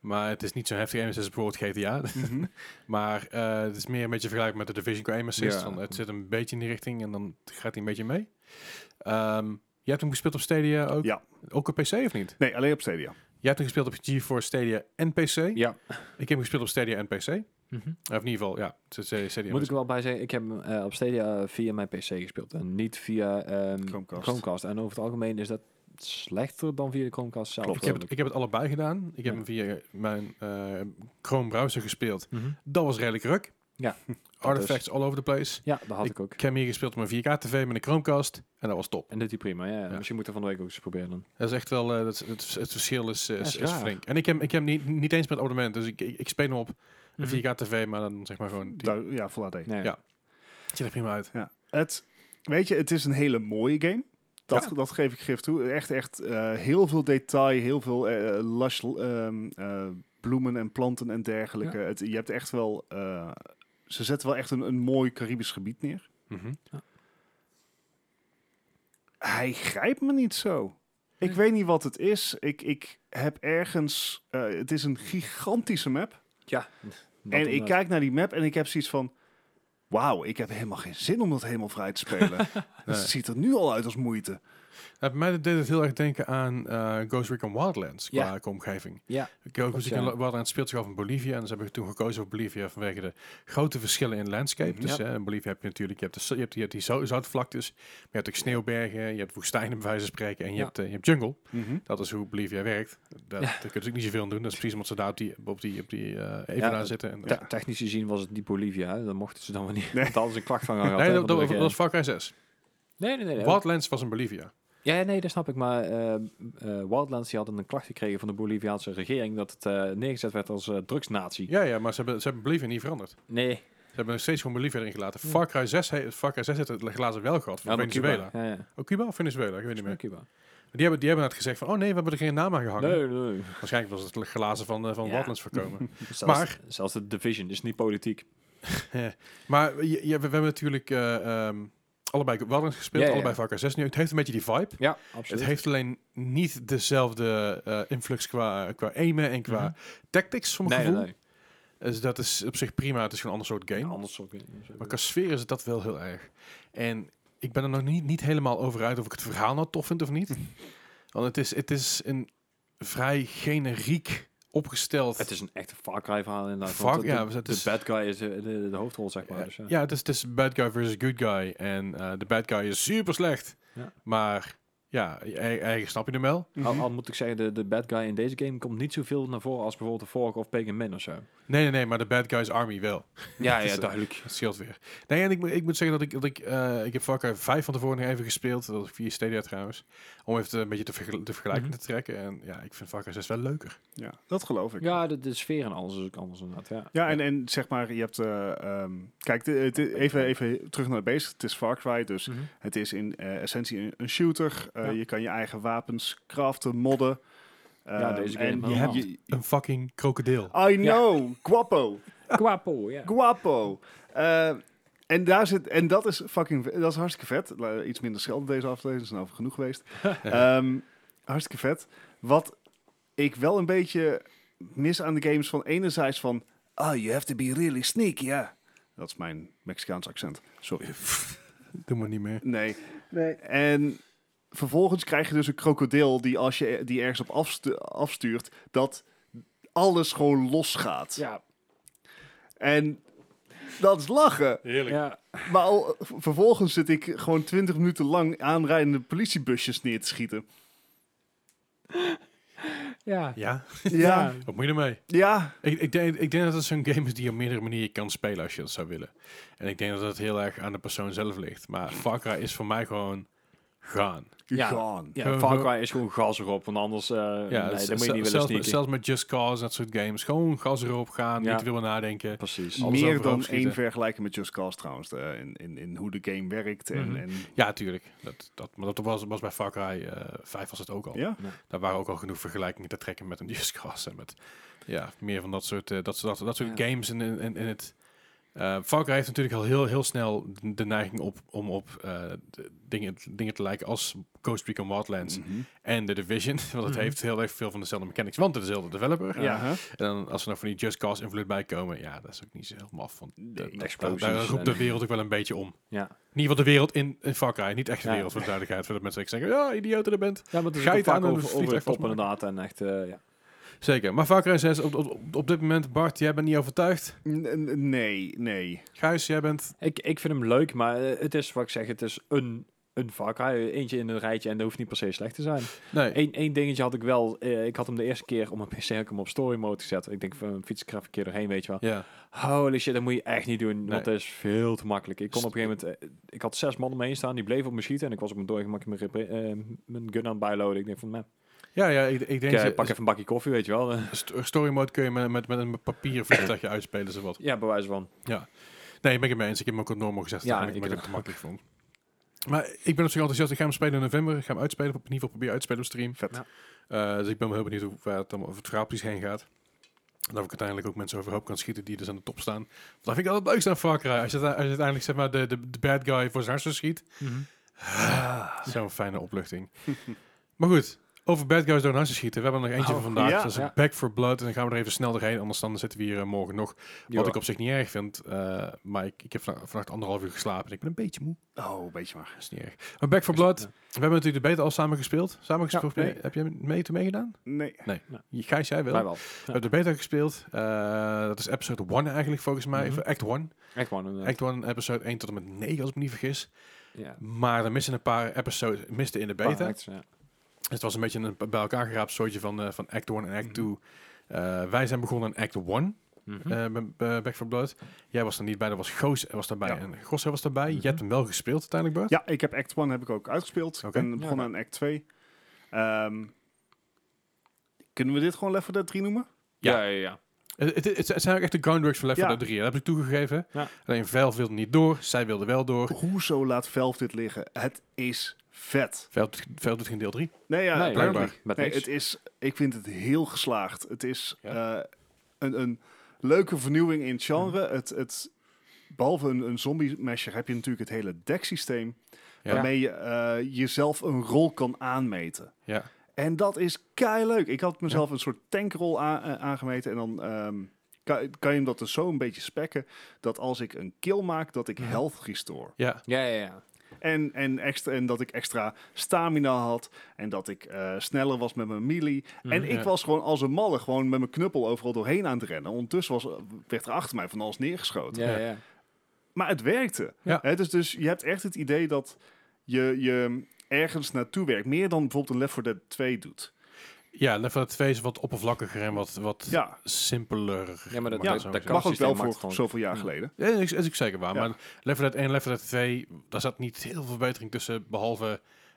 S2: Maar het is niet E zo heftig aim assist als bijvoorbeeld GTA.
S1: Mhm.
S2: Maar eh, het is meer een beetje vergelijkbaar met de Division qua E aim assist.
S3: Ja.
S2: Van, het zit een beetje in die richting en dan gaat hij een beetje mee. Ehm, jij hebt hem gespeeld op Stadia ook?
S1: Ja.
S2: Ook op PC of niet?
S1: Nee, alleen op Stadia.
S2: Jij hebt hem gespeeld op GeForce Stadia en PC.
S3: Ja.
S2: Ik heb hem gespeeld op Stadia en PC. Of in ieder geval, ja. het is eh, Stadia en
S3: Moet
S2: PC.
S3: ik er wel bij zeggen, ik heb hem eh, op Stadia via mijn PC gespeeld en niet via ehm,
S1: Chromecast.
S3: Chromecast. En over het algemeen is dat slechter dan via de Chromecast zelf.
S1: Klopt.
S2: Ik heb, het, ik heb het allebei gedaan. Ik heb
S3: Ja.
S2: hem via mijn eh, Chrome browser gespeeld.
S3: Mhm.
S2: Dat was redelijk ruk.
S3: Ja, dus.
S2: Artifacts all over the place.
S3: Ja, dat had ik, ook.
S2: Ik heb hem hier gespeeld op mijn 4K-tv met een Chromecast. En dat was top.
S3: En dit die prima, ja.
S2: Ja.
S3: Misschien moeten we van de week ook eens proberen dan.
S2: Dat is echt wel... eh, dat is- het, het verschil is, eh,
S3: Ja,
S2: is,
S3: is
S2: is
S3: raar.
S2: flink. En ik heb, ik heb niet, niet eens met abonnement. Dus ik, ik, ik speel hem op een
S3: Mhm.
S2: 4K-tv. Maar dan zeg maar gewoon... Die,
S1: Du- ja, Full HD.
S3: Nee.
S2: Ja. het ziet er prima uit.
S1: Ja. Het, weet je, het is een hele mooie game. Dat,
S2: Ja.
S1: dat geef ik gif toe. Echt, echt eh, heel veel detail, heel veel eh, lush ehm, eh, bloemen en planten en dergelijke. Het, je hebt echt wel, eh, ze zetten wel echt een, een mooi Caribisch gebied neer.
S2: Mhm.
S1: Hij grijpt me niet zo. Ik
S2: Nee.
S1: weet niet wat het is. Ik, ik heb ergens, eh, het is een gigantische map.
S3: Ja.
S1: en
S3: eh,
S1: ik kijk naar die map en ik heb zoiets van... Wauw, ik heb helemaal geen zin om dat helemaal vrij te spelen.
S2: Nee.
S1: Het ziet er nu al uit als moeite.
S2: Nou, bij mij deed het heel erg denken aan eh, Ghost Recon Wildlands
S3: Ja.
S2: qua, qua omgeving.
S3: Ja.
S2: Ik heb ook
S3: Klopt,
S2: muziek in
S3: ja.
S2: Lo- Wildlands speelt zich af in Bolivia. En ze hebben toen gekozen voor Bolivia vanwege de grote verschillen in landscape.
S3: Mhm.
S2: Dus
S3: Ja.
S2: hè, in Bolivia heb je natuurlijk je hebt de, zo- je hebt, je hebt die zo- zoutvlaktes. Maar je hebt ook sneeuwbergen, je hebt woestijnen bij wijze van spreken. En je,
S3: Ja.
S2: hebt, eh, je hebt jungle. Dat is hoe Bolivia werkt. Dat, Daar kun je natuurlijk niet zoveel aan doen. Dat is precies omdat ze daar op die, op die, op die eh evenaar
S3: dat-
S2: zitten. En,
S3: Te- Technisch gezien was het niet Bolivia, hè. dan mochten ze dan wanneer. niet. Want anders een klacht van gaan
S2: Nee, dat, dat- dat was Far Cry 6.
S3: nee, nee, nee. nee.
S2: Wildlands was in Bolivia.
S3: Ja, ja, nee, dat snap ik. Maar eh, eh, Wildlands die hadden een klacht gekregen van de Boliviaanse regering dat het eh, neergezet werd als eh, drugsnatie.
S2: Ja, ja maar ze hebben, ze hebben Bolivia niet veranderd.
S3: Nee.
S2: Ze hebben nog steeds gewoon Bolivia erin gelaten. Far Cry 6, he- Far Cry 6 heeft het gelaten wel gehad voor
S3: Ja, maar
S2: Venezuela.
S3: Cuba. Ja, ja.
S2: Ook Cuba of Venezuela, ik weet niet meer.
S3: Cuba.
S2: Die hebben, die hebben net gezegd van, oh nee, we hebben er geen naam aan gehangen.
S3: Nee, nee.
S2: Waarschijnlijk was het glazen van, eh, van
S3: Ja.
S2: Wildlands voorkomen.
S3: Zelfs,
S2: Maar-
S3: zelfs de division is niet politiek.
S2: maar je, je- we, we hebben natuurlijk eh, ehm, allebei Wildlands gespeeld,
S3: Ja, ja, ja.
S2: allebei Far Cry 6 nu. Het heeft een beetje die vibe.
S3: Ja, absoluut.
S2: Het heeft alleen niet dezelfde eh, influx qua, qua aimen en qua tactics, voor mijn
S3: nee,
S2: gevoel.
S3: nee, nee.
S2: Dus dat is op zich prima. Het is gewoon een ander soort game.
S3: Ja, anders zou ik niet-
S2: Maar qua sfeer is het dat wel heel erg. En ik ben er nog niet, niet helemaal over uit of ik het verhaal nou tof vind of niet. Want het is, het is een vrij generiek opgesteld...
S3: Het is een echte Far Cry verhaal inderdaad.
S2: Far-
S3: want de,
S2: ja,
S3: de,
S2: het
S3: de
S2: is-
S3: bad guy is de, de, de hoofdrol, zeg maar.
S2: Ja,
S3: dus, ja.
S2: ja, het is, het is bad guy versus good guy. En eh, de bad guy is super slecht.
S3: Ja.
S2: Maar ja, e- eigenlijk snap je hem wel.
S3: Al, al moet ik zeggen, de, de bad guy in deze game komt niet zoveel naar voren als bijvoorbeeld de Fork of Pagan Man of zo. eh,
S2: Nee, nee, nee, maar de bad guy's army wel.
S3: Ja,
S2: ja,
S3: duidelijk.
S2: Dat scheelt weer. Nee, en ik, moet- ik moet zeggen dat ik, dat ik, eh, ik heb Far Cry 5 van tevoren nog even gespeeld. Dat was via Stadia trouwens. Om even een beetje de, vergel- de vergelijking te trekken. En ja, ik vind Far Cry 6 wel leuker.
S1: Ja, dat geloof ik. Ja,
S3: Ja, de, de sfeer en alles is ook anders inderdaad, ja.
S1: en, en zeg maar, je hebt... eh, ehm, kijk, de- het- even, even terug naar het bezig. Het is Far Cry, dus het is in eh, essentie een, een shooter. Eh,
S3: Mhm. Ja.
S1: Je kan je eigen wapens craften, modden.
S3: Ja, deze
S1: Ehm,
S3: game
S1: en je hebt
S3: helemaal.
S1: je-
S2: Een fucking krokodil.
S1: I know, guapo.
S3: Kwapo, ja.
S1: Guapo. Eh, en, daar zit, en dat is fucking ve- dat is hartstikke vet. La- Iets minder schelden deze aflevering, is nou over genoeg geweest. Ehm, hartstikke vet. Wat ik wel een beetje mis aan de games van enerzijds van... Oh, you have to be really sneaky, ja. Dat is mijn Mexicaans accent. Sorry.
S2: Doe maar niet meer.
S1: Nee. En vervolgens krijg je dus een krokodil die als je die ergens op afstu- afstuurt... dat alles gewoon losgaat.
S3: Ja,
S1: En dat is lachen.
S2: Heerlijk.
S3: ja.
S1: Maar al, vervolgens zit ik gewoon 20 minuten lang aanrijdende politiebusjes neer te schieten.
S3: ja.
S2: Ja,
S1: Ja,
S2: wat moet je ermee?
S1: ja,
S2: Ik, ik, denk, ik denk dat het zo'n game is die je op meerdere manieren kan spelen als je dat zou willen. En ik denk dat het heel erg aan de persoon zelf ligt. Maar Far Cry is voor mij gewoon gaan.
S3: Ja.
S1: Gone.
S3: Ja, Far Cry is gewoon gas erop, want anders eh
S2: Ja,
S3: nee,
S2: z- z-
S3: dan moet je niet willen
S2: zelfs, met,
S3: sneaken.
S2: zelfs met Just Cause, en dat soort games. Gewoon gas erop gaan,
S3: Ja.
S2: niet willen nadenken.
S3: Precies.
S2: Alles
S1: Meer
S2: overhoop
S1: dan
S2: schieten.
S1: één vergelijken met Just Cause trouwens, eh, in, in, in hoe de game werkt. En,
S3: Mhm.
S1: en,
S2: Ja, tuurlijk. Dat, dat, maar dat was, was bij Far Cry eh 5 was het ook al.
S1: ja.
S2: Daar waren ook al genoeg vergelijkingen te trekken met een Just Cause. En met ja, meer van dat soort, eh, dat, soort- dat, dat soort
S3: Ja.
S2: games in, in, in het... eh Far Cry heeft natuurlijk al heel, heel snel de neiging op, om op eh, de- dingen, dingen te lijken als Ghost Recon Wildlands
S1: Mhm.
S2: en The Division. Want het heeft heel erg veel van dezelfde mechanics, want het is dezelfde developer.
S1: Ja, hè?
S2: En dan als er nog van die Just Cause invloed bij komen, ja, dat is ook niet zo heel maf. Want
S1: Nee,
S2: dat- dat-
S3: explosies
S2: daar roept de
S3: en-
S2: wereld ook wel een beetje om.
S3: Ja.
S2: In ieder geval de wereld in, in Far Cry, niet echt de
S3: Ja.
S2: wereld voor de duidelijkheid. Voordat mensen echt zeggen, ja, idioot dat je bent.
S3: ja, maar het is ook
S2: Geiten
S3: vaak
S2: aan een
S3: over, over de
S2: vliegtuig
S3: top
S2: vastmaken.
S3: inderdaad. En echt, eh, ja.
S2: Zeker, maar Far Cry 6 op, op, op dit moment, Bart, jij bent niet overtuigd.
S1: N- n- Nee, nee.
S2: Gijs, jij bent...
S3: ik, ik vind hem leuk, maar eh, het is wat ik zeg, het is een, een Far Cry. Eentje in een rijtje en dat hoeft niet per se slecht te zijn.
S2: Nee,
S3: Eén één dingetje had ik wel. eh, ik had hem de eerste keer op mijn PC heb ik hem op story mode gezet. Ik denk van fiets ik er even een keer doorheen, weet je wel.
S2: ja.
S3: Holy shit, dat moet je echt niet doen.
S2: Nee.
S3: Want dat is veel te makkelijk. Ik kon op een gegeven moment. eh, ik had zes man om me heen staan, die bleven op me schieten. En ik was op mijn doorgemak mijn, repre- eh, mijn gun aan het bijloaden. Ik denk van, man,
S2: Ja, ja, ik, ik
S3: ik
S2: denk...
S3: eh, pak even een bakje koffie, weet je wel. Eh,
S2: st- Story mode kun je met, met, met een papieren vliegtuigje uitspelen, zowat.
S3: ja, bewijs van.
S2: Nee, ben ik het mee eens. Ik heb hem ook op normaal gezet.
S3: Ja,
S2: Ja, ik
S3: ik
S2: ben het
S3: ook.
S2: te makkelijk vond. Maar ik ben op zich enthousiast. Ik ga hem spelen in november. Ik ga hem uitspelen. In ieder geval proberen uit te spelen op stream.
S1: Vet.
S3: Ja.
S2: Eh, dus ik ben wel heel benieuwd hoe waar het, allemaal- of het verhaal precies heen gaat. En of ik uiteindelijk ook mensen overhoop kan schieten die dus aan de top staan. Want dat vind ik altijd leuk aan Far Cry. Als je, uite- als je uiteindelijk zeg maar, de, de, de bad guy voor zijn hartstikke schiet.
S3: Mhm.
S2: Ah, Zo'n fijne opluchting. maar goed, over bad guys door een hartstikke schieten. We hebben er nog eentje
S3: Oh,
S2: van vandaag.
S1: ja,
S2: dat is een
S3: ja.
S2: Back for Blood. En dan gaan we er even snel doorheen. Anders dan zitten we hier eh, morgen nog. Wat
S3: Ja.
S2: ik op zich niet erg vind. eh, maar ik, ik heb vana- vannacht anderhalf uur geslapen. En ik ben een beetje moe.
S1: Oh, een beetje maar.
S2: Dat is niet erg. Maar Back for Blood.
S3: Ja.
S2: We hebben natuurlijk de beta al samen gespeeld. Samen gespeeld.
S3: nee.
S2: mee- Heb jij mee te meegedaan?
S1: Nee.
S2: Je- Gijs, jij wel.
S3: Mij wel.
S2: We hebben de beta gespeeld. Eh, dat is episode 1 eigenlijk volgens mij.
S3: Mhm.
S2: Of Act 1.
S3: Echt gewoon een. eh,
S2: Act 1, episode 1 tot en met 9 als ik me niet vergis.
S3: ja.
S2: Maar er missen een paar episodes miste in de beta.
S3: Ah, echt, ja.
S2: Dus het was een beetje een bij elkaar geraapt soortje van, eh, van Act 1 en Act 2. Eh, wij zijn begonnen aan Act 1.
S3: Mhm.
S2: eh bij- bij Back for Blood. Jij was er niet bij, er was Goos was daarbij
S1: Ja.
S2: en Gosse was daarbij.
S3: Mhm.
S2: Je hebt hem wel gespeeld uiteindelijk, Bart.
S1: Ja, ik heb Act 1 heb ik ook uitgespeeld.
S2: Oké.
S1: En begonnen
S3: Ja.
S1: aan Act 2. Ehm, kunnen we dit gewoon Left 4 Dead 3 noemen?
S2: Ja.
S3: ja, ja, ja.
S2: Het, Eh, het, het- het zijn ook echt de groundworks van Left 4
S1: Ja.
S2: Dead 3. Dat heb ik toegegeven.
S3: Ja.
S2: Alleen Valve wilde niet door, zij wilde wel door.
S1: Hoezo laat Valve dit liggen? Het is vet.
S2: Valve, doet- Valve doet geen deel 3.
S1: Nee, ja,
S3: Nee,
S1: blijkbaar.
S2: blijkbaar.
S3: Met
S1: Nee,
S3: niks.
S1: het is, ik vind het heel geslaagd. Het is
S2: Ja.
S1: eh, een, een leuke vernieuwing in het genre. Het, het, behalve een, een zombie-mesher heb je natuurlijk het hele decksysteem.
S2: Ja.
S1: Waarmee je eh, jezelf een rol kan aanmeten.
S2: Ja.
S1: En dat is kei leuk. Ik had mezelf een soort tankrol a- eh, aangemeten. En dan ehm, kan, kan je hem dat dus zo een beetje spekken. Dat als ik een kill maak, dat ik health restore.
S2: Ja.
S3: Ja, ja, ja.
S1: En, en, extra, en dat ik extra stamina had. En dat ik eh, sneller was met mijn melee.
S3: Mm,
S1: en ik
S2: ja.
S1: was gewoon als een malle gewoon met mijn knuppel overal doorheen aan het rennen. Ondertussen was, werd er achter mij van alles neergeschoten.
S3: Ja, ja, ja.
S1: Maar het werkte.
S2: Ja.
S1: Hè, dus, dus je hebt echt het idee dat je, je ergens naartoe werkt. Meer dan bijvoorbeeld een Left 4 Dead 2 doet.
S2: ja, Left 4 Dead 2 is wat oppervlakkiger en wat, wat
S1: Ja,
S2: simpeler.
S3: Ja, maar dat-
S2: Mag ik
S3: ja,
S2: zo
S3: dat
S2: zeggen.
S1: mag ook
S3: systeem
S1: wel
S3: maakt
S1: voor
S3: gewoon- Mm.
S1: zoveel jaar
S3: Ja.
S1: geleden.
S2: Ja, dat is, dat is ook zeker waar.
S1: Ja.
S2: Maar Left 4 Dead 1 en Left 4 Dead 2, daar zat niet heel veel verbetering tussen. Behalve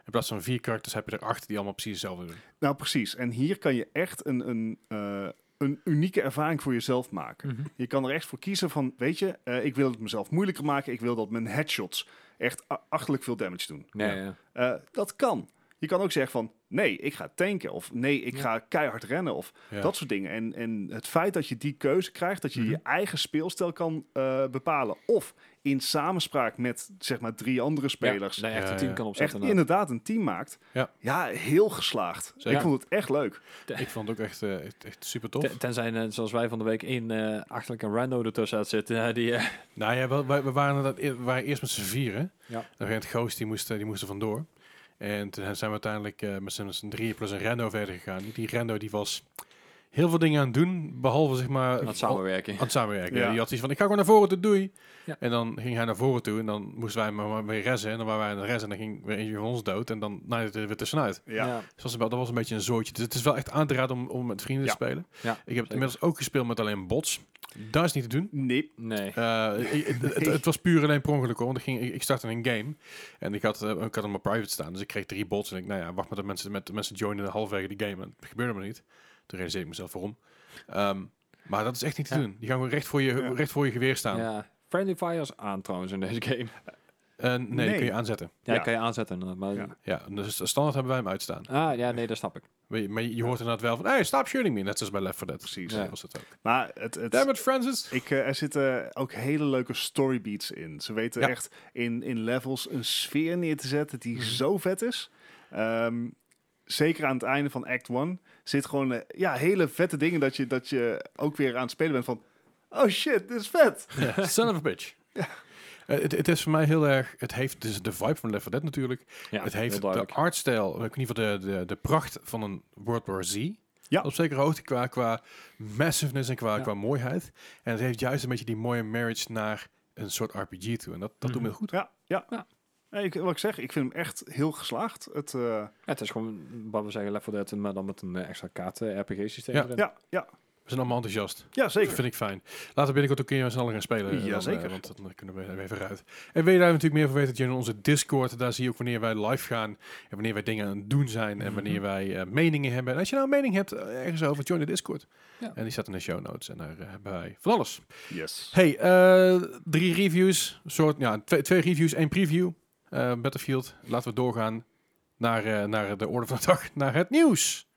S2: in plaats van vier karakters heb je er acht die allemaal precies hetzelfde doen.
S1: Nou, precies. En hier kan je echt een, een, eh, een unieke ervaring voor jezelf maken. Je kan er echt voor kiezen van, weet je, eh, ik wil het mezelf moeilijker maken. Ik wil dat mijn headshots echt a- achterlijk veel damage doen.
S3: Nee,
S2: Ja.
S3: ja. ja.
S1: Eh, dat kan. Je kan ook zeggen van, nee, ik ga tanken. Of nee, ik
S3: Ja.
S1: ga keihard rennen. Of
S2: Ja.
S1: dat soort dingen. En, en het feit dat je die keuze krijgt, dat je
S2: Mhm.
S1: je eigen speelstijl kan eh, bepalen. Of in samenspraak met, zeg maar, drie andere spelers.
S3: Nee, echt
S2: Ja,
S3: een team
S2: ja.
S3: kan
S1: echt
S3: opzetten. nou.
S1: inderdaad een team maakt.
S2: Ja.
S1: heel geslaagd.
S2: Zeker.
S1: Ik vond het echt leuk.
S2: Ik vond het ook echt, eh, echt, echt super tof.
S3: Ten- Tenzij, net zoals wij van de week, één eh achterlijk een rando ertussen had zitten. eh, die, eh,
S2: Nou ja, wel, wij, we, waren inderdaad eer- we waren eerst met z'n vieren.
S3: Ja.
S2: En op een gegeven moment Goos, die moest, eh, die moest er vandoor. En toen zijn we uiteindelijk eh, met z'n- met z'n drieën plus een rendo verder gegaan. Die rendo die was heel veel dingen aan het doen, behalve zeg maar...
S3: aan het samenwerken.
S2: aan het samenwerken.
S1: Ja.
S2: Die had iets van, ik ga gewoon naar voren toe, doei.
S3: Ja.
S2: En dan ging hij naar voren toe en dan moesten wij hem maar weer rezen. En dan waren wij aan het rezen en dan ging weer eentje van ons dood. En dan naaide er weer tussenuit.
S1: Ja.
S2: Dus dat was wel- dat was een beetje een zootje. Dus het is wel echt aan te raden om, om met vrienden
S1: Ja.
S2: te spelen.
S3: Ja,
S2: ik heb het inmiddels ook gespeeld met alleen bots. Dat is niet te doen.
S1: Nee,
S3: Nee.
S2: Eh, ik- het, het- het was puur alleen per ongeluk hoor. Want ik, ging, ik, ik startte een game. En ik had, eh, ik had hem op private staan. Dus ik kreeg drie bots. En ik, nou ja, wacht maar dat mensen, met, de mensen joinen halverwege de game. En dat gebeurde maar niet. Toen realiseerde ik mezelf waarom. Ehm, maar dat is echt niet te
S3: Ja.
S2: doen. Die gaan gewoon recht voor je,
S1: Ja.
S2: recht voor je geweer staan.
S3: Ja. Friendly fires aan trouwens in deze game.
S2: Eh, nee, die
S1: Nee.
S2: kun je aanzetten.
S3: Ja,
S1: Ja.
S3: kan je aanzetten. inderdaad, Maar...
S1: Ja.
S2: Ja, dus standaard hebben wij hem uitstaan.
S3: Ah, ja, nee, dat snap ik.
S2: Maar je, maar je hoort inderdaad wel van, hey, stop shooting me. Net zoals bij Left 4 Dead.
S1: Precies.
S2: Ja.
S3: Ja.
S2: Was dat ook.
S1: maar het, het,
S2: Damn it, Francis.
S1: Ik, eh, er zitten ook hele leuke storybeats in. Ze weten
S2: Ja. Mhm.
S1: echt in, in levels een sfeer neer te zetten die zo vet is. Ehm, zeker aan het einde van Act 1 zit gewoon eh, ja, hele vette dingen dat je, dat je ook weer aan het spelen bent van... Oh shit, dit is vet!
S2: Son of a bitch.
S1: Ja.
S2: Eh, Het het is voor mij heel erg... Het heeft dus de vibe van Left 4 Dead natuurlijk.
S3: Ja,
S2: het
S3: heel
S2: heeft de
S3: duidelijk.
S2: artstijl, of in ieder geval de, de, de pracht van een World War Z.
S1: Ja.
S2: Op zekere hoogte qua, qua massiveness en qua,
S3: Ja.
S2: qua mooiheid. En het heeft juist een beetje die mooie marriage naar een soort RPG toe. En dat, dat doet me
S3: Mhm.
S2: goed.
S1: Ja, ja. Nee, ik, wat ik zeg, ik vind hem echt heel geslaagd. Het, eh,
S3: Ja, het is gewoon wat we zeggen, Left 4 Dead, maar dan met een eh, extra kaart eh, RPG-systeem.
S2: Ja.
S3: erin.
S1: ja, ja,
S2: We zijn allemaal enthousiast.
S1: ja,
S2: Dat
S1: zeker.
S2: vind ik fijn. Laten we binnenkort ook een keer sneller gaan spelen. eh, dan,
S1: Jazeker.
S2: eh, want dan kunnen we er even uit. En wil je daar natuurlijk meer van weten? Join onze Discord. Daar zie je ook wanneer wij live gaan. En wanneer wij dingen aan het doen zijn.
S3: Mhm.
S2: En wanneer wij eh, meningen hebben. En als je nou een mening hebt eh, ergens over, join de Discord.
S3: Ja.
S2: En die staat in de show notes. En daar eh, hebben wij van alles.
S1: Yes.
S2: Hey, eh, drie reviews. Soort, ja, twee, twee reviews, één preview. Eh, Battlefield. Laten we doorgaan naar, eh, naar de orde van de dag. Naar het nieuws.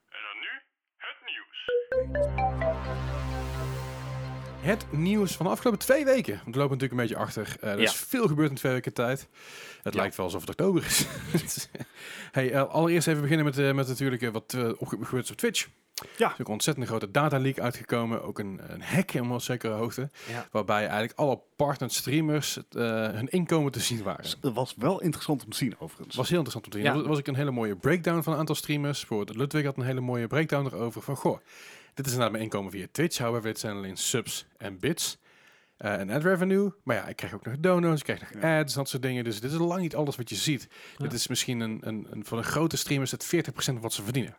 S2: En dan nu het nieuws. Het nieuws van de afgelopen twee weken. Want we lopen natuurlijk een beetje achter. Eh, er is
S3: Ja.
S2: veel gebeurd in twee weken tijd. Het lijkt wel alsof het oktober is. hey, eh, allereerst even beginnen met, eh, met natuurlijk eh, wat eh, opge- gebeurd is op Twitch.
S1: Ja.
S2: Er is ook een ontzettend grote data leak uitgekomen. Ook een, een hack in een zekere hoogte.
S3: Ja.
S2: Waarbij eigenlijk alle partner streamers eh, hun inkomen te zien waren.
S1: Het was wel interessant om te zien, overigens.
S2: Was heel interessant om te zien.
S3: Ja.
S2: Er was- was ik een hele mooie breakdown van een aantal streamers. Bijvoorbeeld Ludwig had een hele mooie breakdown erover. Van goh, dit is inderdaad mijn inkomen via Twitch. However, dit zijn alleen subs en bits. eh, en ad revenue. Maar ja, ik krijg ook nog donos, ik krijg nog ads, dat soort dingen. Dus dit is lang niet alles wat je ziet. Dit is misschien een, een, een, voor een grote streamer is het 40% van wat ze verdienen.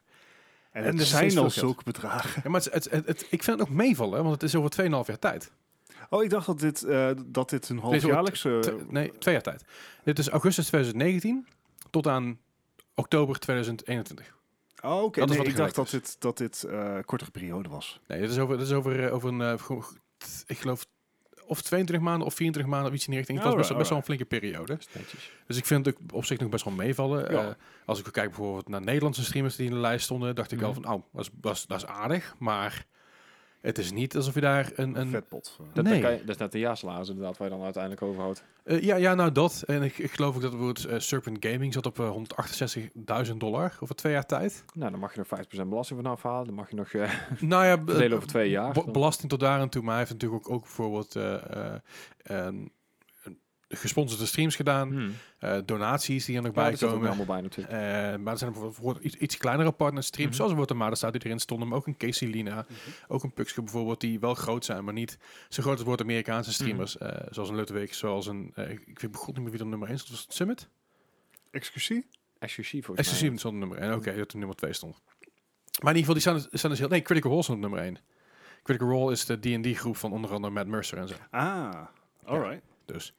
S1: en
S2: en
S1: het
S2: er is steeds
S1: zijn al
S2: veel geld.
S1: zulke bedragen.
S2: Ja, maar het, het, het- het- ik vind het ook meevallen, want het is over 2,5 jaar tijd.
S1: Oh, ik dacht dat dit, eh, dat dit een halfjaarlijkse...
S2: Tw- nee, twee jaar tijd. Dit is augustus 2019 tot aan oktober 2021.
S1: Oh, oké.
S2: Dat is
S1: Nee,
S2: wat
S1: ik dacht dat
S2: gelijk
S1: dit, dat dit eh, kortere periode was.
S2: Nee, dit is over, dit is over, eh, over een, eh, gewoon t- ik geloof, of 22 maanden of 24 maanden of iets in die richting. Het was best,
S1: Alright,
S2: best wel een flinke periode.
S3: Netjes.
S2: Dus ik vind het ook op zich nog best wel meevallen.
S1: Ja.
S2: Eh, als ik kijk bijvoorbeeld naar Nederlandse streamers die in de lijst stonden, dacht ik wel
S3: Mhm.
S2: van, oh, dat is, dat, is, dat is aardig, maar het is niet alsof je daar een...
S1: Een
S2: een
S1: vetpot.
S3: Dat,
S2: Nee.
S3: dat, kan je, dat is net de jaarsalaris inderdaad, waar je dan uiteindelijk overhoudt.
S2: Eh, ja, ja, nou dat. En ik, ik geloof ook dat bijvoorbeeld eh, Serpent Gaming zat op eh, 168.000 dollar over twee jaar tijd.
S3: Nou, dan mag je nog 5% belasting vanaf halen. Dan mag je nog eh
S2: nou ja, b-
S3: verdelen over twee jaar.
S2: Be-
S3: Dan-
S2: belasting tot daar en toe, maar hij heeft natuurlijk ook, ook bijvoorbeeld eh, eh, een- een gesponsorde streams gedaan,
S3: Hmm.
S2: eh, donaties die er nog
S3: Ja,
S2: bij
S3: dat zit ook
S2: komen.
S3: allemaal bij natuurlijk.
S2: Eh, maar er zijn bijvoorbeeld bijvoorbeeld iets, iets kleinere partner streams,
S3: Mhm.
S2: zoals bijvoorbeeld de Madestaat die erin stonden, maar ook een Casey Lina,
S3: Hm.
S2: ook een Puxke bijvoorbeeld, die wel groot zijn, maar niet zo groot als wordt
S3: Hm.
S2: Amerikaanse streamers, eh, zoals een Ludwig, zoals een, eh, ik- ik weet begot niet meer wie er nummer 1 stond, was het Summit?
S1: Excusie?
S3: Exclusief volgens mij.
S2: Exclusief stond op nummer 1. Oké, dat er nummer 2 stond. Maar in ieder geval, die staan, dus- staan dus heel... Nee, Critical Role stond op nummer 1. Critical Role is de D&D-groep van onder andere Matt Mercer en zo.
S1: Ah, alright.
S2: Dus.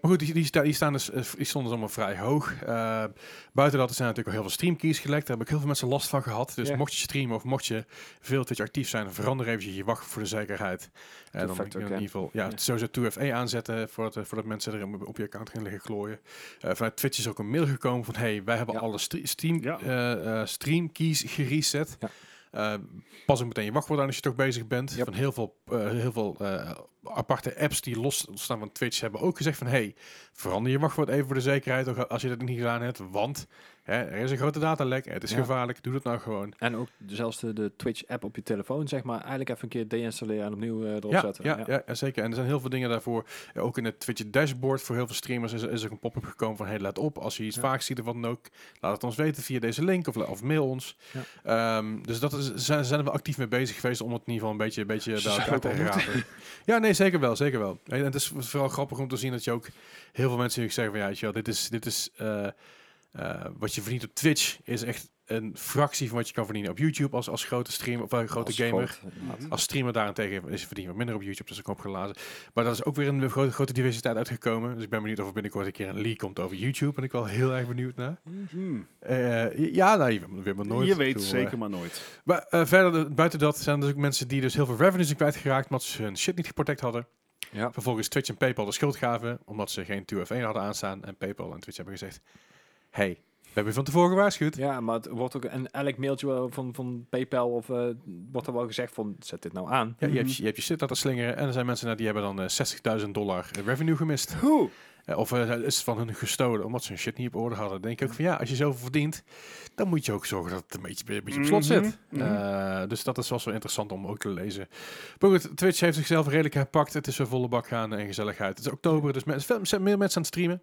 S2: Maar goed, die, die, sta- die, staan dus, eh, die stonden dus allemaal vrij hoog. Eh, buiten dat er zijn natuurlijk al heel veel streamkeys gelekt. Daar heb ik heel veel mensen last van gehad. Dus
S3: Ja.
S2: mocht je streamen of mocht je veel Twitch actief zijn, verander even je wacht voor de zekerheid. En dan
S3: factor
S2: in ieder
S3: again.
S2: geval, ja,
S3: Ja.
S2: sowieso 2FA aanzetten voordat, eh, voordat mensen er op je account gaan liggen klooien. Eh, vanuit Twitch is ook een mail gekomen van, hey, wij hebben
S3: Ja.
S2: alle stre- stream,
S1: Ja.
S2: eh, eh, streamkeys gereset.
S3: Ja.
S2: Eh, pas ook meteen je wachtwoord aan als je toch bezig bent.
S3: Yep.
S2: Van heel veel, eh, heel veel eh, aparte apps die los staan van Twitch hebben ook gezegd van... hey, verander je wachtwoord even voor de zekerheid ook als je dat niet gedaan hebt. Want hè, er is een grote datalek, het is
S3: Ja.
S2: gevaarlijk, doe dat nou gewoon.
S3: En ook zelfs de, de Twitch-app op je telefoon, zeg maar, eigenlijk even een keer deinstalleren en opnieuw eh, erop
S2: Ja,
S3: zetten.
S2: ja, ja. zeker. En er zijn heel veel dingen daarvoor. Eh, Ook in het Twitch dashboard voor heel veel streamers is, is er een pop-up gekomen van... hey, let op, als je iets
S3: Ja.
S2: vaak ziet of wat dan ook... laat het ons weten via deze link of, of mail ons. Ehm, dus daar zijn, zijn we actief mee bezig geweest om het in ieder geval een beetje, een beetje bij elkaar te rapen. Ja, nee, zeker wel, zeker wel. En en het is vooral grappig om te zien dat je ook heel veel mensen die zeggen van ja, weet je wel, dit is, dit is eh, eh, wat je verdient op Twitch is echt een fractie van wat je kan verdienen op YouTube als, als grote streamer of eh, grote
S3: Als
S2: gamer. Mhm.
S3: groot, inderdaad.
S2: Als streamer daarentegen is verdienen wat minder op YouTube, dus ik opgeladen. Maar dat is ook weer een grote, grote diversiteit uitgekomen. Dus ik ben benieuwd of er binnenkort een keer een leak komt over YouTube. Ben ik wel heel erg benieuwd naar.
S1: Hmm.
S2: Eh, ja, nou, je weet- weet maar nooit.
S1: Je
S2: Ik
S1: weet
S2: bedoel, eh,
S1: zeker maar nooit.
S2: maar eh, verder, eh, buiten dat, zijn er dus ook mensen die dus heel veel revenue zijn kwijtgeraakt omdat ze hun shit niet geprotect hadden.
S3: Ja.
S2: Vervolgens Twitch en PayPal de schuld gaven omdat ze geen 2FA hadden aanstaan. En PayPal en Twitch hebben gezegd, hey, we hebben je van tevoren gewaarschuwd.
S3: Ja, maar het wordt ook en elk mailtje wel van, van PayPal of eh, wordt er wel gezegd van zet dit nou aan.
S2: Ja, je,
S1: Mhm.
S2: hebt, je- je hebt je shit laten slingeren en er zijn mensen nou, die hebben dan eh, 60.000 dollar revenue gemist.
S1: Hoe?
S2: Eh, of eh, is van hun gestolen omdat ze hun shit niet op orde hadden. Dan denk ik
S1: Mm.
S2: ook van ja, als je zoveel verdient, dan moet je ook zorgen dat het een beetje, een beetje op slot zit.
S1: Mhm, mhm.
S2: Eh, dus dat is wel zo interessant om ook te lezen. Maar goed, Twitch heeft zichzelf redelijk herpakt. Het is weer volle bak gaan en gezelligheid. Het is oktober, dus men- veel- zijn meer mensen aan het streamen.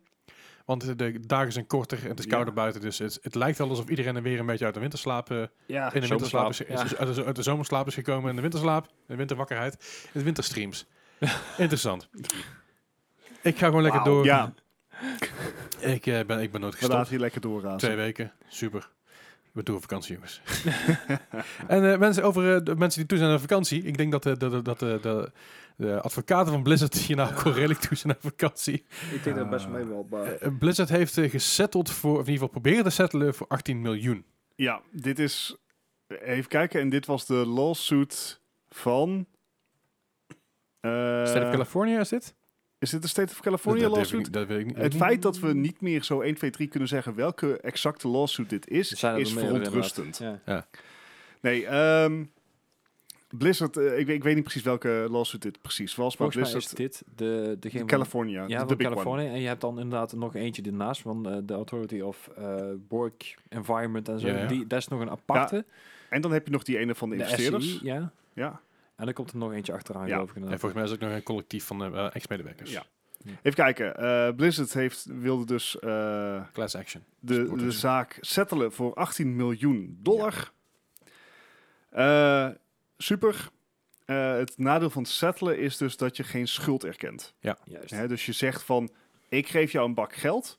S2: Want eh, de dagen zijn korter en het is
S1: Ja.
S2: kouder buiten. Dus het, het lijkt wel alsof iedereen er weer een beetje uit de winterslaap... eh,
S3: Ja,
S2: in de winterslaap is,
S3: ja.
S2: is- is- uit, de, uit de zomerslaap is gekomen. En de winterslaap, de winterwakkerheid, de winterstreams. Interessant. Ik ga gewoon lekker
S3: Wauw.
S2: door.
S1: Ja,
S2: Ik, eh, ben, ik ben nooit
S1: We
S2: gestopt.
S1: laten hier lekker doorrazen.
S2: Twee weken. Super. We doen vakantie, jongens. en eh, mensen, over eh, de mensen die toe zijn aan vakantie. Ik denk dat de, de, dat de, de, de advocaten van Blizzard hier nou ook wel redelijk toe zijn aan vakantie.
S4: Ik denk dat best
S3: Ah.
S4: mee wel. Maar...
S2: Eh, Blizzard heeft eh, gesetteld voor, of in ieder geval proberen te settelen voor 18 miljoen.
S1: Ja, dit is. Even kijken, en dit was de lawsuit van. eh,
S2: State of California is dit?
S1: is dit de State of California
S2: dat, dat durf ik
S1: lawsuit?
S2: niet- dat weet ik niet.
S1: Het feit dat we niet meer zo 1, 2, 3 kunnen zeggen welke exacte lawsuit dit is,
S3: Zijn er
S1: is
S3: meerdere,
S1: verontrustend.
S3: Ja.
S1: Nee, ehm, Blizzard, eh, ik, weet- ik weet niet precies welke lawsuit dit precies was, maar
S3: Volgens mij is
S1: Blizzard,
S3: dit de, degene van-
S1: California,
S3: Ja,
S1: de,
S3: van
S1: big
S3: Californië. En je hebt dan inderdaad nog eentje ernaast van eh, de Authority of eh, Work Environment en zo.
S2: Ja, ja.
S3: Die, dat is nog een aparte.
S1: one. En dan heb je nog die ene van de,
S3: de
S1: investeerders.
S3: SCI, ja.
S1: Ja.
S3: En dan komt er nog eentje achteraan,
S1: Ja.
S3: geloof ik.
S2: En
S3: inderdaad.
S2: volgens mij is het ook nog een collectief van eh, eh, ex-medewerkers.
S1: Ja. Even kijken, eh, Blizzard heeft, wilde dus eh,
S2: Class action.
S1: de, de
S2: Sporters.
S1: zaak settelen voor 18 miljoen dollar. Eh, super. Eh, het nadeel van settelen is dus dat je geen schuld erkent.
S3: Juist.
S1: Hè, dus je zegt van, ik geef jou een bak geld.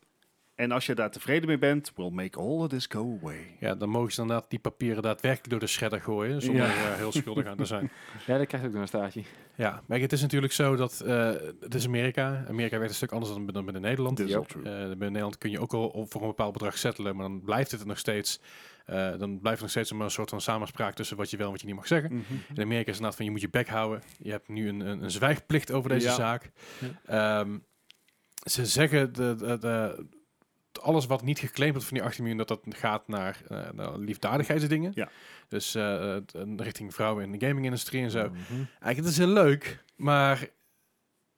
S1: En als je daar tevreden mee bent, we'll make all of this go away.
S2: Ja, dan mogen ze inderdaad die papieren daadwerkelijk door de shredder gooien. Zonder
S1: Ja.
S2: eh, heel schuldig aan te zijn.
S3: Ja, dat krijgt ook nog een staartje.
S2: Ja, maar het is natuurlijk zo dat eh, het is Amerika. Amerika werkt een stuk anders dan, dan binnen Nederland.
S1: This is
S3: Ja.
S1: all true.
S2: Eh, binnen Nederland kun je ook al op- voor een bepaald bedrag settelen, maar dan blijft het er nog steeds. eh, dan blijft er nog steeds maar een soort van samenspraak tussen wat je wel en wat je niet mag zeggen.
S1: Mhm.
S2: In Amerika is het inderdaad van je moet je bek houden. Je hebt nu een, een, een zwijgplicht over deze
S1: Ja.
S2: zaak. Ehm, ze zeggen de, de, de- alles wat niet geclaimd wordt van die 18 miljoen, dat dat gaat naar, eh, naar liefdadigheidsdingen.
S1: Ja.
S2: Dus eh, het- een- richting vrouwen in de gaming-industrie en zo.
S3: Mhm.
S2: Eigenlijk, het is heel leuk, maar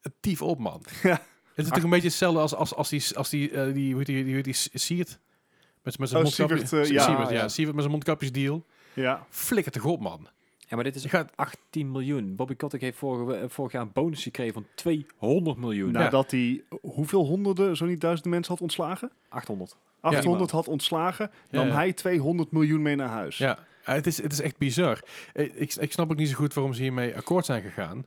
S2: het tief op, man.
S1: Ja.
S2: Het is toch een beetje hetzelfde als, als, als die, als die, eh, die, hoe heet die, die, hoe heet die S- Siert? Met, met zijn
S1: Oh,
S2: mondkapjes.
S1: Sievert, eh, ja.
S2: Sievert,
S3: Ja.
S2: ja. Sievert met zijn mondkapjes deal.
S1: Ja,
S2: Flikker toch op, man.
S3: Ja, maar dit is
S2: Je gaat,
S3: 18 miljoen. Bobby Kotick heeft vorige, we- eh, vorig jaar een bonus gekregen van 200 miljoen.
S2: Nou.
S1: nadat hij hoeveel honderden, zo niet duizenden mensen had ontslagen?
S2: Nou,
S3: 800.
S1: 800 had ontslagen, nam
S2: Ja.
S1: hij 200 miljoen mee naar huis.
S2: ja, eh, het, is, het is echt bizar. Eh, Ik, ik snap ook niet zo goed waarom ze hiermee akkoord zijn gegaan.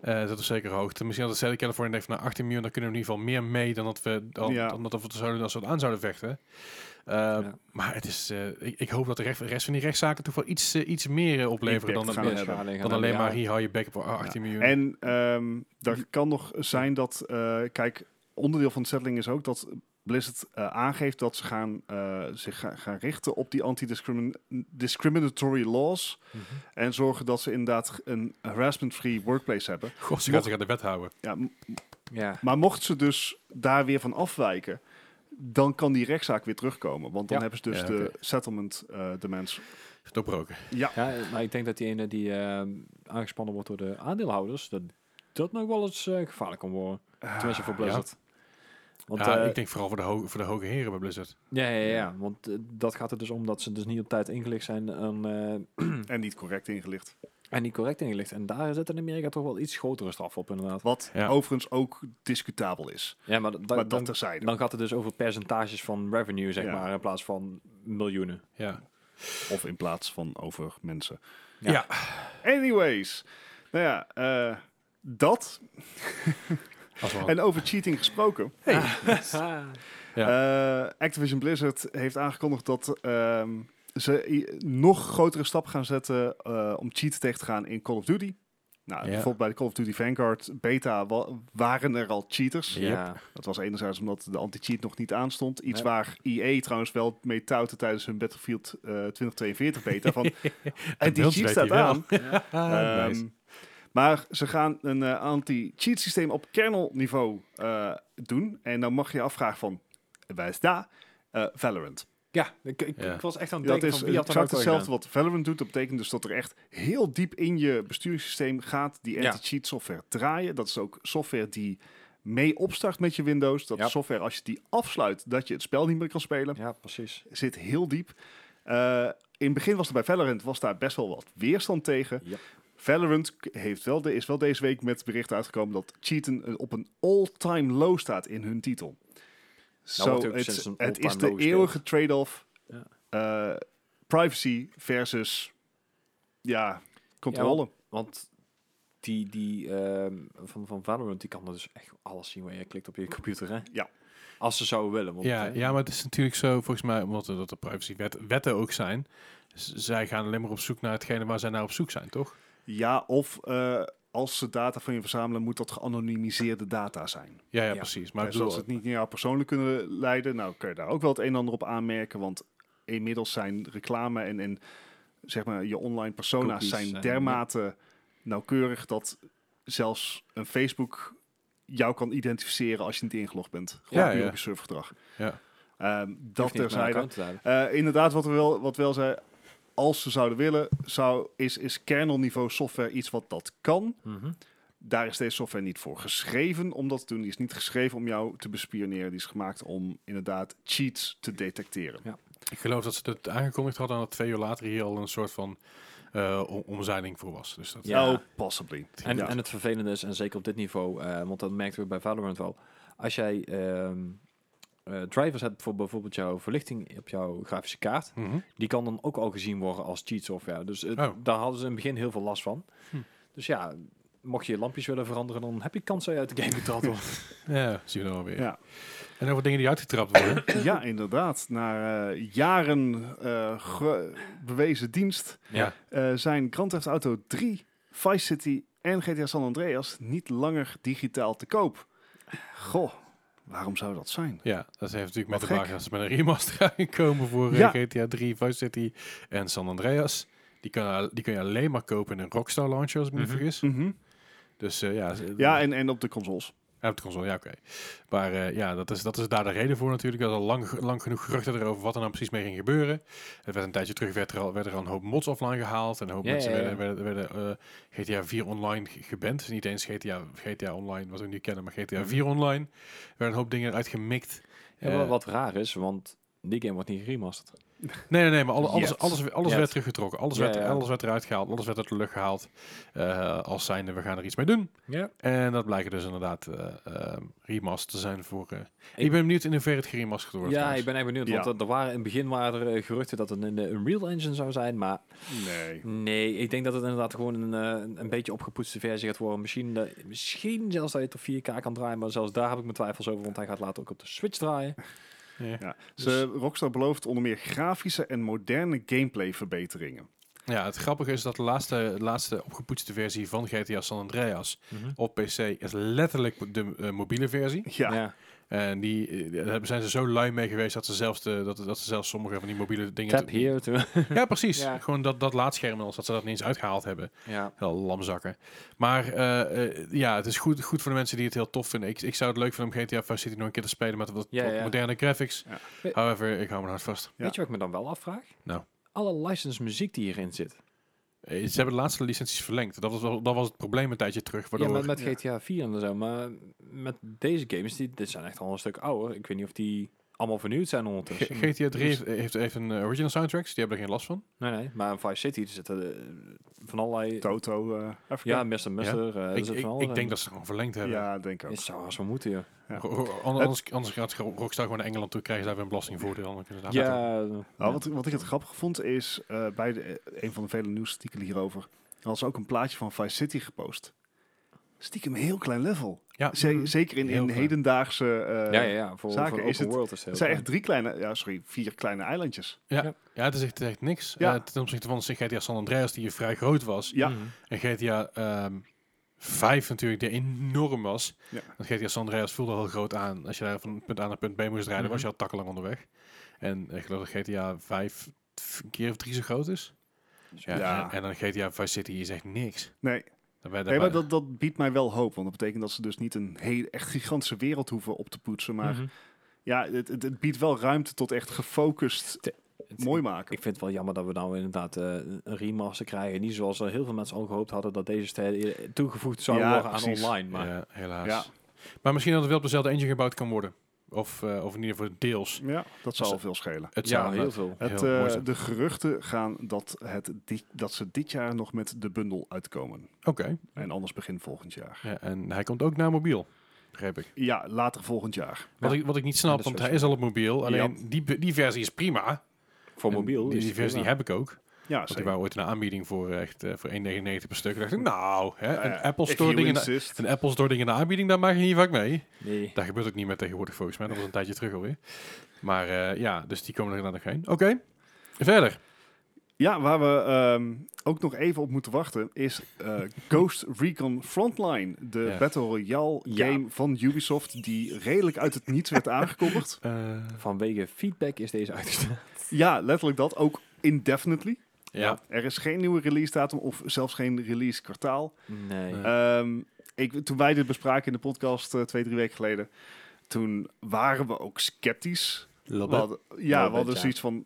S2: Eh dat is zeker hoogte. Misschien had de Stedelijk California denkt van nou, 18 miljoen, daar kunnen we in ieder geval meer mee dan dat we, dan,
S1: Ja.
S2: dan dat we, het zouden, als we het aan zouden vechten. Eh,
S3: Ja.
S2: Maar het is, eh, ik, ik hoop dat de, recht- de rest van die rechtszaken toch wel iets, eh, iets meer eh, opleveren
S1: Impact
S2: dan, dat
S1: gaan
S2: we-
S1: we hebben.
S3: schadeling
S2: Dan
S3: gaan
S2: alleen
S3: we-
S2: maar
S3: ja.
S2: hier hou je bek op 18 miljoen.
S1: En ehm dat kan nog zijn dat, eh, kijk, onderdeel van de settling is ook dat Blizzard eh, aangeeft dat ze gaan, eh, zich ga- gaan richten op die anti-discriminatory laws.
S3: Mhm.
S1: En zorgen dat ze inderdaad een harassment-free workplace hebben.
S2: God, ze gaat zich aan de wet houden.
S1: Ja,
S3: Ja.
S1: Maar mocht ze dus daar weer van afwijken, dan kan die rechtszaak weer terugkomen. Want dan
S3: Ja.
S1: hebben ze dus
S2: Ja,
S1: de
S2: oké.
S1: settlement eh demands.
S2: Doorbroken.
S1: Ja,
S3: ja, maar ik denk dat die ene die ehm, aangespannen wordt door de aandeelhouders, dat dat nog wel eens eh, gevaarlijk kan worden.
S1: Ah.
S3: Tenminste voor Blizzard. Want,
S2: Ah, ja,
S3: eh,
S2: ik denk vooral voor de, ho- voor de hoge heren bij Blizzard.
S3: ja, ja, ja, want eh, dat gaat er dus om dat ze dus niet op tijd ingelicht zijn en, eh,
S1: en niet correct ingelicht.
S3: en niet correct ingelicht. En daar zit in Amerika toch wel iets grotere straf op, inderdaad.
S1: Wat
S2: Ja.
S1: overigens ook discutabel is.
S3: Ja, maar, dat-
S1: maar dat
S3: dan,
S1: terzijde.
S3: dan gaat het dus over percentages van revenue, zeg
S1: Ja.
S3: maar, in plaats van miljoenen.
S2: Ja.
S1: Of in plaats van over mensen.
S3: Ja.
S2: Ja.
S1: Anyways. Nou ja, eh, dat.
S2: Als wel.
S1: En over cheating gesproken. Eh, Activision Blizzard heeft aangekondigd dat ehm, ze i- nog grotere stap gaan zetten eh, om cheats tegen te gaan in Call of Duty. Nou,
S2: Ja.
S1: bijvoorbeeld bij de Call of Duty Vanguard beta wa- waren er al cheaters.
S3: Ja.
S1: Dat was enerzijds omdat de anti-cheat nog niet aanstond. Iets
S3: Ja.
S1: waar EA trouwens wel mee touwte tijdens hun Battlefield eh, 2042 beta. Van, en
S2: bij
S1: die
S2: ons
S1: cheat
S2: weet
S1: staat
S2: hij wel.
S1: aan.
S2: Ah, nice.
S1: Ehm, Maar ze gaan een eh, anti-cheat systeem op kernelniveau eh, doen. En dan mag je je afvragen van, waar is dat? Eh, Valorant.
S3: Ja, ik, ik,
S2: Ja.
S3: ik was echt aan het
S1: Dat
S3: denken
S1: is
S3: van wie had dat
S1: exact
S3: ook al
S1: hetzelfde
S3: gedaan.
S1: wat Valorant doet. Dat betekent dus dat er echt heel diep in je besturingssysteem gaat die
S3: Ja.
S1: anti-cheat software draaien. Dat is ook software die mee opstart met je Windows. Dat
S3: Ja.
S1: is software, als je die afsluit, dat je het spel niet meer kan spelen.
S3: Ja, precies.
S1: Zit heel diep. Eh, in het begin was er bij Valorant was daar best wel wat weerstand tegen.
S3: Ja.
S1: Valorant k- heeft wel de, is wel deze week met bericht uitgekomen dat cheaten eh, op een all-time low staat in hun titel. Zo,
S3: wordt Nou, ook
S1: het,
S3: sinds een
S1: het is
S3: all-time
S1: de
S3: low
S1: eeuwige trade-off
S3: Ja.
S1: eh, privacy versus ja, controle.
S3: Want die, die ehm, van, van Valorant, die kan er dus echt alles zien waar je klikt op je computer, hè?
S1: Ja.
S3: Als ze zouden willen. Want,
S2: Ja,
S3: eh,
S2: ja, maar het is natuurlijk zo, volgens mij, omdat er, dat er privacywetten ook zijn. z- Zij gaan alleen maar op zoek naar hetgene waar zij naar op zoek zijn, toch?
S1: Ja, of eh, als ze data van je verzamelen, moet dat geanonimiseerde data zijn.
S2: Ja, ja,
S3: Ja.
S2: precies. Maar ik
S1: dus als
S2: bedoel,
S1: ze het niet naar jou persoonlijk kunnen leiden, nou kun je daar ook wel het een en ander op aanmerken. Want inmiddels zijn reclame en, en zeg maar je online persona's
S3: Cookies
S1: zijn
S3: en-
S1: dermate nauwkeurig dat zelfs een Facebook jou kan identificeren als je niet ingelogd bent. Gewoon
S2: Ja,
S1: puur
S2: ja.
S1: op je surfgedrag.
S2: eh, ja.
S1: Ehm,
S3: hoeft
S1: dat
S3: niet op mijn
S1: terzijde.
S3: account te duiden.
S1: Eh, inderdaad, wat we wel, wat wel zei, als ze zouden willen, zou, is, is kernelniveau software iets wat dat kan.
S3: Mhm.
S1: Daar is deze software niet voor geschreven om dat te doen. Die is niet geschreven om jou te bespioneren. Die is gemaakt om inderdaad cheats te detecteren.
S2: Ik geloof dat ze het aangekondigd hadden en dat twee uur later hier al een soort van eh om- omzeiling voor was. Dus dat,
S3: Ja.
S1: Oh, possibly.
S3: En,
S1: Ja.
S3: en het vervelende is, en zeker op dit niveau, eh, want dat merkten we bij Valorant wel. Als jij ehm, eh, drivers hebt voor bijvoorbeeld jouw verlichting op jouw grafische kaart,
S2: Mhm.
S3: die kan dan ook al gezien worden als cheat software. Dus het-
S2: Oh.
S3: daar hadden ze in het begin heel veel last van.
S2: Hm.
S3: Dus ja, mocht je je lampjes willen veranderen, dan heb je kans dat je uit de game getrapt wordt.
S2: ja, zien we dan wel weer.
S1: Ja.
S2: En over dingen die uitgetrapt worden.
S1: Ja, inderdaad. Na eh, jaren eh, ge- bewezen dienst
S2: ja.
S1: eh, zijn Grand Theft Auto 3, Vice City en GTA San Andreas niet langer digitaal te koop. Goh, waarom zou dat zijn?
S2: Ja, dat heeft natuurlijk met
S1: Wat
S2: de wagen
S1: gek.
S2: dat ze met een remaster aankomen voor eh,
S1: Ja.
S2: GTA 3, Vice City en San Andreas. Die, kan, al- die kun je alleen maar kopen in een Rockstar launcher, als ik me niet
S3: Mhm.
S2: vergis.
S1: Mhm.
S2: Dus eh, ja, ze-
S1: Ja, en, en op de consoles.
S2: Ja, op de console, ja, oké. Maar eh, ja, dat is, dat is daar de reden voor natuurlijk. Dat er lang, lang genoeg geruchten erover wat er nou precies mee ging gebeuren. Het werd een tijdje terug, werd er al, werd er al een hoop mods offline gehaald. En een hoop
S3: Ja,
S2: mensen
S3: ja, ja.
S2: werden, werden, werden, eh, GTA 4 online ge- geband. Dus niet eens GTA, GTA Online, wat we nu kennen, maar GTA 4 online. Er werden een hoop dingen eruit gemikt.
S3: Mhm. Ja,
S2: Eh,
S3: wat, wat raar is, want die game wordt niet geremasterd.
S2: Nee, nee, nee, maar alle- alles,
S1: Yet.
S2: alles, alles
S3: Yet.
S2: werd teruggetrokken. Alles,
S3: Ja,
S2: werd,
S3: ja.
S2: alles werd eruit gehaald. Alles werd uit de lucht gehaald. eh, als zijnde, we gaan er iets mee doen.
S3: Ja.
S2: En dat blijken dus inderdaad eh ehm, remasters te zijn voor... eh, ik,
S3: Ik-
S2: ben benieuwd in hoeverre het geremasterd wordt.
S3: Ja,
S2: trouwens.
S3: ik ben echt benieuwd,
S1: Ja.
S3: want er- er waren, in het begin waren er eh, geruchten dat het een eh, Unreal Engine zou zijn, maar
S1: Nee.
S3: Nee, ik denk dat het inderdaad gewoon een, eh, een, een beetje opgepoetste versie gaat worden. Misschien, eh, misschien zelfs dat je het op 4K kan draaien, maar zelfs daar heb ik mijn twijfels over, want hij gaat later ook op de Switch draaien.
S2: Ja.
S1: Ja.
S3: Dus-
S1: Ze, Rockstar belooft onder meer grafische en moderne gameplay verbeteringen.
S2: Ja, het grappige is dat de laatste, laatste opgepoetste versie van GTA San Andreas op PC is letterlijk de eh, mobiele versie.
S1: Ja,
S2: En die eh, daar zijn ze zo lui mee geweest dat ze zelfs, de, dat, dat ze zelfs sommige van die mobiele dingen...
S3: Tap hier. to-
S2: Ja, precies.
S3: Ja.
S2: Gewoon dat, dat laadscherm als dat ze dat niet eens uitgehaald hebben.
S3: ja.
S2: Wel lamzakken. Maar eh, eh, ja, het is goed, goed voor de mensen die het heel tof vinden. Ik, ik zou het leuk vinden om GTA Vice City nog een keer te spelen met wat,
S3: Ja,
S2: wat
S3: ja.
S2: moderne graphics.
S1: Ja.
S2: However, ik hou me hard vast.
S1: Ja.
S3: Weet je wat ik me dan wel afvraag?
S2: Nou.
S3: Alle licensed muziek die hierin zit.
S2: Eh, Ze hebben de laatste licenties verlengd. Dat was, wel- dat was het probleem een tijdje terug. Waardoor,
S3: Ja, met, met
S1: Ja.
S3: GTA 4 en zo, maar met deze games, die, dit zijn echt al een stuk ouder. Ik weet niet of die allemaal vernieuwd zijn
S2: G-
S3: ondertussen.
S2: GTA 3 heeft, heeft, heeft een eh, original soundtracks. Die hebben er geen last van.
S3: Nee, nee, maar in Vice City er zitten eh, van allerlei...
S1: Toto. eh Africa.
S3: Ja, Mr. Mister. eh, er
S2: ik
S3: zit
S2: ik,
S3: van
S2: ik
S3: alles in.
S2: denk dat ze het gewoon verlengd hebben.
S1: ja, denk ik ook.
S3: Het zou als we moeten, joh.
S1: Ja.
S2: Ro- ro- Anders, anders gaat Rockstar gewoon naar Engeland toe. Krijgen ze daar weer een belastingvoordeel. Dan kunnen ze daar naartoe.
S3: Ja,
S1: Nou, wat, wat ik het grappig vond is, eh, bij de, eh, een van de vele nieuwsartikelen hierover, er was ook een plaatje van Vice City gepost. Stiekem een heel klein level.
S2: Ja.
S1: Ze- zeker in,
S2: Heel
S1: in
S2: klein.
S1: hedendaagse... eh,
S3: Mm-hmm. ja, ja, ja, voor,
S1: zaken
S3: voor open
S1: is het-
S3: world is het heel
S1: Het zijn echt
S3: klein.
S1: drie kleine, ja, sorry, vier kleine eilandjes.
S2: Ja, het is echt, echt niks.
S1: Ja.
S2: Eh, ten opzichte van GTA San Andreas, die vrij groot was.
S1: Ja.
S3: Mhm.
S2: En GTA ehm 5 natuurlijk, die enorm was.
S1: Ja.
S2: Want GTA San Andreas voelde heel groot aan. Als je daar van punt A naar punt B moest rijden,
S3: Mhm.
S2: was je al takkenlang onderweg. En ik geloof dat GTA 5 een keer of drie zo groot is. Ja.
S1: dus Ja.
S2: En dan GTA 5 City is echt niks.
S1: Nee,
S2: Dan ben je
S1: nee maar
S2: daarbij-
S1: dat, dat biedt mij wel hoop. Want dat betekent dat ze dus niet een hele, echt gigantische wereld hoeven op te poetsen. Maar
S3: Mhm.
S1: ja, het, het, het biedt wel ruimte tot echt gefocust
S3: Te- het-
S1: mooi maken.
S3: Ik vind het wel jammer dat we nou inderdaad eh, een remaster krijgen. Niet zoals er heel veel mensen al gehoopt hadden dat deze stijl toegevoegd zou
S1: Ja,
S3: worden
S1: precies.
S3: aan online. Maar
S2: Ja, helaas.
S1: Ja.
S2: Maar misschien dat het wel op dezelfde engine gebouwd kan worden. Of, eh, of in ieder geval deels.
S1: Ja, dat zal
S2: Dus-
S1: al veel schelen.
S2: Het
S3: ja,
S2: zou
S3: heel veel.
S1: Het,
S2: heel mooi
S1: eh,
S2: zijn.
S1: de geruchten gaan dat, het di- dat ze dit jaar nog met de bundel uitkomen.
S2: Oké.
S1: En anders begin volgend jaar.
S2: Ja, en hij komt ook naar mobiel, begreep ik.
S1: Ja, later volgend jaar.
S2: Wat,
S3: Ja.
S2: ik, wat ik niet
S3: Ja,
S2: snap,
S3: dat is
S2: want
S3: wel
S2: hij is al op mobiel. Alleen die, die versie is prima.
S3: Voor
S2: En
S3: mobiel
S2: Die,
S3: is
S2: die
S3: het
S2: versie
S3: prima.
S2: heb ik ook.
S1: Ja,
S2: Want die
S1: zeker.
S2: waren ooit in een aanbieding voor, echt, eh, voor 1,99 per stuk. dacht ik, nou, hè,
S1: Nou ja,
S2: een Apple
S1: if
S2: Store
S1: you
S2: ding in de-
S1: insist.
S2: een Apple Store ding in de aanbieding, daar maak je niet vaak mee.
S3: Nee.
S2: Daar gebeurt ook niet meer tegenwoordig volgens mij. Dat was een tijdje terug alweer. Maar eh, ja, dus die komen er dan nog heen. Oké, verder.
S1: Ja, waar we ehm, ook nog even op moeten wachten is eh, Ghost Recon Frontline, de
S2: Ja.
S1: Battle Royale
S3: Ja.
S1: game van Ubisoft, die redelijk uit het niets werd aangekondigd.
S2: Eh,
S3: Vanwege feedback is deze uitgesteld.
S1: Ja, letterlijk dat, ook indefinitely.
S2: ja.
S1: Er is geen nieuwe release datum of zelfs geen release kwartaal.
S3: Nee.
S2: Nee.
S1: Ehm, ik, toen wij dit bespraken in de podcast eh, twee, drie weken geleden, toen waren we ook sceptisch.
S2: Little
S1: We
S2: bit.
S1: hadden- ja,
S3: bit,
S1: we hadden
S3: ja.
S1: zoiets van,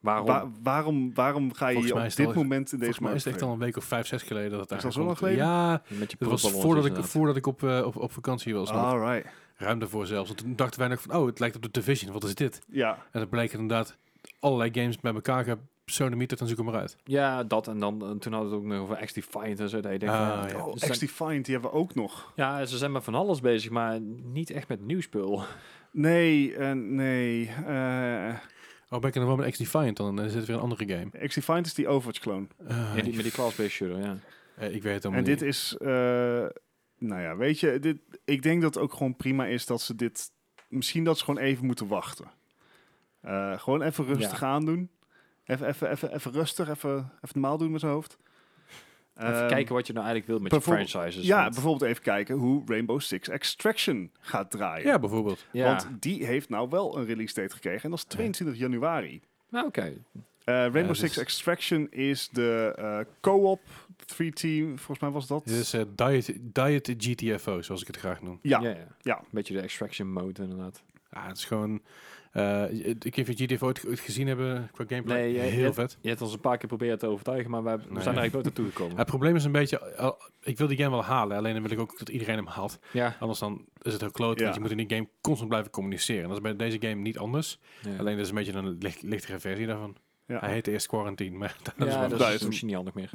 S3: Waarom?
S1: wa- waarom, waarom ga je
S2: Volgens
S1: je
S2: mij
S1: op
S2: is het
S1: dit
S2: al-
S1: moment in
S2: Volgens
S1: deze
S2: mij
S1: markt
S2: is het echt al een week of vijf, zes geleden dat
S1: Is
S2: het
S1: dat zo lang
S2: aangekondigd werd. Ja,
S3: Met je
S2: het was
S3: proefballons
S2: voordat
S1: dus
S2: ik,
S3: inderdaad.
S2: voordat ik op, eh, op, op vakantie was. nog.
S1: All right.
S2: Ruim daarvoor zelfs. En toen dachten wij nog van, oh, het lijkt op de Division. Wat is dit?
S1: Ja,
S2: En dat bleek inderdaad allerlei games bij elkaar gepsonemieterd en zoek hem maar uit.
S3: Ja, dat en dan. en toen hadden we het ook nog over X-Defiant en zo. Dat je denkt,
S2: Ah,
S3: van,
S2: ja.
S3: oh,
S1: oh,
S3: ze zijn-
S1: X-Defiant, die hebben we ook nog.
S3: ja, ze zijn met van alles bezig, maar niet echt met nieuw spul.
S1: Ah, Nee, eh, nee. eh
S2: Oh, ben ik er nog wel met X-Defiant dan? Dan is het weer een andere game.
S1: X-Defiant is die Overwatch-clone.
S2: Ah,
S3: Met die, met die class-based shooter, ja.
S2: eh, ik weet het allemaal
S1: En
S2: niet.
S1: dit is... eh, nou ja, weet je, dit, ik denk dat het ook gewoon prima is dat ze dit... Misschien dat ze gewoon even moeten wachten. Eh, gewoon even rustig aandoen. Even, even, even, even rustig, even, even normaal doen met zijn hoofd.
S3: Even
S1: Ehm,
S3: kijken wat dus je nou eigenlijk wilt met je
S1: bijvoorbeeld-
S3: franchises.
S1: Ja,
S3: want-
S1: bijvoorbeeld even kijken hoe Rainbow Six Extraction gaat draaien.
S2: Ja, bijvoorbeeld.
S3: ja.
S1: Want die heeft nou wel een release date gekregen. En dat is 22 januari.
S3: Nou, oké.
S1: Eh, Rainbow
S2: dus-
S1: Six Extraction is de eh, co-op, three team, volgens mij was dat.
S2: Dit
S3: Dus-
S2: is eh, diet, diet GTFO, zoals ik het graag noem.
S1: Ja,
S3: Ja, ja.
S1: ja.
S3: Een beetje de extraction mode, inderdaad.
S2: Ah, het is gewoon... eh, ik weet niet of je GTFO ooit ooit gezien hebben qua gameplay.
S3: Nee, eh,
S2: Heel
S3: het-
S2: vet.
S3: Je hebt ons een paar keer proberen te overtuigen, maar wij, we
S2: Nee.
S3: zijn er eigenlijk nooit naartoe gekomen.
S2: Het probleem is een beetje... eh, ik wil die game wel halen, alleen dan wil ik ook dat iedereen hem haalt.
S3: ja.
S2: Anders dan is het heel kloot,
S1: Ja.
S2: want je moet in die game constant blijven communiceren. Dat is bij deze game niet anders.
S3: ja.
S2: Alleen dit is een beetje een licht, lichtere versie daarvan.
S1: Ja.
S2: Hij heette eerst Quarantine, maar dat is
S3: Ja, dus
S2: wel
S3: dat
S1: Duizend.
S3: is misschien niet handig meer.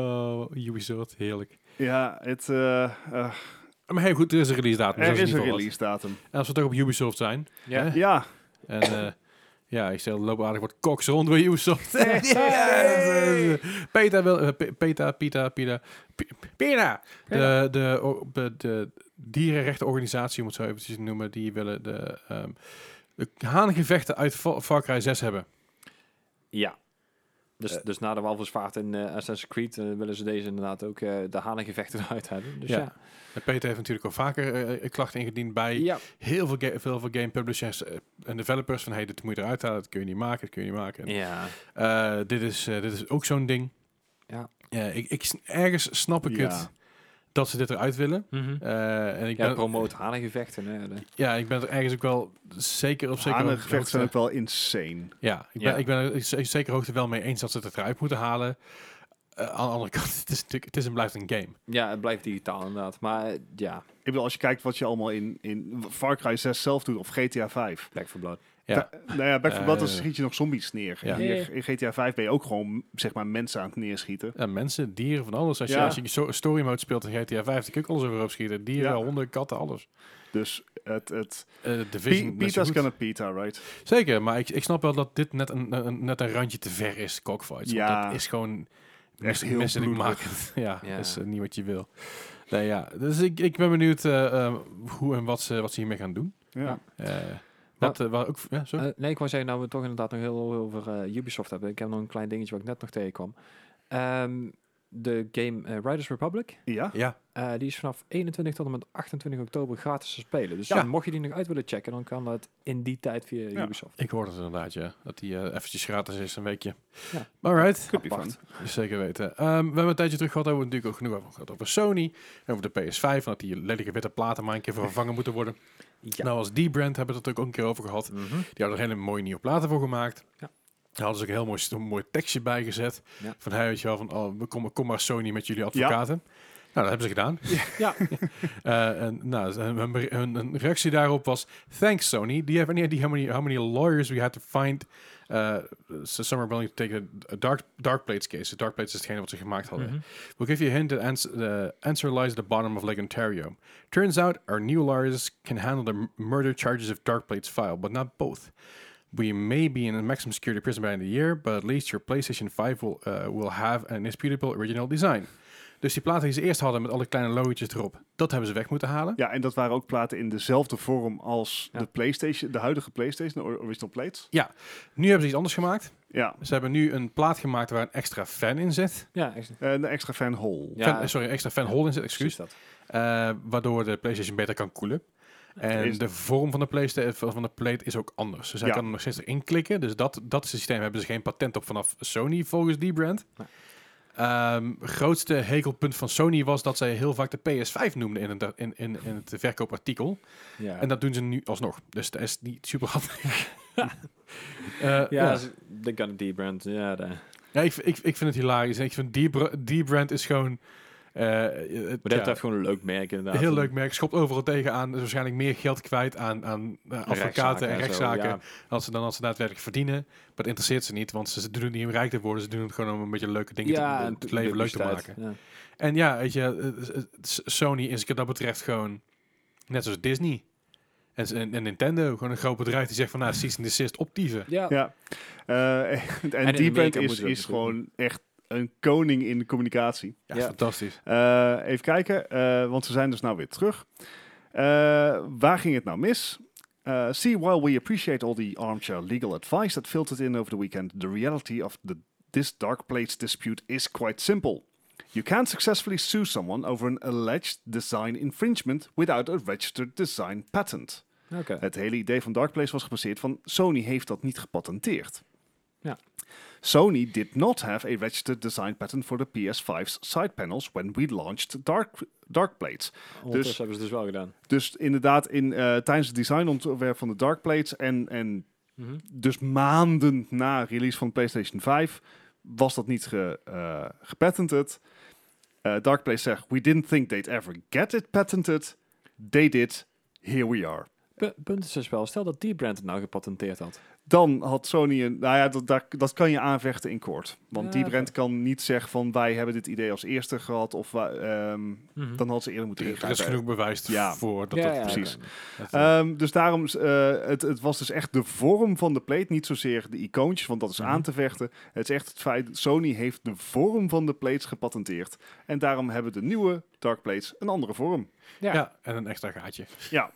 S2: Oh, Ubisoft, heerlijk.
S1: ja het, eh, eh,
S2: Maar heel goed, er is een release datum. dus
S1: er
S2: dat
S1: is
S2: in
S1: een
S2: ieder geval
S1: release datum.
S2: wat. En als we toch op Ubisoft zijn.
S3: Ja.
S2: hè?
S1: Ja,
S2: En eh, ja, ik stel loop aardig wat koks rond bij Ubisoft. Peta wil... eh, Pe- Peta, Pita, Pita. Pi- Pina! De, de, o- de, de dierenrechtenorganisatie, om het zo eventjes te noemen, die willen de, ehm de haangevechten uit Fa- Far Cry 6 hebben.
S3: Ja. Dus,
S1: Eh.
S3: dus na de walvisvaart in eh, Assassin's Creed eh, willen ze deze inderdaad ook eh, de hanengevechten eruit hebben. Dus
S2: Ja.
S3: ja.
S2: En Peter heeft natuurlijk al vaker eh, klachten ingediend bij
S3: Ja.
S2: heel veel, ga- veel, veel game publishers eh, en developers van hey, dit moet je eruit halen, dat kun je niet maken, dat kun je niet maken.
S3: Ja.
S2: Eh, dit, is, eh, dit is ook zo'n ding.
S3: Ja.
S2: ik, ik, s- ergens snap ik
S1: Ja.
S2: het dat ze dit eruit willen. Eh, en ik
S3: Ja,
S2: ben,
S3: promoot hanengevechten. Hè. de-
S2: ja, ik ben er ergens ook wel zeker op zeker
S1: hanengevechten zijn ook wel insane.
S2: Ja, ik ben,
S3: Ja.
S2: Ik ben er z- zeker hoogte wel mee eens dat ze het eruit moeten halen. Eh, aan de andere kant, het is natuurlijk, het is en blijft een game.
S3: Ja, het blijft digitaal inderdaad. Maar eh, ja,
S1: Ik bedoel, als je kijkt wat je allemaal in, in Far Cry 6 zelf doet, of GTA 5.
S3: Black for Blood.
S2: Ja.
S1: nou ja, Back 4 Blood, dan
S2: Eh.
S1: schiet je nog zombies neer.
S2: Ja.
S1: Hier, in GTA 5 ben je ook gewoon, zeg maar, mensen aan het neerschieten.
S2: Ja, mensen, dieren, van alles. Als je,
S1: Ja.
S2: als je so- story mode speelt in GTA 5, dan kun je ook alles over opschieten. Dieren,
S1: Ja.
S2: honden, katten, alles.
S1: Dus het... het
S2: Eh
S1: Pi-
S2: Division, net zo
S1: Pita's
S2: goed.
S1: gonna pita, right?
S2: Zeker, maar ik, ik snap wel dat dit net een, een, net een randje te ver is, cockfights. want
S1: Ja.
S2: Dat is gewoon
S1: Echt heel
S2: misselijk
S1: bloedig.
S2: maken. ja,
S3: Ja.
S2: dat is eh, niet wat je wil. Nee, ja. Dus ik, ik ben benieuwd eh, eh, hoe en wat ze, wat ze hiermee gaan doen.
S1: Ja.
S2: Eh,
S3: Nou.
S2: wat, eh, waar ook, ja, sorry.
S3: Eh, nee, ik wou zeggen, nou we het toch inderdaad nog heel veel over eh, Ubisoft hebben. Ik heb nog een klein dingetje wat ik net nog tegenkwam. Ehm, de game eh, Riders Republic,
S1: Ja?
S2: ja,
S3: eh, die is vanaf 21 tot en met 28 oktober gratis te spelen. Dus
S2: Ja.
S3: mocht je die nog uit willen checken, dan kan dat in die tijd via
S1: Ja.
S3: Ubisoft.
S2: ik hoorde het inderdaad, ja. Dat die eh, eventjes gratis is, een weekje.
S3: Ja.
S2: Alright.
S1: Could be
S3: Apart.
S1: fun.
S2: Zeker weten. Ehm, we hebben een tijdje terug gehad, hebben we natuurlijk ook genoeg over gehad over Sony. En over de PS5, dat die lelijke witte platen maar een keer vervangen moeten worden.
S3: Ja.
S2: Nou, als die brand hebben we het natuurlijk ook een keer over gehad.
S3: Mhm.
S2: Die hadden er hele mooie nieuwe platen voor gemaakt.
S3: Ja.
S2: Daar hadden ze ook een heel mooi, een mooi tekstje bij gezet.
S3: Ja.
S2: Van, hey, weet je wel, van, oh, we komen- kom maar Sony met jullie advocaten. Nou, dat hebben ze gedaan.
S3: Ja.
S2: Eh, en nou, ze- hun, hun- hun- hun reactie daarop was... Thanks, Sony. Do you have any idea how many, how many lawyers we had to find... Uh, some are willing to take a dark, dark Plates case. Dark Plates is hetgene wat ze gemaakt hadden. We'll give you a hint that ans- the answer lies at the bottom of Lake Ontario. Turns out our new lawyers can handle the m- murder charges of Dark Plate's file, but not both. We may be in a maximum security prison by the end of the year, but at least your PlayStation 5 will, eh, will have an indisputable original design. Dus die platen die ze eerst hadden met alle kleine logo's erop, dat hebben ze weg moeten halen.
S1: Ja, en dat waren ook platen in dezelfde vorm als
S3: Ja.
S1: de PlayStation, de huidige PlayStation, de or- original plates.
S2: Nu hebben ze iets anders gemaakt.
S1: Ja,
S2: Ze hebben nu een plaat gemaakt waar een extra fan in zit.
S3: Ja, echt.
S1: en een extra fan hole.
S3: Ja,
S2: Fan- eh, sorry, een extra fan hole in zit, excuus.
S3: precies dat.
S2: Eh, waardoor de PlayStation beter kan koelen. En
S1: Is-
S2: de vorm van de, PlayStation, van de plate is ook anders. Dus hij
S1: Ja.
S2: kan er nog steeds in klikken. Dus dat, dat systeem hebben ze geen patent op vanaf Sony, volgens die brand.
S3: Nee.
S2: Ehm, grootste hekelpunt van Sony was dat zij heel vaak de PS5 noemden in het, in, in, in het verkoopartikel.
S3: Ja,
S2: En dat doen ze nu alsnog. Dus dat is niet super handig. Eh,
S3: ja, dus- ze- de Gun D brand. Ja, de, maar
S2: ja, ik, ik, ik vind het hilarisch. En ik vind die, br- die brand is gewoon... eh, het,
S3: dat
S2: ja,
S3: heeft gewoon een leuk merk inderdaad.
S2: heel leuk merk. Schopt overal tegenaan. Is waarschijnlijk meer geld kwijt aan, aan eh, advocaten en rechtszaken.
S3: Ja,
S2: Als ze dan als ze daadwerkelijk verdienen. Maar dat interesseert ze niet. Want ze, ze doen het niet om rijk te worden. Ze doen het gewoon om een beetje leuke dingen te, om
S3: en
S2: het leven leuk te
S3: publiciteit,
S2: maken.
S3: Ja.
S2: En ja, weet je. eh, eh, S- Sony is wat dat betreft gewoon net zoals Disney. En, s- en, en Nintendo. Gewoon een groot bedrijf die zegt van nou, cease and desist optieven.
S3: Ja.
S1: Ja. Eh, en, die
S3: in
S1: band
S3: Amerika
S1: is,
S3: moeten we
S1: is
S3: dat natuurlijk
S1: gewoon echt een koning in de communicatie.
S2: Ja,
S3: Ja.
S2: fantastisch.
S1: Eh, even kijken, eh, want ze zijn dus nou weer terug. Eh, waar ging het nou mis? Eh, see, while we appreciate all the armchair legal advice that filtered in over the weekend, the reality of the, this dark plates dispute is quite simple. You can't successfully sue someone over an alleged design infringement without a registered design patent.
S3: Oké.
S2: Dus-
S1: Het hele idee van Dark Place was gebaseerd van Sony heeft dat niet gepatenteerd.
S3: Ja.
S1: Sony did not have a registered design patent for the PS5's side panels when we launched Dark, Dark Plates.
S3: Ondertussen hebben ze het dus wel gedaan.
S1: Dus inderdaad, in, eh, tijdens het designontwerp van de Dark Plates en, en
S3: Mhm.
S1: dus maanden na release van PlayStation 5 was dat niet ge, eh, gepatented. Eh Dark Place zegt, we didn't think they'd ever get it patented. They did. Here we are.
S3: P- punt is dus wel, stel dat die brand het nou gepatenteerd had.
S1: Dan had Sony een. Nou ja, dat, daar- dat kan je aanvechten in kort. Want
S3: Ja,
S1: die
S3: oké.
S1: brand kan niet zeggen van wij hebben dit idee als eerste gehad. Of wa- ehm, dan had ze eerder moeten
S2: Er is
S1: ingrijpen.
S2: genoeg bewijs
S1: Ja.
S2: voor dat
S3: Ja,
S2: dat
S3: ja,
S1: precies.
S3: oké.
S2: dat-
S1: Ehm, dus daarom, eh, het, het was dus echt de vorm van de plate, niet zozeer de icoontjes, want dat is
S2: Mhm.
S1: aan te vechten. Het is echt het feit, Sony heeft de vorm van de plates gepatenteerd. En daarom hebben de nieuwe Dark Plates een andere vorm.
S3: Ja.
S2: ja. en een extra gaatje.
S1: Ja.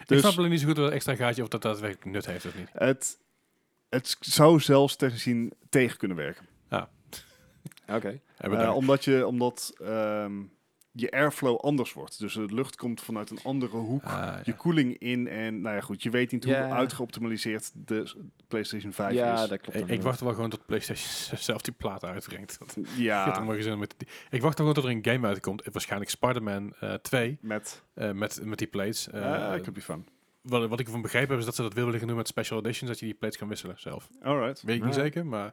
S2: ik
S1: Dus- Eh,
S2: snap alleen niet zo goed wat een extra gaatje of dat daadwerkelijk nut heeft of niet.
S1: Het, het zou zelfs technisch gezien tegen kunnen werken.
S3: Oké.
S2: Hebben we
S1: Eh,
S2: daar-
S1: omdat je, omdat ehm, je airflow anders wordt. Dus de lucht komt vanuit een andere hoek.
S2: Ah,
S1: Je koeling in en, nou ja, goed. Je weet niet hoe
S3: Ja.
S1: uitgeoptimaliseerd de s- PlayStation 5
S3: Ja,
S1: is.
S3: dat klopt.
S2: Ik, ik
S3: inderdaad.
S2: wacht er wel gewoon tot PlayStation zelf die plaat uitbrengt. Dat gaat
S1: Ja,
S2: allemaal gezin met die- Ik wacht er gewoon tot er een game uitkomt. eh, Waarschijnlijk Spider-Man eh, 2
S1: met...
S2: eh, met, met die plates. Eh,
S1: eh ik heb die van.
S2: wat, wat ik van begrepen heb is dat ze dat willen willen doen met special editions. Dat je die plates kan wisselen zelf.
S1: Alright.
S2: Weet ik
S3: Ah.
S2: niet zeker, maar...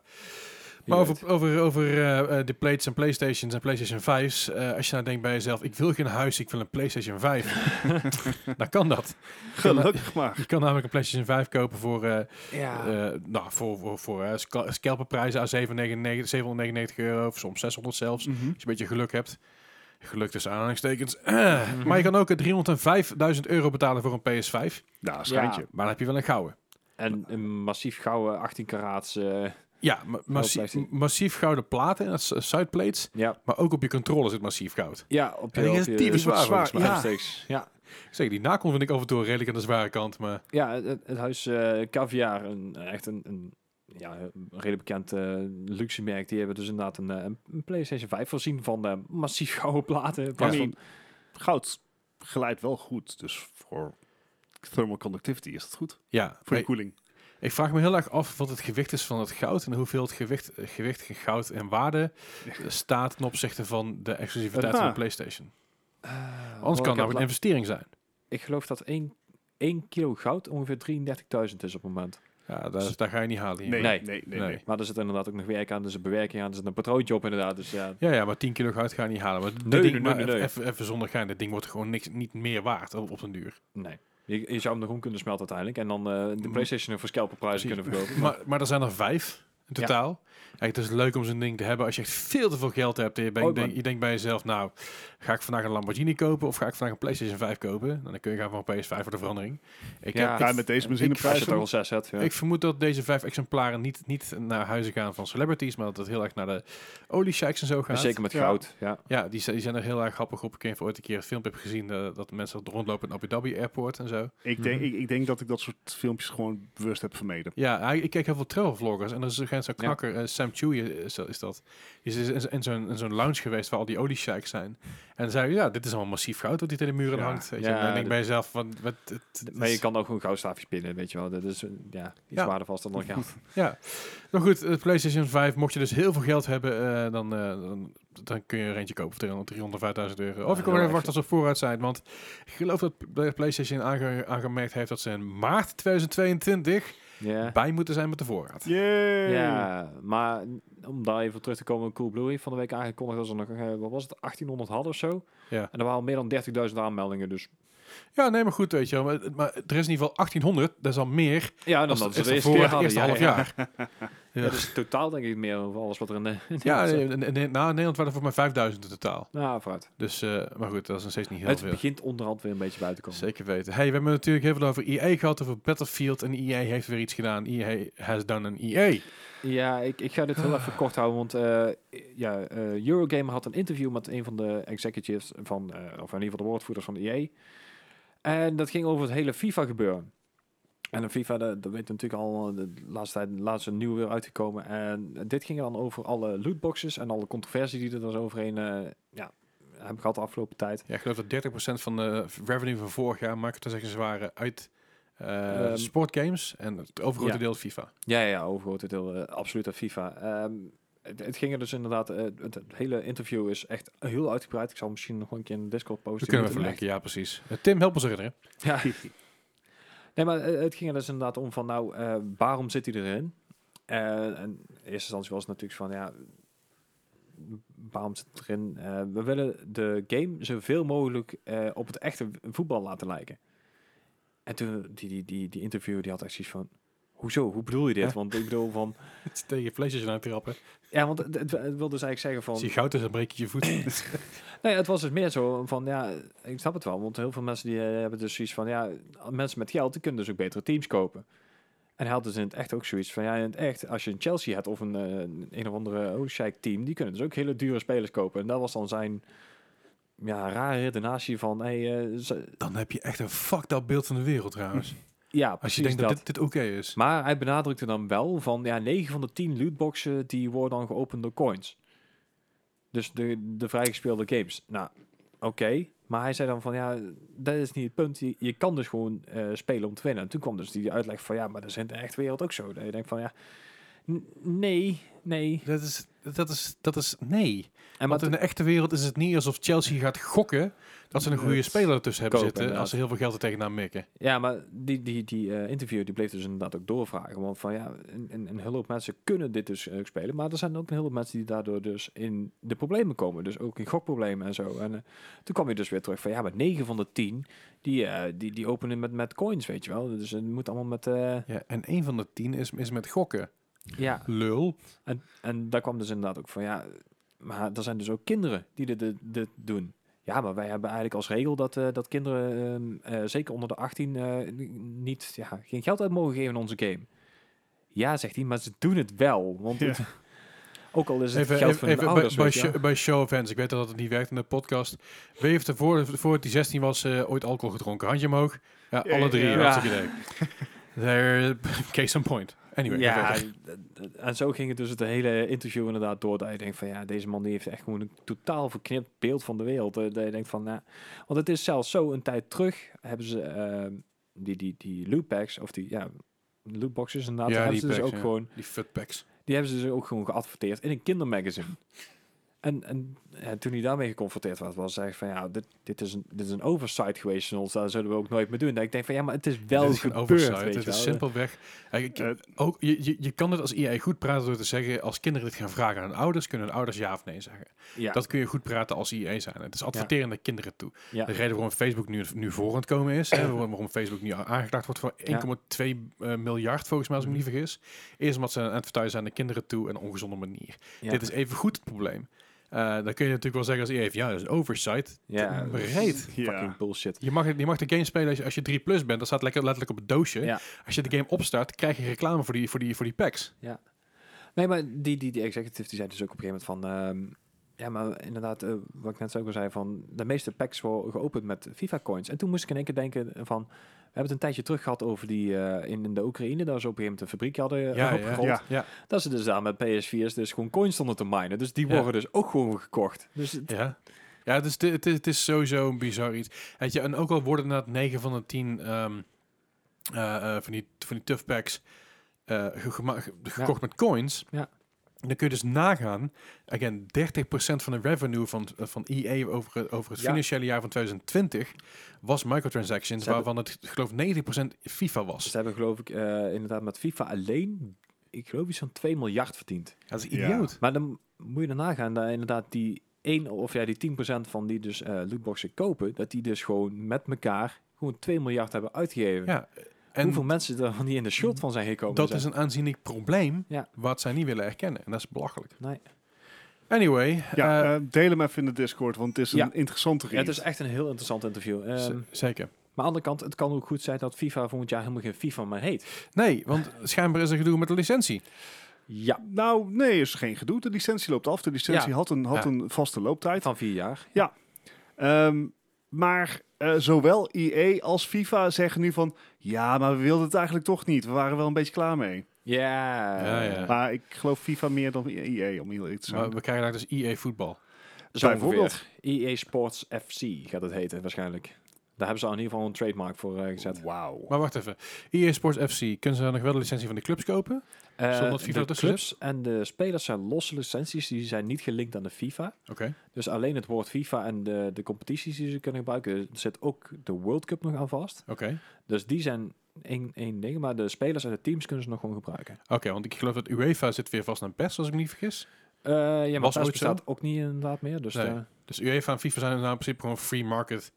S3: Wie
S2: Maar
S3: weet.
S2: over, over, over eh, eh, de plates en PlayStations en PlayStation 5's. eh, als je nou denkt bij jezelf, ik wil geen huis, ik wil een PlayStation 5. dan kan dat.
S1: Gelukkig maar.
S2: Je kan namelijk een PlayStation 5 kopen voor... eh,
S3: Ja.
S2: Eh, nou, voor, voor, voor eh, sca- scalperprijzen aan 799 799 euro, of soms 600 zelfs.
S3: Mm.
S2: Als je een beetje geluk hebt. Geluk tussen aanhalingstekens.
S3: Mm-hmm.
S2: Maar je kan ook eh, 305.000 euro betalen voor een PS5.
S1: Nou, schijntje.
S2: Maar dan heb je wel een gouden.
S3: en een massief gouden 18 karaats. eh,
S2: Ja, ma- massie-
S3: plastic.
S2: massief gouden platen, dat is eh, sideplates.
S3: ja.
S2: Maar ook op je controller zit massief goud.
S3: Ja, op je...
S2: En die
S3: op
S2: is
S3: je-
S2: typisch zwaar,
S1: zwaar,
S2: volgens mij.
S1: ja.
S3: Plastics. Ja.
S2: Zeker, die nakon vind ik af en toe redelijk aan de zware kant. Maar
S3: Ja, het, het huis eh Caviar, een, eh, echt een, een, ja, een redelijk bekend eh, luxe merk. Die hebben dus inderdaad een, eh, een- een PlayStation 5 voorzien van eh, massief gouden platen.
S1: I
S3: Ja,
S1: mean, goud glijdt wel goed. Dus voor thermal conductivity is dat goed.
S2: ja,
S1: Voor je
S2: ik,
S1: koeling.
S2: ik vraag me heel erg af wat het gewicht is van het goud. En hoeveel het gewicht, eh, gewicht goud en waarde eh, staat ten opzichte van de exclusiviteit van
S1: Ah.
S2: de PlayStation.
S3: Eh,
S2: Anders
S3: Oh,
S2: kan dat ook een investering zijn.
S3: Ik geloof dat 1, 1 kilo goud ongeveer 33.000 is op het moment.
S2: Ja, daar, daar ga je niet halen. hier.
S1: Nee, nee,
S3: Nee.
S1: nee. nee,
S2: Nee.
S3: Maar er zit inderdaad ook nog werk aan, er zit een bewerking aan, er zit een patroontje op inderdaad. Dus ja,
S2: Ja, ja, maar 10 kilo goud ga je niet halen. Maar dit
S3: nee,
S2: ding-
S3: nee,
S2: maar
S3: nee, nee.
S2: Even, even zonder gein, dat ding wordt gewoon niks, niet meer waard op, op den duur.
S3: nee. Je, je zou hem nog om kunnen smelten uiteindelijk. En dan eh, de PlayStation voor scalperprijzen
S2: Mm. Precies.
S3: kunnen verkopen.
S2: Maar, maar er zijn er vijf. in totaal. Kijk, het is leuk om zo'n ding te hebben als je echt veel te veel geld hebt. En je, bent-
S3: Oh,
S2: denk-
S3: man.
S2: je denkt bij jezelf, nou, ga ik vandaag een Lamborghini kopen of ga ik vandaag een PlayStation 5 kopen? Nou, Dan kun je gaan voor een PS5 voor de verandering. Ik,
S3: Ja.
S2: heb,
S1: Ja,
S2: ik-
S1: met deze benzine
S2: ik-
S3: Als je
S1: prijs.
S3: het er al zes hebt, ja.
S2: ik vermoed dat deze vijf exemplaren niet, niet naar huizen gaan van celebrities, maar dat het heel erg naar de oliesheiks en zo
S3: En
S2: gaat.
S3: zeker met
S1: Ja.
S3: goud, ja.
S2: Ja, die, zi- die zijn er heel erg grappig op. Ik heb ooit een keer een filmpje heb gezien eh, dat mensen rondlopen in Abu Dhabi Airport en zo.
S1: Ik denk,
S3: Mhm.
S1: ik, ik denk dat ik dat soort filmpjes gewoon bewust heb vermeden.
S2: Ja, hij- ik kijk heel veel travel vloggers en er is een zo'n
S3: Ja.
S2: knakker, eh, Sam Chewie is, is dat. Die is in, zo- in zo'n, in zo'n lounge geweest waar al die oliesheiks zijn. En zei, ja, dit is allemaal massief goud wat hier tegen de muren
S3: Ja.
S2: hangt. Weet je.
S3: Ja,
S2: en dan denk ik
S3: dit-
S2: bij jezelf, van, wat, het, het
S3: Maar je
S2: is-
S3: kan ook gewoon goudstaafjes pinnen, weet je wel. Dat is eh, ja, iets
S2: Ja.
S3: waardevaster dan geld.
S2: Ja, nou goed, het PlayStation 5, mocht je dus heel veel geld hebben, eh, dan, eh, dan, dan kun je er eentje kopen voor 300, 300, 5.000 euro. Of je
S3: Ja,
S2: kan
S3: heel
S2: even
S3: erg,
S2: wachten als ze vooruit zijn, want ik geloof dat P- eh, PlayStation aange- aangemerkt heeft dat ze in maart 2022
S3: Ja.
S2: bij moeten zijn met de voorraad.
S1: Yay!
S3: Ja, maar om daar even op terug te komen, Coolblue heeft van de week aangekondigd dat ze nog, eh, wat was het, 1800 hadden of zo.
S2: Ja.
S3: En er waren al meer dan 30.000 aanmeldingen, dus
S2: Ja, nee, maar goed, weet je wel. Maar, maar er is in ieder geval 1800, dat is al meer.
S3: ja, en
S2: dan
S3: dan
S2: dat
S3: dat
S2: ze
S3: ze
S2: de
S3: de
S2: eerste
S3: eerste
S2: keer
S3: keer
S2: hadden,
S3: hadden.
S2: ja,
S3: Ja,
S2: ja.
S3: Ja, dus totaal denk ik meer over alles wat er in de... in de
S2: Ja,
S3: wereld
S2: in,
S3: zit.
S2: in, in- nou, in Nederland waren er voor mij 5000 in totaal.
S3: Nou, vooruit.
S2: Dus, eh, maar goed, dat is nog steeds niet heel
S3: Het
S2: veel.
S3: begint onderhand weer een beetje buiten te komen.
S2: Zeker weten. Hey, we hebben natuurlijk heel veel over EA gehad, over Battlefield. En EA heeft weer iets gedaan. EA has done an E EA.
S3: Ja, ik, ik ga dit heel even kort houden, want eh, ja, eh, Eurogamer had een interview met een van de executives van, eh, of in ieder geval de woordvoerders van EA. En dat ging over het hele FIFA gebeuren. En de FIFA, dat, dat weten we natuurlijk al, eh, de laatste tijd laatste nieuw weer uitgekomen. En dit ging dan over alle lootboxes en alle controversie die er dus overheen eh ja, hebben gehad de afgelopen tijd.
S2: Ja, ik geloof dat 30% van de revenue van vorig jaar, marketingzeggens, waren uit eh,
S3: Ehm,
S2: sportgames. En het overgrote
S3: ja.
S2: deel FIFA.
S3: Ja, ja, overgroot het deel eh, absoluut uit FIFA. Ehm, het, het ging er dus inderdaad, eh, het, het hele interview is echt heel uitgebreid. Ik zal misschien nog een keer in de Discord
S2: We
S3: posten.
S2: kunnen we
S3: Die moeten
S2: verlinken, ja precies. Eh, Tim, help ons herinneren.
S3: Ja. Nee, maar eh, het ging er dus inderdaad om van, nou, eh, waarom zit hij erin? Eh, en in eerste instantie was het natuurlijk van, ja, waarom zit het erin? Eh, we willen de game zoveel mogelijk eh, op het echte voetbal laten lijken. En toen, die, die, die, die interviewer, die had echt zoiets van, hoezo, hoe bedoel je dit?
S2: Ja.
S3: Want ik bedoel van,
S2: Het is tegen je PlayStation aan te trappen.
S3: ja, want het, het, het wil dus eigenlijk zeggen van...
S2: Als je goud is, dan breek je je voet.
S3: Nee, het was dus meer zo van, ja, ik snap het wel. Want heel veel mensen die eh, hebben dus zoiets van, ja, mensen met geld, die kunnen dus ook betere teams kopen. En hij had dus in het echt ook zoiets van, ja, in het echt, als je een Chelsea hebt of een, eh, een, een of andere Oostenrijk team, die kunnen dus ook hele dure spelers kopen. En dat was dan zijn, ja, rare redenatie van, hey, eh, ze-
S2: dan heb je echt een fucked up beeld van de wereld trouwens.
S3: ja,
S2: Als
S3: precies
S2: je denkt dat,
S3: dat.
S2: dit, dit oké is.
S3: Maar hij benadrukte dan wel van, ja, 9 van de 10 lootboxen, die worden dan geopend door coins. Dus de, de vrijgespeelde games. Nou, oké. Maar hij zei dan van, ja, dat is niet het punt. Je, je kan dus gewoon eh, spelen om te winnen. En toen kwam dus die uitleg van, ja, maar dat is in de echte wereld ook zo. Dat je denkt van, ja, n- nee, nee.
S2: Dat is, dat is, dat is, nee.
S3: En
S2: Want in de echte wereld is het niet alsof Chelsea gaat gokken dat ze een goede
S1: Het
S2: speler ertussen hebben
S3: kopen,
S2: zitten als ze heel veel geld er tegenaan mikken.
S3: Ja, maar die, die, die eh, interview die bleef dus inderdaad ook doorvragen. Want van ja, een, een, een heel hoop mensen kunnen dit dus ook spelen. Maar er zijn ook een heel hoop mensen die daardoor dus in de problemen komen. Dus ook in gokproblemen en zo. En eh, toen kwam je dus weer terug van ja, maar 9 van de 10 die, eh, die, die openen met, met coins, weet je wel. Dus het moet allemaal met. eh,
S2: Ja, en één van de tien is, is met gokken.
S3: ja,
S2: Lul.
S3: en, en daar kwam dus inderdaad ook van ja, maar er zijn dus ook kinderen die dit, dit, dit doen. Ja, maar wij hebben eigenlijk als regel dat, eh, dat kinderen, ehm, eh, zeker onder de 18, eh, n- niet, ja, geen geld uit mogen geven in onze game. Ja, zegt hij, maar ze doen het wel. Want
S1: Ja.
S3: het- ook al is het
S2: Even,
S3: geld
S2: even,
S3: van hun
S2: even bij,
S3: ouders.
S2: bij,
S3: weet je wel.
S2: show, bij show of hands. Ik weet dat het niet werkt in de podcast. Wie heeft er voor, voor die 16 was eh, ooit alcohol gedronken? Handje omhoog. Ja,
S1: Ja,
S2: alle drie.
S1: ja.
S2: Ja. idee. There, case in point. Anyway. ga
S3: ja,
S2: verder.
S3: en- en zo ging het dus het hele interview inderdaad door. Dat je denkt van ja, deze man die heeft echt gewoon een totaal verknipt beeld van de wereld. Eh, Dat je denkt van, nou, want het is zelfs zo een tijd terug hebben ze ehm, die, die, die lootpacks of die ja, lootboxes inderdaad.
S2: Ja,
S3: Ja, hebben
S2: die
S3: ze dus
S2: packs,
S3: ook
S2: ja.
S3: gewoon,
S2: Die futpacks.
S3: die hebben ze dus ook gewoon geadverteerd in een kindermagazine. En, en eh, toen hij daarmee geconfronteerd werd, was hij van ja, dit, dit, is een, dit is een oversight geweest en ons, daar zullen we ook nooit meer doen. En ik denk van ja, maar het is wel
S2: Dit is geen
S3: gebeurd. weet
S2: oversight. Het
S3: je
S2: is
S3: wel.
S2: simpelweg. Eigenlijk,
S1: Eh,
S2: ook, je, je, je kan het als IA goed praten door te zeggen, als kinderen dit gaan vragen aan hun ouders, kunnen hun ouders ja of nee zeggen.
S3: Ja,
S2: Dat kun je goed praten als IA zijn. Het is adverteren naar kinderen toe.
S3: ja.
S2: De reden waarom Facebook nu, nu voor aan het komen is, hè, waarom waarom Facebook nu a- aangeklaagd wordt voor 1,2 eh, miljard, volgens mij als ik
S3: Mm.
S2: me niet vergis, is omdat ze aan het advertisen zijn aan de kinderen toe en een ongezonde manier.
S3: ja.
S2: Dit is even goed het probleem. Eh, dan kun je natuurlijk wel zeggen als EA, heeft, ja, dat is oversight.
S3: ja,
S2: Ja, breed.
S1: Ja.
S3: fucking bullshit.
S2: Je mag, je mag de game spelen als je, als je 3 plus bent. Dat staat lekker, letterlijk op het doosje.
S3: Ja.
S2: Als je de game opstart, krijg je reclame voor die, voor die, voor die packs.
S3: Nee, maar die, die, die executive die zei dus ook op een gegeven moment van... ehm, ja, maar inderdaad, eh, wat ik net ook al zei, van de meeste packs worden geopend met FIFA-coins. En toen moest ik in één keer denken van... We hebben het een tijdje terug gehad over die eh, in, in de Oekraïne, daar ze op een gegeven moment een fabriek hadden eh,
S2: Ja, ja.
S3: opgerold.
S1: Ja.
S2: Ja.
S3: Dat ze dus daar met PS4's dus gewoon coins stonden te minen. Dus die
S2: Ja.
S3: worden dus ook gewoon gekocht. Dus het-
S2: Ja. Ja, het is, het is, het is sowieso een bizar iets. Weet je, en ook al worden inderdaad 9 van de 10 ehm, eh, eh, van, die, van die tough packs eh, ge- gema- ge- gekocht met coins.
S3: Ja.
S2: Dan kun je dus nagaan, again, 30% van de revenue van, eh, van EA over, het- over het
S3: Ja.
S2: financiële jaar van 2020 was microtransactions,
S3: Ze hebben-
S2: waarvan het, ik geloof 90% FIFA was.
S3: Dus ze hebben geloof ik eh, inderdaad met FIFA alleen, ik geloof iets van 2 miljard verdiend.
S2: Dat is
S1: Ja.
S2: idioot.
S3: Maar dan moet je erna gaan dat inderdaad die 1 of ja, die 10% van die dus eh, lootboxen kopen, dat die dus gewoon met elkaar gewoon 2 miljard hebben uitgegeven.
S2: Ja, En Mm,
S3: Hoeveel mensen er van die in de schuld van zijn gekomen
S2: dat
S3: zijn.
S2: is een aanzienlijk probleem
S3: Ja.
S2: wat zij niet willen erkennen. En dat is belachelijk.
S3: Nee.
S2: Anyway,
S1: Ja,
S2: eh,
S1: eh, deel hem even in de Discord, want het is
S3: Ja.
S1: een interessante
S3: Ja,
S1: read.
S3: het is echt een heel interessant interview. Ehm,
S2: z- zeker.
S3: maar aan de andere kant, het kan ook goed zijn dat FIFA volgend jaar helemaal geen FIFA meer heet.
S2: Nee, want schijnbaar is er gedoe met de licentie.
S3: Ja,
S1: Nou, nee, is geen gedoe. De licentie loopt af. De licentie
S3: Ja.
S1: had, een, had
S2: Ja.
S1: een vaste looptijd.
S3: van vier jaar.
S1: Ehm, maar eh, zowel EA als FIFA zeggen nu van... Ja, maar we wilden het eigenlijk toch niet. We waren wel een beetje klaar mee.
S3: Ja.
S2: Ja, ja.
S1: Maar ik geloof FIFA meer dan EA, om heel eerlijk te zijn.
S2: Maar we krijgen daar dus EA voetbal.
S3: Zo
S1: Bijvoorbeeld.
S3: ongeveer. EA E Sports FC gaat het heten waarschijnlijk. Daar hebben ze al in ieder geval een trademark voor eh, gezet.
S1: Wauw.
S2: Maar wacht even. EA Sports FC, kunnen ze dan nog wel de licentie van de clubs kopen?
S3: Eh,
S2: Zonder dat FIFA
S3: de
S2: ertussen
S3: clubs en de spelers zijn losse licenties, die zijn niet gelinkt aan de FIFA.
S2: Oké.
S3: Dus alleen het woord FIFA en de, de competities die ze kunnen gebruiken, er zit ook de World Cup nog aan vast.
S2: Oké.
S3: Dus die zijn één, één ding, maar de spelers en de teams kunnen ze nog gewoon gebruiken.
S2: Oké, want ik geloof dat UEFA zit weer vast aan PES, als ik me niet vergis.
S3: Eh ja, maar
S2: Was
S3: PES
S2: ooit zo?
S3: bestaat ook niet inderdaad meer. Dus
S2: Nee.
S3: eh,
S2: Dus UEFA en FIFA zijn nou in principe gewoon free market.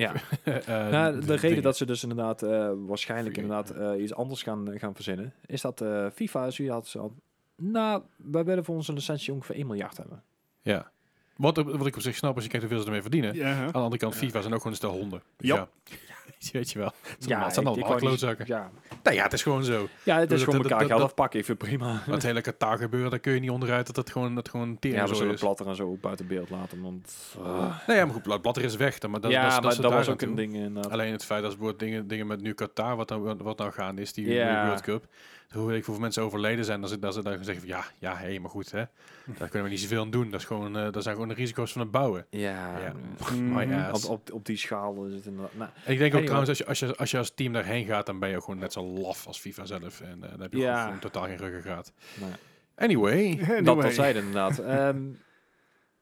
S3: ja.
S2: eh,
S3: Nou, de,
S2: d-
S3: reden
S2: dingen.
S3: dat ze dus inderdaad eh, waarschijnlijk
S2: Free-
S3: inderdaad eh, iets anders gaan, gaan verzinnen, is dat eh, FIFA, zo had ze al, nou, wij willen voor onze licentie ongeveer 1 miljard hebben.
S2: Ja. Wat, op- wat ik op zich snap, als je kijkt hoeveel ze ermee verdienen.
S1: Ja, hè?
S2: Aan de andere kant, FIFA zijn ook gewoon een stel honden. Dus
S1: Jap.
S2: Ja. Weet je wel. Het zijn allemaal- het zijn
S3: ik- ik
S2: allemaal
S3: wou niet-
S2: klootzakken.
S3: Ja,
S2: Nou ja, het is gewoon zo.
S3: Ja, het
S2: Dus
S3: is
S2: dat-
S3: gewoon
S2: dat-
S3: elkaar
S2: dat-
S3: geld
S2: dat-
S3: afpakken. Ik vind het prima.
S2: Dat hele Qatar gebeuren, daar kun je niet onderuit dat het gewoon, dat gewoon
S3: Ja, we
S2: tering zo
S3: zullen
S2: is.
S3: platter en zo ook buiten beeld laten. Want, eh,
S2: Nee, ja, maar goed, Blad- Blatter is weg. dan- Maar dat,
S3: ja,
S2: dat, is- dat,
S3: maar
S2: is
S3: dat,
S2: daar
S3: was ook
S2: aan
S3: een
S2: toe.
S3: ding. inderdaad.
S2: Alleen het feit dat bijvoorbeeld dingen, dingen met nu Qatar, wat nou, wat nou gaande is, die
S3: Ja.
S2: World Cup. Hoe weet ik hoeveel mensen overleden zijn, dat ze, dat ze dan zeggen van ja, ja, hé, maar goed, hè, daar kunnen we niet zoveel aan doen. Dat, is gewoon, eh dat zijn gewoon de risico's van het bouwen.
S3: ja,
S2: Ja.
S3: eh,
S2: Maar
S1: Mhm.
S2: ja,
S3: Op, op, op die schaal is het inderdaad. Nou,
S2: En ik denk ook
S3: Anyway.
S2: trouwens, als je, als, je, als je als team daarheen gaat, dan ben je ook gewoon net zo laf als FIFA zelf. En eh, dan heb je
S3: Ja.
S2: gewoon, gewoon totaal geen ruggengraat.
S3: nou,
S2: Anyway,
S1: Anyway.
S3: Dat al zeiden inderdaad. Ehm,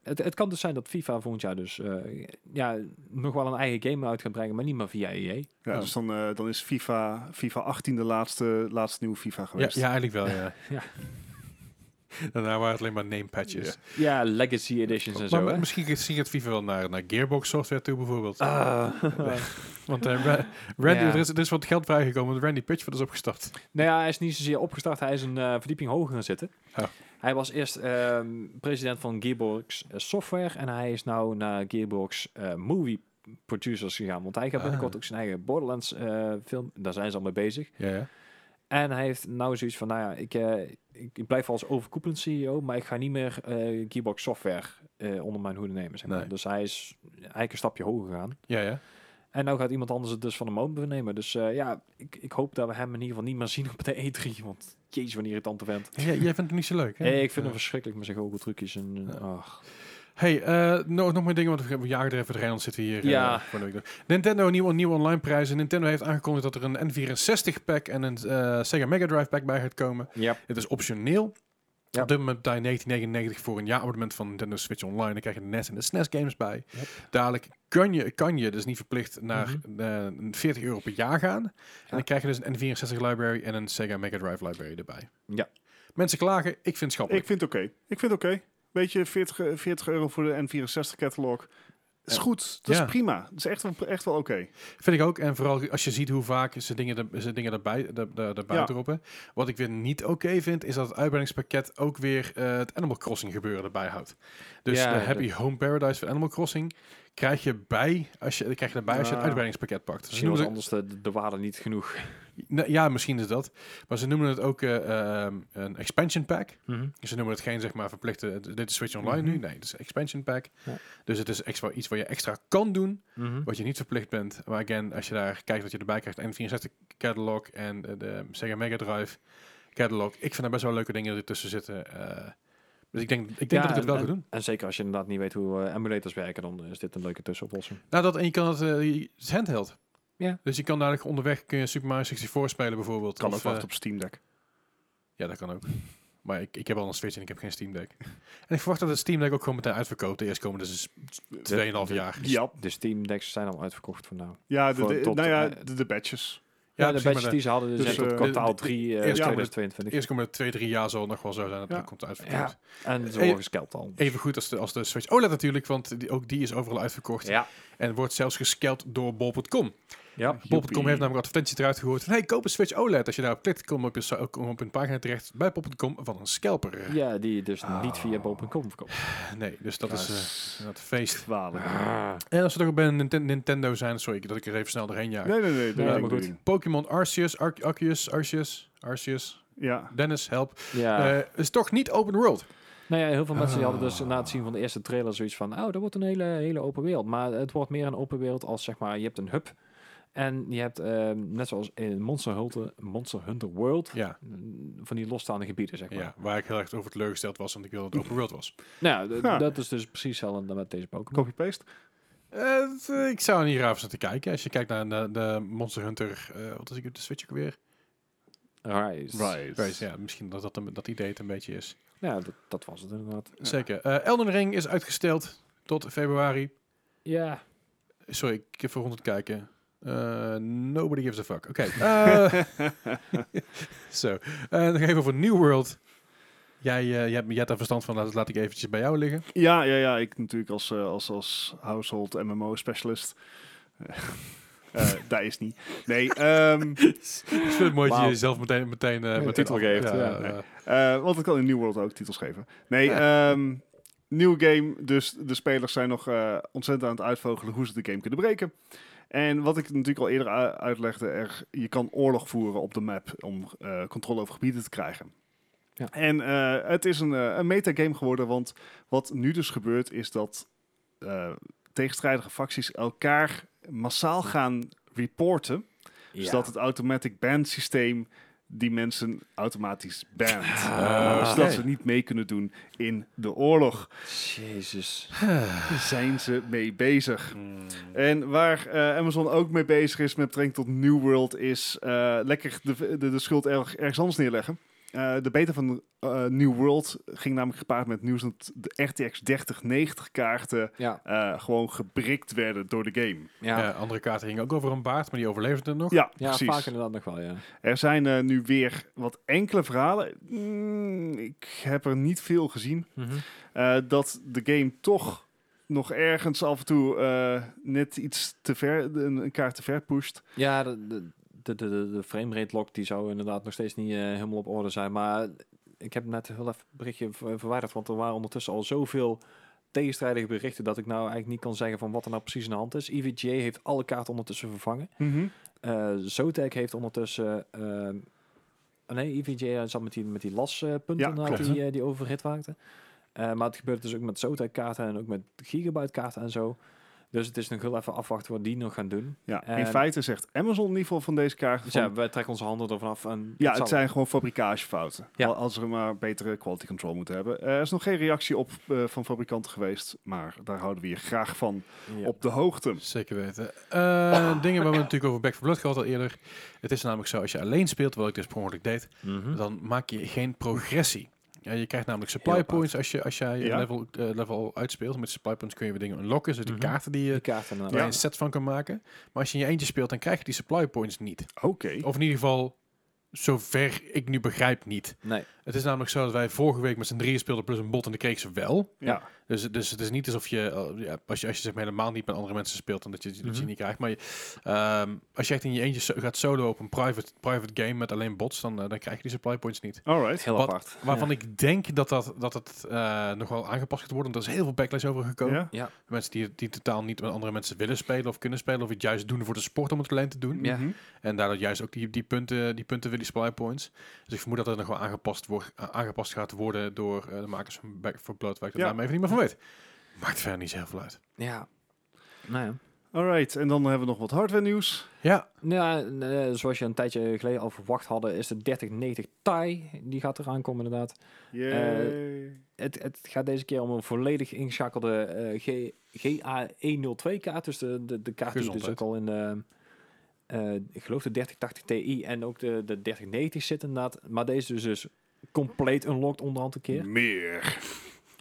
S3: het, het kan dus zijn dat FIFA volgend jaar dus eh, ja, nog wel een eigen game uit gaat brengen, maar niet meer via E EA.
S1: Ja, dus dan, eh, dan is FIFA, FIFA 18 de laatste, laatste nieuwe FIFA
S2: ja,
S1: geweest.
S2: ja, eigenlijk wel, ja.
S3: Ja.
S2: Daarna waren het alleen maar name patches.
S3: Ja, Legacy Editions en
S2: Maar
S3: zo. hè.
S2: misschien gaat- misschien gaat FIFA wel naar, naar Gearbox software toe bijvoorbeeld.
S3: Ah.
S2: Want eh, Ra- Randy,
S3: Ja.
S2: er, is, er is wat geld vrijgekomen, want Randy Pitchford is opgestapt.
S3: Nou ja, hij is niet zozeer opgestart. Hij is een eh, verdieping hoger gaan zitten.
S2: Oh.
S3: Hij was eerst ehm, president van Gearbox eh, Software. En hij is nou naar Gearbox eh, Movie Producers gegaan. Want hij gaat
S2: Ah.
S3: binnenkort ook zijn eigen Borderlands eh, film. Daar zijn ze al mee bezig.
S2: Ja, ja.
S3: En hij heeft nou zoiets van, nou ja, ik, eh, ik, ik blijf als overkoepelend CEO. Maar ik ga niet meer eh, Gearbox Software eh, onder mijn hoede nemen. Zeg maar.
S2: Nee.
S3: Dus hij is eigenlijk een stapje hoger gegaan.
S2: ja, ja.
S3: En nou gaat iemand anders het dus van hem overnemen. Dus eh, ja, ik, ik hoop dat we hem in ieder geval niet meer zien op de E3. Want jezus, wanneer het tante vent.
S2: J- Jij vindt hem niet zo leuk, hè?
S3: Hey, ik vind
S2: Ja.
S3: hem verschrikkelijk met zijn goocheltrucjes. En, eh, ach.
S2: Hey, eh, nog, nog meer dingen, want we jagen er even doorheen, anders zitten we hier. eh,
S3: Ja.
S2: voor de week door. Nintendo, nieuwe, nieuwe online prijzen. Nintendo heeft aangekondigd dat er een N64-pack en een eh, Sega Mega Drive-pack bij gaat komen.
S3: Ja.
S2: Het is optioneel.
S3: Ja.
S2: Op dit moment betaal je 1999 voor een jaarabonnement van Nintendo Switch Online. Dan krijg je de NES en de SNES games bij.
S3: Yep.
S2: Dadelijk kan je, kan je, dus niet verplicht, naar
S3: Mhm.
S2: eh, 40 euro per jaar gaan. En dan krijg je dus een N64 library en een Sega Mega Drive library erbij.
S3: Ja.
S2: Mensen klagen, ik vind het
S1: Ik
S2: schappelijk.
S1: vind het oké. Ik vind het oké. Weet je, 40, eh, 40 euro voor de N64-catalog. is
S2: Ja.
S1: goed. Dat
S2: Ja.
S1: is prima. Dat is echt wel, echt wel oké.
S2: Vind ik ook. En vooral als je ziet hoe vaak ze dingen, er- ze dingen erbij, er- er- erbij
S1: Ja.
S2: droppen. Wat ik weer niet oké vind, is dat het uitbreidingspakket ook weer eh, het Animal Crossing gebeuren erbij houdt. Dus
S3: Ja,
S2: de Happy
S3: dat-
S2: Home Paradise van Animal Crossing krijg je bij als je, krijg je erbij als je het
S1: Ah.
S2: uitbreidingspakket pakt. Ze
S3: Misschien was
S2: noemen het-
S3: anders de, de waarde niet genoeg.
S2: Nou, ja, misschien is dat. Maar ze noemen het ook eh, ehm, een expansion pack.
S3: Mhm,
S2: Ze noemen het geen zeg maar verplichte, dit is Switch Online nu. Nee, het is expansion pack.
S3: Ja.
S2: Dus het is extra, iets wat je extra kan doen.
S3: Mhm.
S2: Wat je niet verplicht bent. Maar again, als je daar kijkt wat je erbij krijgt. N64 catalog en eh, de Sega Mega Drive catalog. Ik vind daar best wel leuke dingen ertussen zitten. eh. dus ik denk, ik denk
S3: Ja,
S2: dat ik dat
S3: en-
S2: wel
S3: en-
S2: ga doen.
S3: En zeker als je inderdaad niet weet hoe eh, emulators werken, dan is dit een leuke tussenoplossing.
S2: Nou, dat, en je kan het, eh, je- het is handheld.
S3: Ja.
S2: Dus je kan dadelijk onderweg kun je Super Mario 64 spelen bijvoorbeeld.
S1: Kan
S2: Of,
S1: ook wachten
S2: eh,
S1: op Steam Deck.
S2: Ja, dat kan ook. Maar ik, ik heb al een Switch en ik heb geen Steam Deck. En ik verwacht dat het Steam Deck ook gewoon meteen uitverkoopt. De eerstkomende dus 2,5 jaar.
S1: Ja,
S3: De Steam Dus decks zijn al uitverkocht voor nou.
S1: ja, de,
S3: Voor
S1: de-
S3: tot,
S1: nou ja,
S3: eh,
S1: de, de badges.
S3: Ja,
S2: precies,
S3: de
S2: maar
S3: badges die ze hadden, dus,
S1: dus,
S3: zijn tot
S1: eh,
S2: de-
S3: kwartaal
S2: de-
S3: 3
S2: eerste-
S1: ja,
S3: 2022.
S2: Eerstkomende 2, 3 jaar zal het nog wel zo zijn dat
S1: Ja.
S2: het komt uitverkoopt.
S3: En ze
S2: Eh,
S3: worden gescalpt al.
S2: Even goed als de, als de Switch OLED natuurlijk, want die, ook die is overal uitverkocht.
S3: Ja.
S2: En wordt zelfs gescalpt door bol.com.
S3: ja.
S2: Bol.com heeft
S1: Joepie.
S2: namelijk advertentie eruit gehoord van... hey, koop een Switch OLED. Als je daarop klikt, kom op, je, sa- kom op een pagina terecht bij bol.com van een scalper. Eh,
S3: Ja, die dus
S1: Ah.
S3: niet via bol.com verkoopt.
S2: Nee, dus dat is eh, dat feest.
S1: Kwalijk.
S3: Ah.
S2: En als we toch bij Ninten- Nintendo zijn... Sorry dat ik er even snel doorheen jaag.
S1: Nee, nee, nee. dat
S3: Ja,
S1: is
S3: maar
S1: niet
S3: goed.
S1: doen.
S2: Pokémon Arceus, Ar Arceus, Arceus, Arceus.
S1: Ja.
S2: Dennis, help.
S3: Ja.
S2: Eh, is toch niet open world.
S3: nou ja, heel veel mensen die hadden dus na het zien van de eerste trailer zoiets van... Oh, dat wordt een hele, hele open wereld. Maar het wordt meer een open wereld als zeg maar... Je hebt een hub. En je hebt, ehm, net zoals in Monster Hunter, Monster Hunter World...
S2: Ja,
S3: mm, Van die losstaande gebieden, zeg maar.
S2: ja, waar ik heel erg over teleurgesteld was, want ik wilde dat het open world was.
S3: Nou, d-
S1: Ja.
S3: dat is dus precies hetzelfde dan met deze Pokémon.
S1: Copy-paste.
S2: Eh, het, eh, ik zou er niet raar van zitten kijken. Als je kijkt naar de, de Monster Hunter, eh, wat is ik de Switch ook weer?
S3: Right.
S2: Rise, ja, misschien dat, dat, hem- dat idee het een beetje is.
S3: Nou, dat, dat was het inderdaad.
S2: Zeker. Eh, Elden Ring is uitgesteld tot februari.
S3: Ja.
S2: Sorry, ik heb voor rond het kijken. Eh, nobody gives a fuck. Oké. eh, Zo. Eh, nog even over New World. Jij, eh, jij, hebt- jij hebt daar verstand van, laat, laat ik eventjes bij jou liggen.
S1: Ja, ja, ja. Ik natuurlijk als, eh, als, als household MMO specialist. Eh dat is niet. Nee, ehm,
S2: Ik vind het mooi dat je
S3: Wauw.
S2: jezelf meteen, meteen, eh,
S3: de
S2: meteen
S3: titel
S2: af-
S3: geeft, ja.
S2: eh,
S1: Eh, want ik kan in New World ook titels geven. Nee, ehm nieuw game. Dus de spelers zijn nog eh, ontzettend aan het uitvogelen hoe ze de game kunnen breken. En wat ik natuurlijk al eerder u- uitlegde, er, je kan oorlog voeren op de map om eh, controle over gebieden te krijgen.
S3: Ja.
S1: En eh, het is een, eh, een metagame geworden, want wat nu dus gebeurt is dat eh, tegenstrijdige facties elkaar massaal gaan reporten, zodat Dus het automatic ban systeem die mensen automatisch bant.
S3: Ah,
S1: zodat
S2: oké.
S1: ze niet mee kunnen doen in de oorlog.
S3: Jezus.
S1: Daar zijn ze mee bezig.
S2: mm.
S1: En waar eh, Amazon ook mee bezig is met betrekking tot New World, is eh, lekker de, de, de schuld erg, ergens anders neerleggen. Eh, de beta van eh, New World ging namelijk gepaard met nieuws dat de RTX 3090 kaarten
S3: Ja.
S1: eh, gewoon gebrikt werden door de game.
S2: Ja,
S3: Ja, ja,
S2: andere kaarten gingen ook over een baard, maar die overleefden het nog.
S1: Ja, precies.
S3: vaak inderdaad nog wel, ja.
S1: Er zijn eh, nu weer wat enkele verhalen. Mm, ik heb er niet veel gezien.
S3: Mhm.
S1: Eh, dat de game toch nog ergens af en toe eh, net iets te ver, een, een kaart te ver pusht.
S3: Ja, de, de, de, de, de framerate lock die zou inderdaad nog steeds niet eh, helemaal op orde zijn. Maar ik heb net heel even berichtje ver- verwijderd, want er waren ondertussen al zoveel tegenstrijdige berichten dat ik nou eigenlijk niet kan zeggen van wat er nou precies aan de hand is. EVGA heeft alle kaarten ondertussen vervangen. Eh Zotac heeft ondertussen... ehm, oh nee, EVGA zat met die, met die laspunten
S1: Ja,
S3: inderdaad
S2: klopt.
S3: die, eh, die overhit raakten. Eh, maar het gebeurt dus ook met Zotac kaarten en ook met gigabyte kaarten en zo. Dus het is nog heel even afwachten wat die nog gaan doen.
S1: Ja, in
S3: En-
S1: feite zegt Amazon in ieder geval van deze kaart.
S3: Dus
S1: van-
S3: ja, wij trekken onze handen ervan af. En
S1: ja, het
S3: zal-
S1: zijn gewoon fabrikagefouten.
S3: Ja.
S1: Al- Als we maar betere quality control moeten hebben. Eh, er is nog geen reactie op eh, van fabrikanten geweest. Maar daar houden we je graag van
S3: Ja.
S1: op de hoogte.
S2: Zeker weten. Eh, Dingen waar we natuurlijk over Back for Blood gehad al eerder. Mhm. Het is namelijk zo, als je alleen speelt, wat ik dus per ongeluk deed, dan maak je geen progressie. Eh, Ja, je krijgt namelijk supply
S3: Hm? Heel
S2: points als, je, als jij een
S1: Ja.
S2: level, eh, level uitspeelt. Met supply points kun je weer dingen unlocken. Dus de
S3: Mhm.
S2: kaarten die
S3: Die
S2: je
S3: kaarten.
S2: waar
S3: inderdaad.
S2: je
S1: Ja.
S2: een set van kan maken. Maar als je in je eentje speelt, dan krijg je die supply points niet.
S1: Oké.
S2: Of in ieder geval, zover ik nu begrijp, niet.
S3: Nee.
S2: Het is namelijk zo dat wij vorige week met z'n drieën speelden plus een bot en dan kreeg ze wel.
S1: Ja.
S2: Dus, dus het is niet alsof je, eh, ja, als je, als je zeg maar helemaal niet met andere mensen speelt, dan dat je, dat je
S3: Mhm.
S2: niet krijgt. Maar je, ehm, als je echt in je eentje so- gaat solo op een private, private game met alleen bots, dan, eh, dan krijg je die supply points niet.
S1: Alright.
S3: Heel
S2: Wat-
S3: apart.
S2: Waarvan ik denk dat, dat, dat het eh, nog wel aangepast gaat worden. Want er is heel veel backlash over gekomen.
S1: Ja.
S3: Ja.
S2: Mensen die, die totaal niet met andere mensen willen spelen of kunnen spelen. Of het juist doen voor de sport om het alleen te doen.
S3: Ja.
S1: Mhm.
S2: En daardoor juist ook die, die punten, die punten willen supply points. Dus ik vermoed dat het nog wel aangepast, wordt, a- aangepast gaat worden door eh, de makers van Back for Blood. Waar ik de
S1: Ja.
S2: naam even niet meer van weet. Maakt verder niet zo heel veel uit.
S3: Ja. Nou ja.
S1: Alright. En dan hebben we nog wat hardware nieuws.
S2: Ja,
S3: Nou, ja, en, eh, zoals je een tijdje geleden al verwacht hadden, is de 3090 Ti. Die gaat eraan komen inderdaad.
S1: Yay.
S3: Het, het gaat deze keer om een volledig ingeschakelde eh, G, GA102 kaart. Dus de, de, de kaart die dus
S2: Gezondheid.
S3: ook al in de, eh, ik geloof de 3080 Ti en ook de, de 3090 zit inderdaad. Maar deze dus, dus compleet unlocked onderhand een keer.
S1: Meer.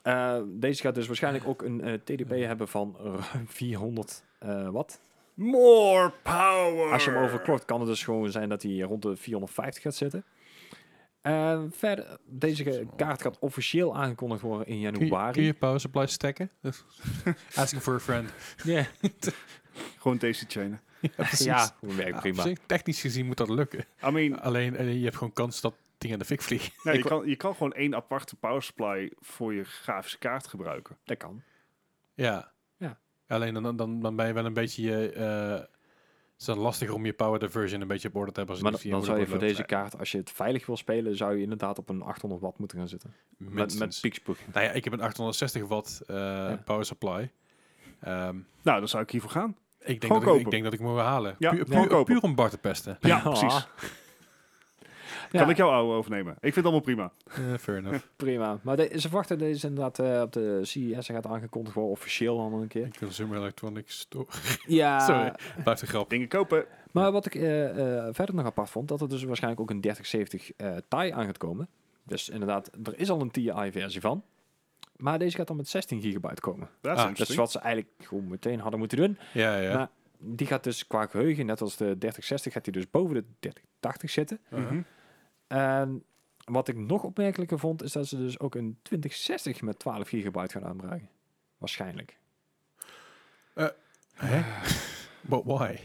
S3: Eh, deze gaat dus waarschijnlijk ook een eh, TDP hebben van ruim 400 eh, watt.
S1: More power.
S3: Als je hem overklokt, kan het dus gewoon zijn dat hij rond de 450 gaat zitten. Eh, verder, deze ge- kaart gaat officieel aangekondigd worden in
S2: kun je, kun
S3: januari.
S2: je power supply stacken? Asking for a friend.
S3: Ja,
S1: Gewoon deze chainen.
S3: ja werkt prima.
S2: Op zich, Technisch gezien moet dat lukken.
S1: I mean,
S2: Alleen eh, je hebt gewoon kans dat dingen aan de fik vliegen.
S1: nou, je,
S3: Ik wa-
S1: kan, je kan gewoon één aparte power supply voor je grafische kaart gebruiken.
S3: Dat kan.
S2: Ja.
S3: Ja.
S2: Alleen dan, dan, dan ben je wel een beetje je. eh, het is dan lastiger om je power diversion een beetje op orde te hebben. Als
S3: Maar
S2: het
S3: dan,
S2: niet
S3: dan
S2: via
S3: zou je voor
S2: moederbord
S3: deze kaart, als je het veilig wil spelen, zou je inderdaad op een 800 watt moeten gaan zitten.
S2: loopt.
S3: Met, met
S2: Minstens.
S3: piekspoeg.
S2: Nou ja, ik heb een 860 watt eh, power supply. Ehm,
S1: Nou, dan zou ik hiervoor gaan.
S2: ik, denk
S1: Gewoon
S2: dat ik, ik
S1: kopen.
S2: denk dat ik hem wil halen.
S1: Ja,
S2: puur,
S1: gewoon
S2: puur-
S1: kopen.
S2: puur om Bart te pesten.
S1: Ja, precies. Kan ik jouw oude overnemen? Ik vind het allemaal prima.
S2: Eh, fair enough.
S3: Prima. Maar de- ze verwachten deze inderdaad eh, op de CES. Ze gaat aangekondigd worden, officieel dan een keer.
S2: Consumer Electronics Store.
S3: Ja,
S2: Sorry, blijft een grap.
S1: Dingen kopen.
S3: Maar wat ik eh, eh, verder nog apart vond, dat er dus waarschijnlijk ook een 3070 eh Ti aan gaat komen. Dus inderdaad, er is al een Ti-versie van. Maar deze gaat dan met 16 gigabyte komen.
S1: That's
S2: Ah,
S3: Dat is
S1: interesting.
S3: wat ze eigenlijk gewoon meteen hadden moeten doen.
S2: Ja, ja.
S3: Nou, Die gaat dus qua geheugen, net als de 3060, gaat die dus boven de 3080 zitten.
S2: Eh,
S1: Mhm.
S3: En wat ik nog opmerkelijker vond, is dat ze dus ook een 2060 met 12 gigabyte gaan aanbrengen. Waarschijnlijk.
S2: Hè? But why?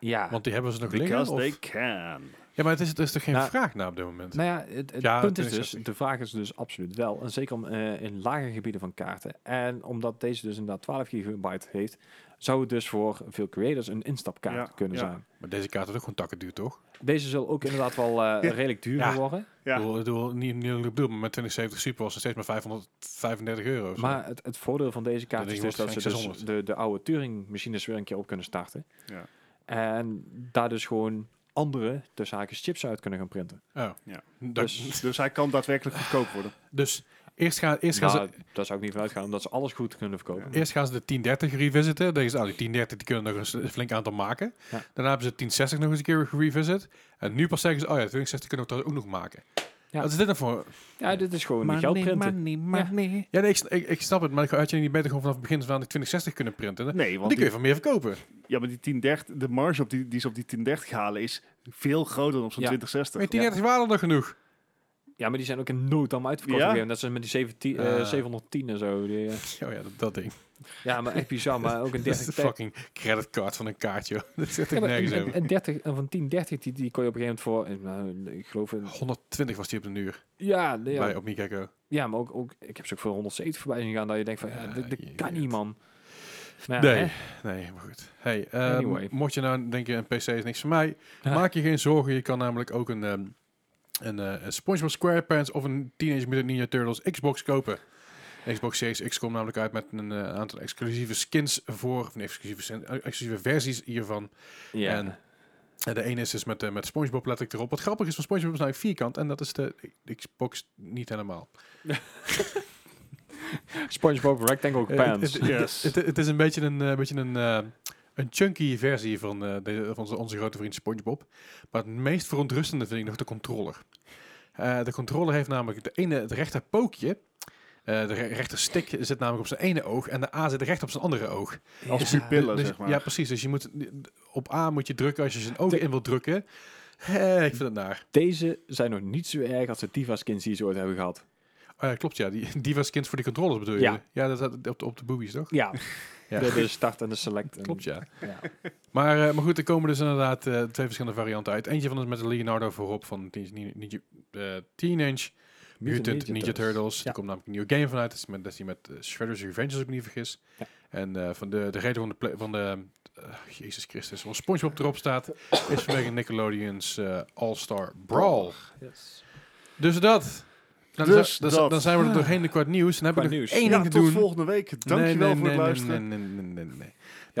S3: Ja.
S2: Want die hebben ze nog liggen?
S1: Because
S2: Of?
S1: they can.
S2: Ja, maar het is, het is toch geen
S3: Nou,
S2: vraag naar op dit moment?
S3: Nou ja, het, het
S2: Ja,
S3: punt is dus,
S2: 2060.
S3: de vraag is dus absoluut wel. En zeker om, eh, in lage gebieden van kaarten. En omdat deze dus inderdaad 12 gigabyte heeft, zou het dus voor veel creators een instapkaart
S1: Ja,
S3: kunnen
S1: ja.
S3: zijn.
S2: Maar deze kaart is ook gewoon takken duur, toch?
S3: Deze zal ook inderdaad wel eh, redelijk duur
S2: Ja.
S3: worden.
S1: Ja.
S2: Ik bedoel, ik bedoel, niet, niet dat ik bedoel, maar met 2070 Super was het steeds maar 535 euro. of zo.
S3: Maar het, het voordeel van deze kaart
S2: Dat
S3: is
S2: ding
S3: dus dat
S2: wordt
S3: ze dus
S2: 600.
S3: de, de oude Turing-machines weer een keer op kunnen starten.
S1: Ja.
S3: En daar dus gewoon andere, tussen haakjes, chips uit kunnen gaan printen.
S2: Oh.
S1: Ja.
S2: Dat-
S3: Dus-
S2: Dus,
S1: Dus hij kan daadwerkelijk goedkoop worden.
S2: eerst, gaan, eerst, gaan
S3: Nou,
S2: ze,
S3: daar zou ik niet van uitgaan, omdat ze alles goed kunnen verkopen.
S2: eerst gaan ze de 1030 revisiten. Deze, nou, die 1030 die kunnen er nog een s- flink aantal maken.
S3: Ja.
S2: Daarna hebben ze 1060 nog eens een keer gerevisit. En nu pas zeggen ze, oh ja, 2060 kunnen we trouwens ook nog maken.
S3: Ja.
S2: Wat is dit nou voor...
S3: Ja, dit is gewoon geld printen.
S2: Ja, nee, ik, s- ik, ik snap het, maar had je niet beter gewoon vanaf het begin van de 2060 kunnen printen? Want
S1: Nee, want
S2: die kun
S1: die,
S2: je van meer verkopen.
S1: ja, maar die 1030, de marge op die, die ze op die 1030 halen is veel groter dan op zo'n
S3: Ja.
S1: 2060.
S2: Maar die 1030 waren er nog genoeg.
S3: Ja, maar die zijn ook in nood allemaal uitverkocht.
S1: Ja?
S3: op een gegeven moment. Net zoals met die 17, eh,
S2: Ah.
S3: 710 en zo. Die, eh,
S2: Oh ja, dat, dat ding.
S3: ja, maar echt bizar. Maar ook een
S2: Dat is
S3: 30
S2: de fucking creditcard van een kaartje. joh. Dat zit
S3: Ja,
S2: er
S3: maar een,
S2: nergens
S3: een,
S2: over.
S3: een 30 en van 10, 30, die, die kon je op een gegeven moment voor, eh, nou, ik geloof een,
S2: 120 was die op de uur.
S3: ja, nee, ja,
S2: Bij op Nikeko.
S3: ja, maar ook, ook, ik heb ze ook voor 170 voorbij zien gaan, dat je denkt van, ja,
S2: Ja,
S3: dit, dit
S2: je
S3: kan niet,
S2: weet.
S3: man. Maar ja,
S2: nee,
S3: hè?
S2: nee, maar goed. Hey, ehm,
S3: Anyway.
S2: Mocht je nou denken, een PC is niks voor mij,
S3: Ja.
S2: maak je geen zorgen. Je kan namelijk ook een, ehm, een, eh, een SpongeBob SquarePants of een Teenage Mutant Ninja Turtles Xbox kopen. Xbox Series X komt namelijk uit met een eh, aantal exclusieve skins voor, of nee, exclusieve, skin- eh, exclusieve versies hiervan.
S3: ja.
S2: En- En de ene is dus met, eh, met SpongeBob letterlijk erop. Wat grappig is van SpongeBob is nou vierkant en dat is de Xbox niet helemaal.
S3: SpongeBob Rectangle
S2: Eh,
S3: Pants.
S2: het- het-
S1: Yes.
S2: Het, het is een beetje een, eh, beetje een, eh, een chunky versie van, eh, de, van onze, onze grote vriend SpongeBob. Maar het meest verontrustende vind ik nog de controller. Eh, de controller heeft namelijk de ene, het rechter pookje. Eh, de re- rechter stick zit namelijk op zijn ene oog en de A zit recht op zijn andere oog.
S1: Als
S3: Ja.
S1: pupillen,
S2: Dus-
S1: zeg maar.
S2: Ja, precies. Dus je moet, op A moet je drukken als je zijn oog
S3: De-
S2: in wilt drukken. Eh, ik vind het naar.
S3: Deze zijn nog niet zo erg als de Diva-skins die ze ooit hebben gehad.
S2: Oh ja, klopt ja. Die, die was kind voor die controllers bedoel je?
S3: Ja.
S2: Ja, dat staat op de, op de boobies toch?
S3: Ja.
S2: Ja.
S3: De, de start en de select. en-
S2: Klopt ja.
S3: ja.
S2: Maar, eh, maar goed, er komen dus inderdaad eh, twee verschillende varianten uit. Eentje van is met de Leonardo voorop van Teen- Ni- Ni- eh, Teenage Mutant Ninja, Turtles.
S3: Ja.
S2: Er komt namelijk een nieuwe game vanuit. Dat is met, dat is die met eh, Shredder's Revenge, als ik me niet vergis.
S3: Ja.
S2: En eh, van de, de reden van de... pla- Van de eh, Jezus Christus, waar Spongebob erop staat, is vanwege Nickelodeon's eh, All-Star Brawl. Dus dat. Dan,
S1: Dus
S2: dan-
S1: dat.
S2: dan zijn we er doorheen qua het nieuws. Dan
S3: Qua
S2: hebben we nog
S3: nieuws.
S2: één
S1: Ja,
S2: ding
S1: tot
S2: te doen.
S1: volgende week. Dankjewel
S2: Nee, nee,
S1: voor het
S2: nee,
S1: luisteren.
S2: Nee, nee, nee, nee, nee, nee. We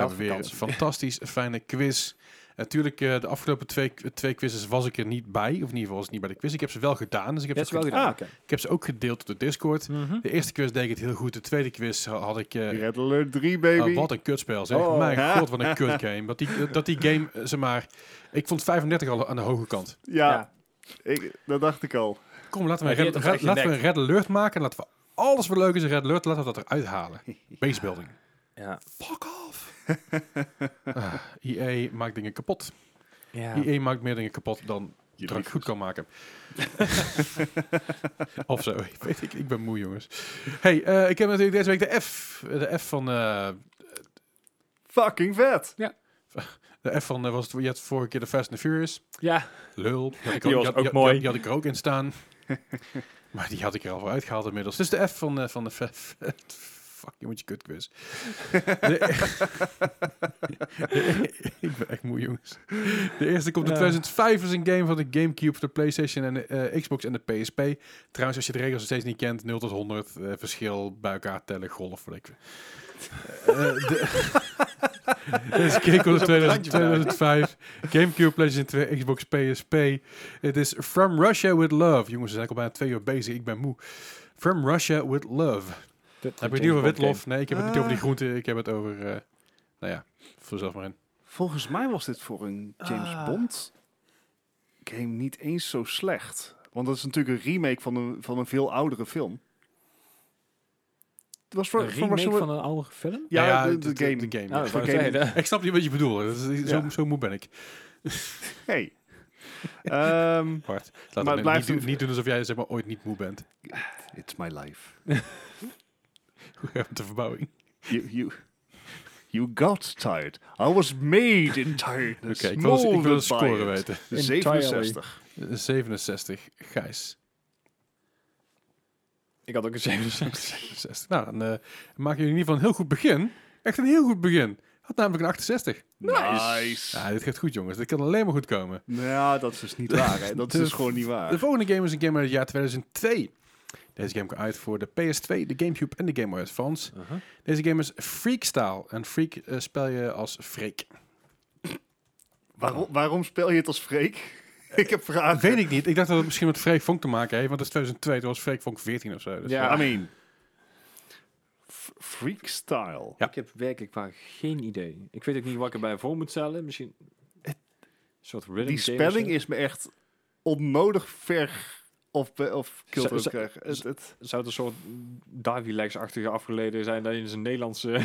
S3: Ja,
S2: hebben weer een
S3: vakantie.
S2: fantastisch fijne quiz. Natuurlijk, eh, de afgelopen twee, twee quizzes was ik er niet bij. Of in ieder geval was ik niet bij de quiz. Ik heb ze wel gedaan. Dus ik heb,
S3: Dat is
S2: ze, ook
S3: wel
S2: gede-
S3: gedaan.
S1: Ah.
S3: oké.
S2: ik heb ze ook gedeeld op de Discord.
S3: Mhm.
S2: De eerste quiz deed ik het heel goed. De tweede quiz ha- had ik... eh,
S1: Rattler 3,
S2: ah,
S1: baby.
S2: wat een kutspel, zeg.
S3: Oh.
S2: Mijn god, wat een kut game. Dat die, dat die game, eh, zeg maar... Ik vond 35 al aan de hoge kant.
S1: ja,
S3: Ja.
S1: Ik, dat dacht ik al.
S2: Kom, laten we,
S3: Ja,
S2: een red,
S3: die had
S2: red-
S3: het
S2: laten we een
S3: echt
S2: red alert maken. Laten we alles wat leuk is een red alert, laten we dat eruit halen. Basebuilding.
S3: Ja.
S2: Fuck off. Ah, EA maakt dingen kapot.
S3: Ja.
S2: EA maakt meer dingen kapot dan
S1: Je
S2: druk goed kan maken. of zo. Ik, weet, ik, ik ben moe, jongens. Hey, eh, ik heb natuurlijk deze week de F. De F van... eh,
S1: Fucking vet.
S2: de F van... eh, was het, je had vorige keer de Fast and the Furious.
S3: ja.
S2: Lul. Die, had ik
S3: Die was
S2: had-
S3: ook
S2: had-
S3: mooi.
S2: Die, had ik er ook in staan. maar die had ik er al voor uitgehaald inmiddels. Dus de F van, eh, van de... Fa- fa- Fuck, je moet je kut quiz. e- ik ben echt moe, jongens. De eerste komt in
S3: Ja.
S2: 2005 is een game van de Gamecube, de PlayStation en de eh, Xbox en de PSP. Trouwens, als je de regels nog steeds niet kent, 0 tot 100, eh, verschil bij elkaar tellen, golf, wat ik. Eh, de- Deze game komt in 2000 2005. Gamecube, PlayStation 2, Xbox, PSP. Het is From Russia with Love. Jongens, we zijn al bijna twee uur bezig. Ik ben moe. From Russia with Love. Heb je het niet over witlof? Nee, ik heb het niet
S1: Ah.
S2: over die groenten. Ik heb het over... eh, nou ja, voel zelf maar in.
S1: Volgens mij was dit voor een James
S3: Ah.
S1: Bond game niet eens zo slecht. Want dat is natuurlijk een remake van een, van een veel oudere film. Het was voor,
S3: Een
S1: voor-
S3: remake
S1: voor-
S3: van een oude film?
S1: Ja,
S2: Nou
S1: de, de game.
S2: De game
S3: Ja,
S2: ja.
S3: dat wou ik
S1: Oké.
S3: zeggen.
S2: Ik snap niet wat je bedoelt. Dat is-
S1: Ja.
S2: zo, zo moe ben ik.
S1: Hey. Ehm,
S2: Bart, laat
S1: Maar
S2: maar
S1: het blijft
S2: niet, doen-
S1: een-
S2: niet doen alsof jij zeg maar, ooit niet moe bent.
S1: it's my life.
S2: Op de verbouwing.
S1: You, you, you got tired. I was made in tiredness.
S2: Oké, ik wil, eens- ik
S1: molded
S2: wil de
S1: by
S2: score
S1: it.
S2: weten.
S3: Entirely.
S1: 67.
S2: 67, Gijs.
S3: Ik had ook een 67.
S2: 67. Nou, dan eh, maken jullie in ieder geval een heel goed begin. Echt een heel goed begin. Had namelijk een 68.
S1: Nice.
S2: Ja, dit gaat goed, jongens. Dit kan alleen maar goed komen.
S1: Nou, ja, dat is dus niet waar. Hè. Dat is
S2: De-
S1: dus gewoon niet waar.
S2: De volgende game is een game uit het jaar 2002. Deze game kwam uit voor de PS2, de Gamecube en de Game Boy Advance. Deze game is Freakstyle. En Freak eh, spel je als Freak.
S1: Waarom, waarom speel je het als Freek? ik heb vragen.
S2: Weet ik niet. Ik dacht dat het misschien met Freek Vonk te maken heeft. Want dat is 2002. Toen was Freek Vonk 14 of zo. Dus
S3: Ja.
S1: I mean, f- freak style.
S2: Ja.
S3: Ik heb werkelijk waar geen idee. Ik weet ook niet wat ik erbij voor moet stellen. Misschien een soort rhythm
S1: Die
S3: game of
S1: spelling
S3: zo.
S1: is me echt onnodig ver of, be- of
S3: Zo-
S1: kilter
S3: zo-
S1: krijgen. Het, het,
S3: Zou het een soort Davy Legs-achtige afgeleden zijn dat je in zijn Nederlandse...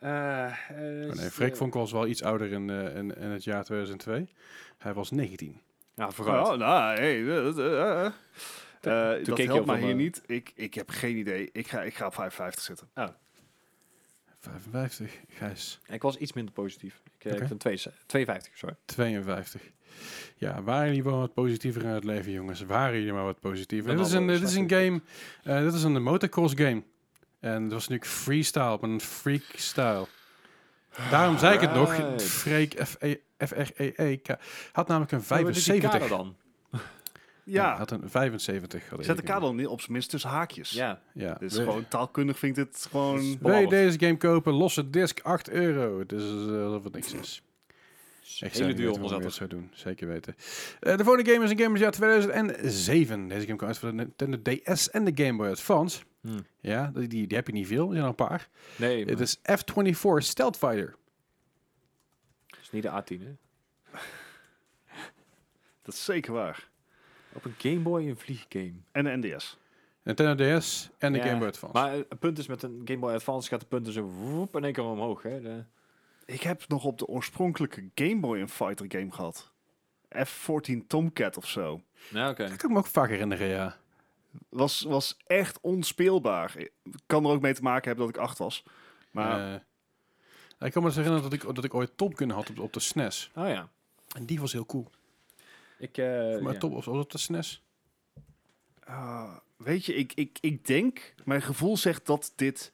S3: Eh, eh,
S2: Oh,
S3: is,
S2: nee,
S3: eh,
S2: Freek Vonk was wel iets ouder in, eh, in, in het jaar 2002. Hij was 19.
S3: Ja, vooruit.
S1: oh, nou, hey, dat, eh, eh, eh. Eh, dat
S3: keek je
S1: helpt mij
S3: al van,
S1: hier
S3: eh,
S1: niet. Ik, ik heb geen idee. Ik ga, ik ga op 55 zitten.
S2: 55. Gijs.
S3: Ik was iets minder positief. Ik eh,
S2: Oké.
S3: heb een 52, 52, sorry.
S2: 52. Ja, waren jullie wel wat positiever in het leven, jongens? Waren jullie maar wat positiever?
S3: Dan
S2: Dit is een,
S3: hadden we
S2: dit is een game... eh, dit is een motocross game. En dat was natuurlijk freestyle, maar een freakstyle. Daarom zei ik het nog.
S1: Right.
S2: Freek E, F-R-E-E E K. had namelijk een
S3: Maar wat is die
S2: 75.
S3: kader dan?
S1: Ja,
S2: Had een 75. Had
S1: zet de
S2: ik.
S1: kader dan niet op zijn minst tussen haakjes.
S3: Ja.
S2: Ja.
S1: Dit is
S2: We-
S1: gewoon taalkundig vind ik dit gewoon...
S3: Is-
S2: Wil je
S3: Ballard.
S2: deze game kopen? Losse disc 8 euro. Het is eh, alsof het niks is. Echt
S3: Hele
S2: zou
S3: duur
S2: niet weten waarom je dat
S3: onderzetters.
S2: zou doen. Zeker weten. Eh, de volgende game is een game uit het jaar 2007. Deze game kwam uit voor de Nintendo DS en de Game Boy Advance.
S3: Hmm.
S2: Ja, die, die die heb je niet veel. Er zijn er een paar.
S3: Nee,
S2: Het
S3: het
S2: is F-24 Stealth Fighter.
S3: is niet de A10, hè?
S1: Dat is zeker waar.
S3: Op een Game Boy een vlieggame.
S1: En de NDS.
S2: Nintendo DS en de
S3: Ja,
S2: Game Boy Advance.
S3: Maar eh, het punt is, met een Game Boy Advance gaat de punten zo woep in één keer omhoog. Hè? De-
S1: Ik heb nog op de oorspronkelijke Game Boy een fighter game gehad. F-14 Tomcat of zo.
S3: Ja, oké.
S2: dat kan ik me ook vaak herinneren, ja.
S1: Was, was echt onspeelbaar. Kan er ook mee te maken hebben dat ik acht was. Maar
S2: Eh, ik kan me eens herinneren dat ik, dat ik ooit Top Gun had op, de- op de SNES.
S3: Oh ja.
S2: En die was heel cool.
S3: Ik, eh,
S2: maar
S3: ja.
S2: Top was was op de E SNES.
S1: Ah, weet je, ik, ik, ik denk, mijn gevoel zegt dat dit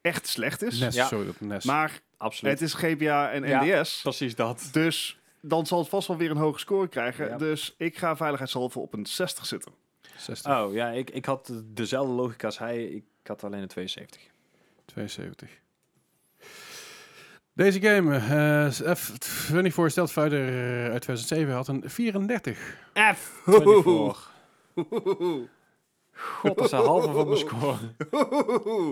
S1: echt slecht is.
S2: NES,
S3: Ja.
S2: sorry, op de E NES.
S1: Maar
S3: Absoluut.
S1: het is GBA en
S3: Ja.
S1: NDS.
S3: Precies dat.
S1: Dus dan zal het vast wel weer een hoge score krijgen.
S3: Ja.
S1: Dus ik ga veiligheidshalve op een 60 zitten.
S2: 60,
S3: Oh ja, ik, ik had dezelfde logica als hij. Ik had alleen een 72.
S2: 72. Deze game, eh, F24 stelt verder eh, uit 2007, had een 34.
S3: F! God, dat is een halve van mijn score.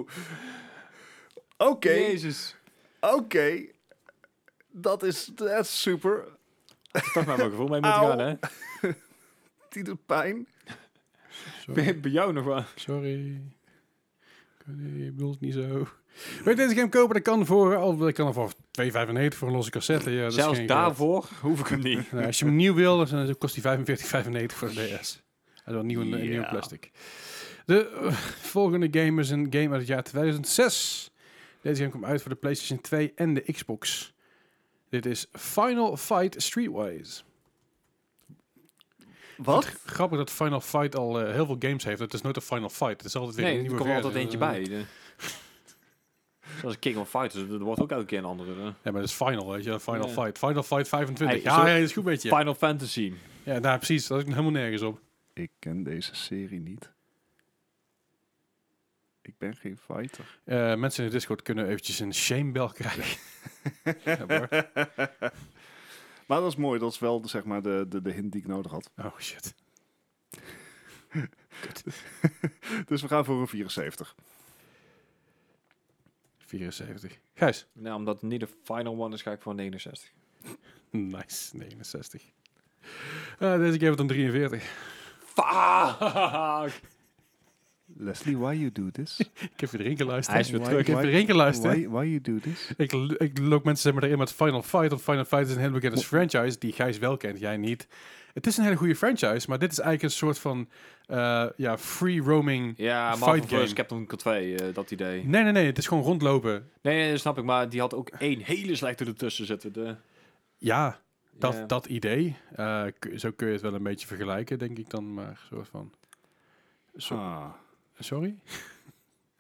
S1: Oké,
S3: Jezus.
S1: oké. Dat is dat is super.
S3: Toch maar mijn gevoel mee moeten
S1: Auw.
S3: gaan, hè?
S1: Die doet pijn.
S2: Sorry.
S3: Bij, bij jou nog wel.
S2: sorry. Ik weet niet, Ik bedoel het niet zo. Weet je, deze game kopen? Dat kan voor, al- dat kan al voor 2,95 voor een losse cassette. Ja, dat is
S3: Zelfs
S2: geen
S3: daarvoor hoef ik hem niet.
S2: geld. Nou, als je hem nieuw wil, dan kost die 45,95 voor de DS. En dan nieuw in in nieuw
S1: Ja.
S2: plastic. De eh, volgende game is een game uit het jaar 2006. Deze game komt uit voor de PlayStation 2 en de Xbox. Dit is Final Fight Streetwise.
S1: Wat?
S2: Grappig dat Final Fight al eh, heel veel games heeft. Het is nooit een Final Fight. Het is altijd weer een
S3: Nee, er
S2: nieuwe
S3: komt altijd
S2: versie.
S3: eentje bij. De- Zoals King of Fighters, er wordt ook elke keer een andere. hè.
S2: Ja, maar dat is Final, weet je. Final
S3: Ja.
S2: Fight. Final Fight 25.
S3: Hey,
S2: ja,
S3: zo-
S2: ja, dat is goed met je.
S3: Final Fantasy.
S2: Ja, nou, precies. Dat is helemaal nergens op.
S1: Ik ken deze serie niet. Ik ben geen fighter.
S2: Eh, mensen in de Discord kunnen eventjes een shamebel krijgen. Ja, hoor.
S1: Maar dat is mooi. Dat is wel de- zeg maar, de, de, de hint die ik nodig had.
S2: oh, shit.
S1: Dus we gaan voor een 74.
S2: 74. Gijs.
S3: Nou, omdat het niet de final one is, ga ik voor 69.
S2: Nice. 69. Eh, deze game wordt een 43.
S3: Fuck!
S1: Leslie, why you do this?
S2: Ik heb je erin geluisterd.
S3: Hij is weer
S1: Why-
S3: terug.
S2: Ik heb
S1: why-
S2: er één keer luisteren.
S1: Why, why you do this?
S2: Ik, l- ik loop mensen zeg maar erin met Final Fight. Want Final Fight is een hele bekende franchise die Gijs wel kent, jij niet. Het is een hele goede franchise, maar dit is eigenlijk een soort van eh, ja, free roaming.
S3: Ja,
S2: Fight
S3: Marvel vs.
S2: game.
S3: Captain Cool 2, eh, dat idee.
S2: Nee, nee, nee. Het is gewoon rondlopen.
S3: Nee, nee, snap ik, maar die had ook één hele slechte ertussen zitten. De,
S2: Ja, dat,
S3: Ja.
S2: dat idee. Eh, k- zo kun je het wel een beetje vergelijken, denk ik dan. Maar een soort van. Zo-
S1: Ah.
S2: Sorry?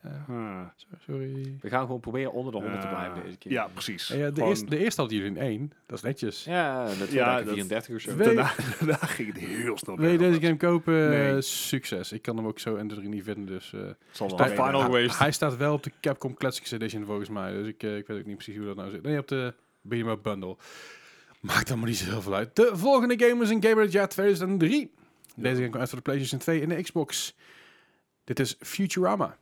S2: Eh,
S1: Ah.
S2: so- sorry.
S3: We gaan gewoon proberen onder de 100 te blijven
S1: Ah.
S3: deze keer.
S1: Ja, precies.
S2: Eh, ja, de,
S1: Gewoon-
S2: eerste, de eerste hadden jullie in één. Dat is netjes.
S3: Ja, de tweede
S1: Ja,
S3: ja,
S1: dat-
S3: 34 of zo.
S2: Weet-
S1: daarna, daarna ging het heel snel.
S2: Wil je
S1: weer
S2: deze game kopen?
S1: Nee.
S2: Eh, Succes. Ik kan hem ook zo en de drie niet vinden, dus... eh,
S1: Het zal wel
S3: Bij
S1: weer-
S3: Final
S1: Ah,
S3: Waste.
S2: Hij staat wel op de Capcom Classics Edition volgens mij. Dus ik, eh, ik weet ook niet precies hoe dat nou zit. Nee, op de Beat 'em Up Bundle. Maakt allemaal niet zo heel veel uit. De volgende game is een game uit het jaar 2003. Deze game komt uit voor de PlayStation 2 en de Xbox. Dit is Futurama.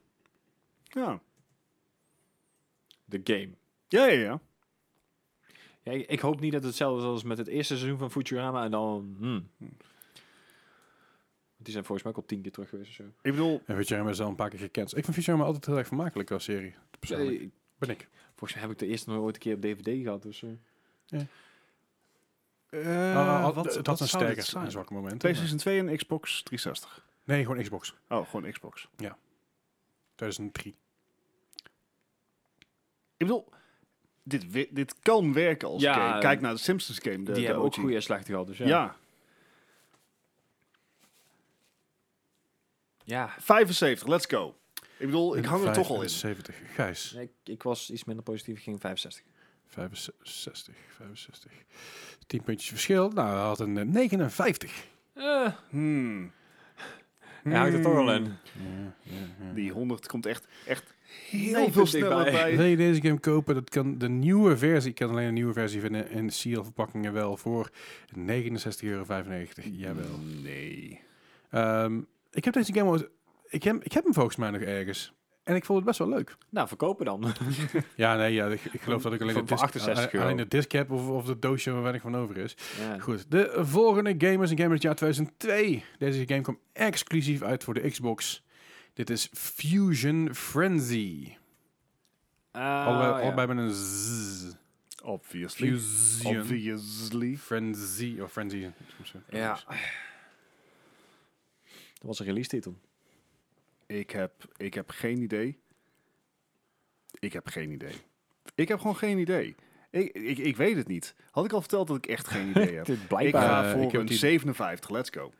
S1: Ja.
S3: De game.
S1: Ja, ja, ja.
S3: Ja, ik, ik hoop niet dat het hetzelfde is als met het eerste seizoen van Futurama en dan... hmm. Die zijn volgens mij ook al tien keer terug geweest of zo.
S1: Ik bedoel,
S2: En Futurama is al een paar keer gekend. Ik vind Futurama altijd heel erg vermakelijk als serie. Persoonlijk.
S3: Eh,
S2: Ben ik.
S3: volgens mij heb ik de eerste nog ooit een keer op DVD gehad. Dus, eh.
S1: eh,
S3: Nou,
S2: Ah, ah,
S1: wat-
S2: het
S1: wat
S2: had een
S1: zou dit
S2: sterker
S1: zijn?
S2: en zwakke moment.
S1: PlayStation 2 en Xbox 360.
S2: Nee, gewoon Xbox.
S1: Oh, gewoon Xbox.
S2: 2003.
S1: Ik bedoel, dit, wi- dit kan werken als
S3: Ja, eh,
S1: game. Kijk naar de Simpsons game. De,
S3: die
S1: de
S3: hebben ook
S1: OG.
S3: goede en slechte gehad. Dus ja.
S1: Ja.
S3: Ja.
S1: 75, let's go. Ik bedoel, ik
S2: En
S1: hang er toch al in.
S2: 75. Gijs.
S3: Nee, ik, ik was iets minder positief. Ik ging 65.
S2: 65, 65. 10 puntjes verschil. Nou, hij had een eh, 59.
S3: Eh,
S1: Hmm.
S3: Hij hangt er toch al in. Hmm.
S1: Die 100 komt echt, echt heel
S3: Nee,
S1: veel
S3: vind ik
S1: sneller
S3: bij.
S1: bij.
S2: Wil je deze game kopen? Dat kan de nieuwe versie. Ik kan alleen de nieuwe versie vinden. En seal verpakkingen wel voor 69,95 euro. Jawel.
S1: Mm, Nee.
S2: Ehm, ik heb deze game ooit... Ik heb, ik heb hem volgens mij nog ergens. en ik vond het best wel leuk.
S3: Nou, verkopen dan.
S2: Ja, nee, ja, ik, ik geloof dat ik alleen de,
S3: Voor- voor
S2: disc, eh,
S3: 68 euro.
S2: alleen de disc heb of, of de doosje waar weinig van over is.
S3: ja.
S2: Goed, de volgende game is een game uit het jaar 2002. Deze game kwam exclusief uit voor de Xbox. Dit is Fusion Frenzy.
S3: Ah,
S2: allebei,
S3: ja.
S2: allebei met een z.
S1: Obviously.
S2: Fusion
S1: Obviously.
S2: Frenzy. Of Frenzy. soms, eh,
S3: Ja. Dat was een release titel.
S1: Ik heb, ik heb geen idee. Ik heb geen idee. Ik heb gewoon geen idee. Ik, ik, ik weet het niet. Had ik al verteld dat ik echt geen idee heb?
S3: Dit,
S1: ik
S3: blijkbaar.
S1: ga
S2: Eh,
S1: voor
S2: ik heb
S1: een
S2: die-
S1: 57. Let's go.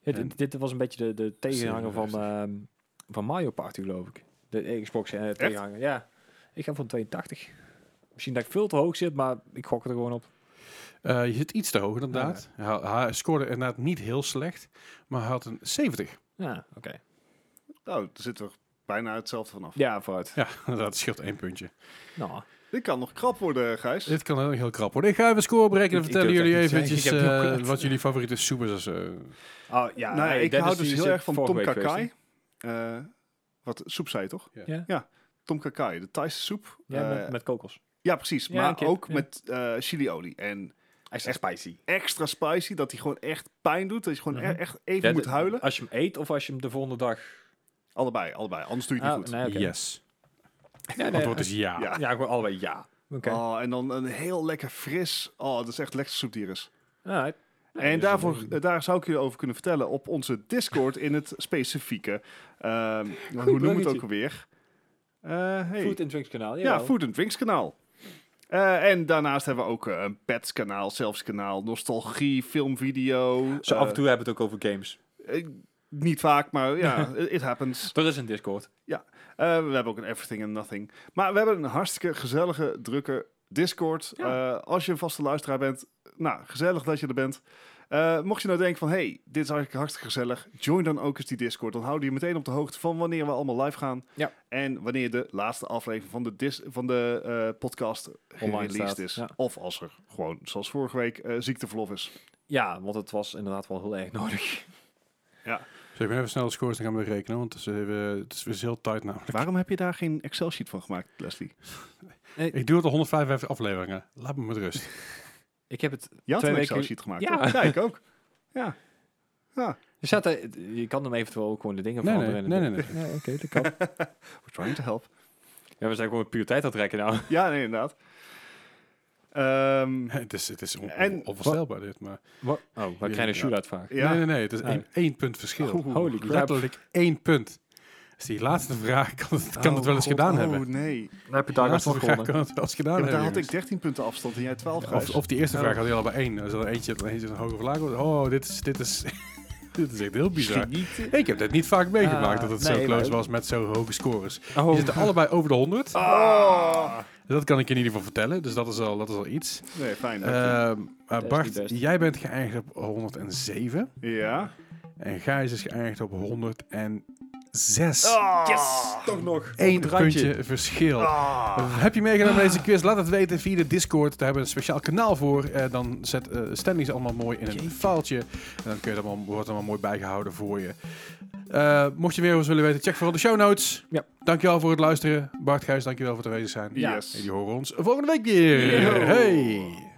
S3: Ja, dit, dit was een beetje de, de tegenhanger van,
S2: 57.
S3: ehm, van Mario Party, geloof ik. De Xbox eh, tegenhanger. Ja, ik ga voor een 82. Misschien dat ik veel te hoog zit, maar ik gok er gewoon op.
S2: Eh, je zit iets te hoog inderdaad. Hij, hij scoorde inderdaad niet heel slecht, maar hij had een 70.
S3: Ja, oké.
S1: Nou, er zit er bijna hetzelfde vanaf.
S3: Ja, vooruit.
S2: Ja, dat scheelt één puntje.
S3: Nou,
S1: Dit kan nog krap worden, Gijs.
S2: Dit kan heel, heel krap worden. Ik ga even score berekenen en
S3: Ik- ik
S2: vertellen
S3: durf
S2: jullie
S3: dat niet te
S2: eventjes
S3: zeggen. Ik heb het
S2: eh,
S3: opgelet.
S2: wat jullie favoriete soepers is. eh.
S3: oh, ja,
S1: nou,
S3: hey,
S1: ik
S3: Dennis,
S1: hou
S3: die
S1: dus heel
S3: zit
S1: erg van
S3: vorige
S1: Tom
S3: week geweest,
S1: Kakai. Eh, wat soep zei je toch?
S3: Ja.
S1: Tom Kakai, de Thaise soep.
S3: hè? Ja,
S1: Eh,
S3: met, met kokos.
S1: ja, precies.
S3: Ja,
S1: maar
S3: een kip,
S1: ook
S3: ja.
S1: met eh chiliolie. En
S3: Hij is echt spicy.
S1: extra spicy, dat hij gewoon echt pijn doet. Dat je gewoon e-
S3: Mhm.
S1: echt even moet huilen.
S3: Als je hem eet of als je hem de volgende dag...
S1: Allebei, allebei. Anders doe je het
S3: Ah,
S1: niet goed.
S3: nee, oké.
S2: Yes.
S3: Ja, nee,
S2: Antwoord is ja.
S1: Ja.
S3: ja, gewoon allebei ja. Oké.
S1: Oh, en dan een heel lekker fris. Oh, dat is echt lekker soep die er is.
S3: Alright. Nee,
S1: en
S3: dus
S1: daarvoor,
S3: dan-
S1: eh, daar zou ik jullie over kunnen vertellen op onze Discord in het specifieke. ehm, want hoe noemen we het
S3: bruggetje.
S1: ook alweer? Eh, hey.
S3: Food and Drinks kanaal,
S1: ja,
S3: jawel.
S1: Food and Drinks kanaal. Eh, en daarnaast hebben we ook eh, een pets kanaal, zelfs kanaal, nostalgie, filmvideo.
S3: Zo
S1: eh,
S3: af en toe hebben we het ook over games.
S1: eh, niet vaak, maar ja, it happens.
S3: Er is een Discord.
S1: Eh, we hebben ook een Everything and Nothing. Maar we hebben een hartstikke gezellige, drukke Discord.
S3: Ja.
S1: Eh, als je een vaste luisteraar bent, nou, gezellig dat je er bent. Eh, mocht je nou denken van, hey, dit is eigenlijk hartstikke gezellig. Join dan ook eens die Discord. Dan houden we je meteen op de hoogte van wanneer we allemaal live gaan.
S3: Ja.
S1: En wanneer de laatste aflevering van de, dis- van de eh, podcast
S3: Online
S1: gereleased
S3: staat,
S1: is.
S3: ja.
S1: Of als er gewoon, zoals vorige week, eh, ziekteverlof is.
S3: Ja, want het was inderdaad wel heel erg nodig.
S2: Dus ik ben even snel de scores en gaan we weer rekenen, want het is, eh, het is, het is heel nou. tijd namelijk.
S1: Waarom heb je daar geen Excel-sheet van gemaakt, Leslie?
S2: Ik doe het al 155 afleveringen. Laat me met rust.
S3: Ik heb het...
S1: Je had
S3: Twee
S1: een
S3: weken-
S1: Excel-sheet gemaakt,
S3: Ja.
S1: toch? Ja, ik ook. Ja.
S3: Er staat er- je kan hem eventueel ook gewoon de dingen
S2: Nee, nee,
S3: veranderen.
S2: nee,
S3: in
S2: nee.
S3: het-
S2: nee.
S3: Ja, oké, dat kan.
S1: We're trying to help.
S3: ja, we zijn gewoon puur tijd aan het rekken
S2: Oh,
S3: nou.
S1: Ja, nee, inderdaad. Ehm,
S2: het is, het is on-
S1: En-
S2: on- onvoorstelbaar dit, maar...
S3: Oh, we krijgen een shootout vraag.
S1: ja.
S2: Nee, nee, nee. Het is
S3: Ah.
S2: één, één punt verschil.
S3: Holy crap.
S2: Letterlijk één punt. Dus die laatste vraag kan het, kan het wel eens
S1: Oh, God,
S2: gedaan
S1: oh,
S2: hebben. Ah, Die
S1: nee.
S3: Dan heb je
S2: laatste vraag kan het wel eens gedaan
S1: Ja, maar daar had
S2: hebben.
S1: ik 13 punten afstand en jij 12
S2: jongens.
S1: gaf.
S2: Of, of die eerste vraag had je al bij één. Als er eentje, eentje een hoger of lager was. Oh, dit is, dit is, dit is echt heel bizar. Ik heb dit niet vaak meegemaakt,
S3: Ah,
S2: dat het zo
S3: nee,
S2: close
S3: maar-
S2: was met zo hoge scores. Die
S3: Oh,
S2: zitten allebei over de 100.
S1: Ah.
S2: Dat kan ik in ieder geval vertellen, dus dat is al, dat is al iets.
S1: Nee, fijn. dank
S2: Ehm, maar
S3: niet
S2: Bart,
S3: best.
S2: jij bent geëindigd op 107.
S1: je. ja.
S2: En Gijs is geëindigd op 106.
S1: Ah.
S3: toch nog.
S2: Eén
S3: het randje.
S2: puntje verschil.
S1: Ah.
S2: Eh, Heb je meegedaan met deze quiz? Laat het weten via de Discord. Daar hebben we een speciaal kanaal voor. Eh, dan zet eh Stanley's allemaal mooi in een faaltje. En dan kun je dat allemaal, wordt het allemaal mooi bijgehouden voor je. Eh, mocht je meer over ons willen weten, check vooral de show notes.
S3: Ja.
S2: Dankjewel voor het luisteren. Bart Gijs, dankjewel voor het aanwezig zijn.
S3: Ja.
S1: Yes.
S2: En die horen ons volgende week weer.
S1: Yo.
S2: Hey.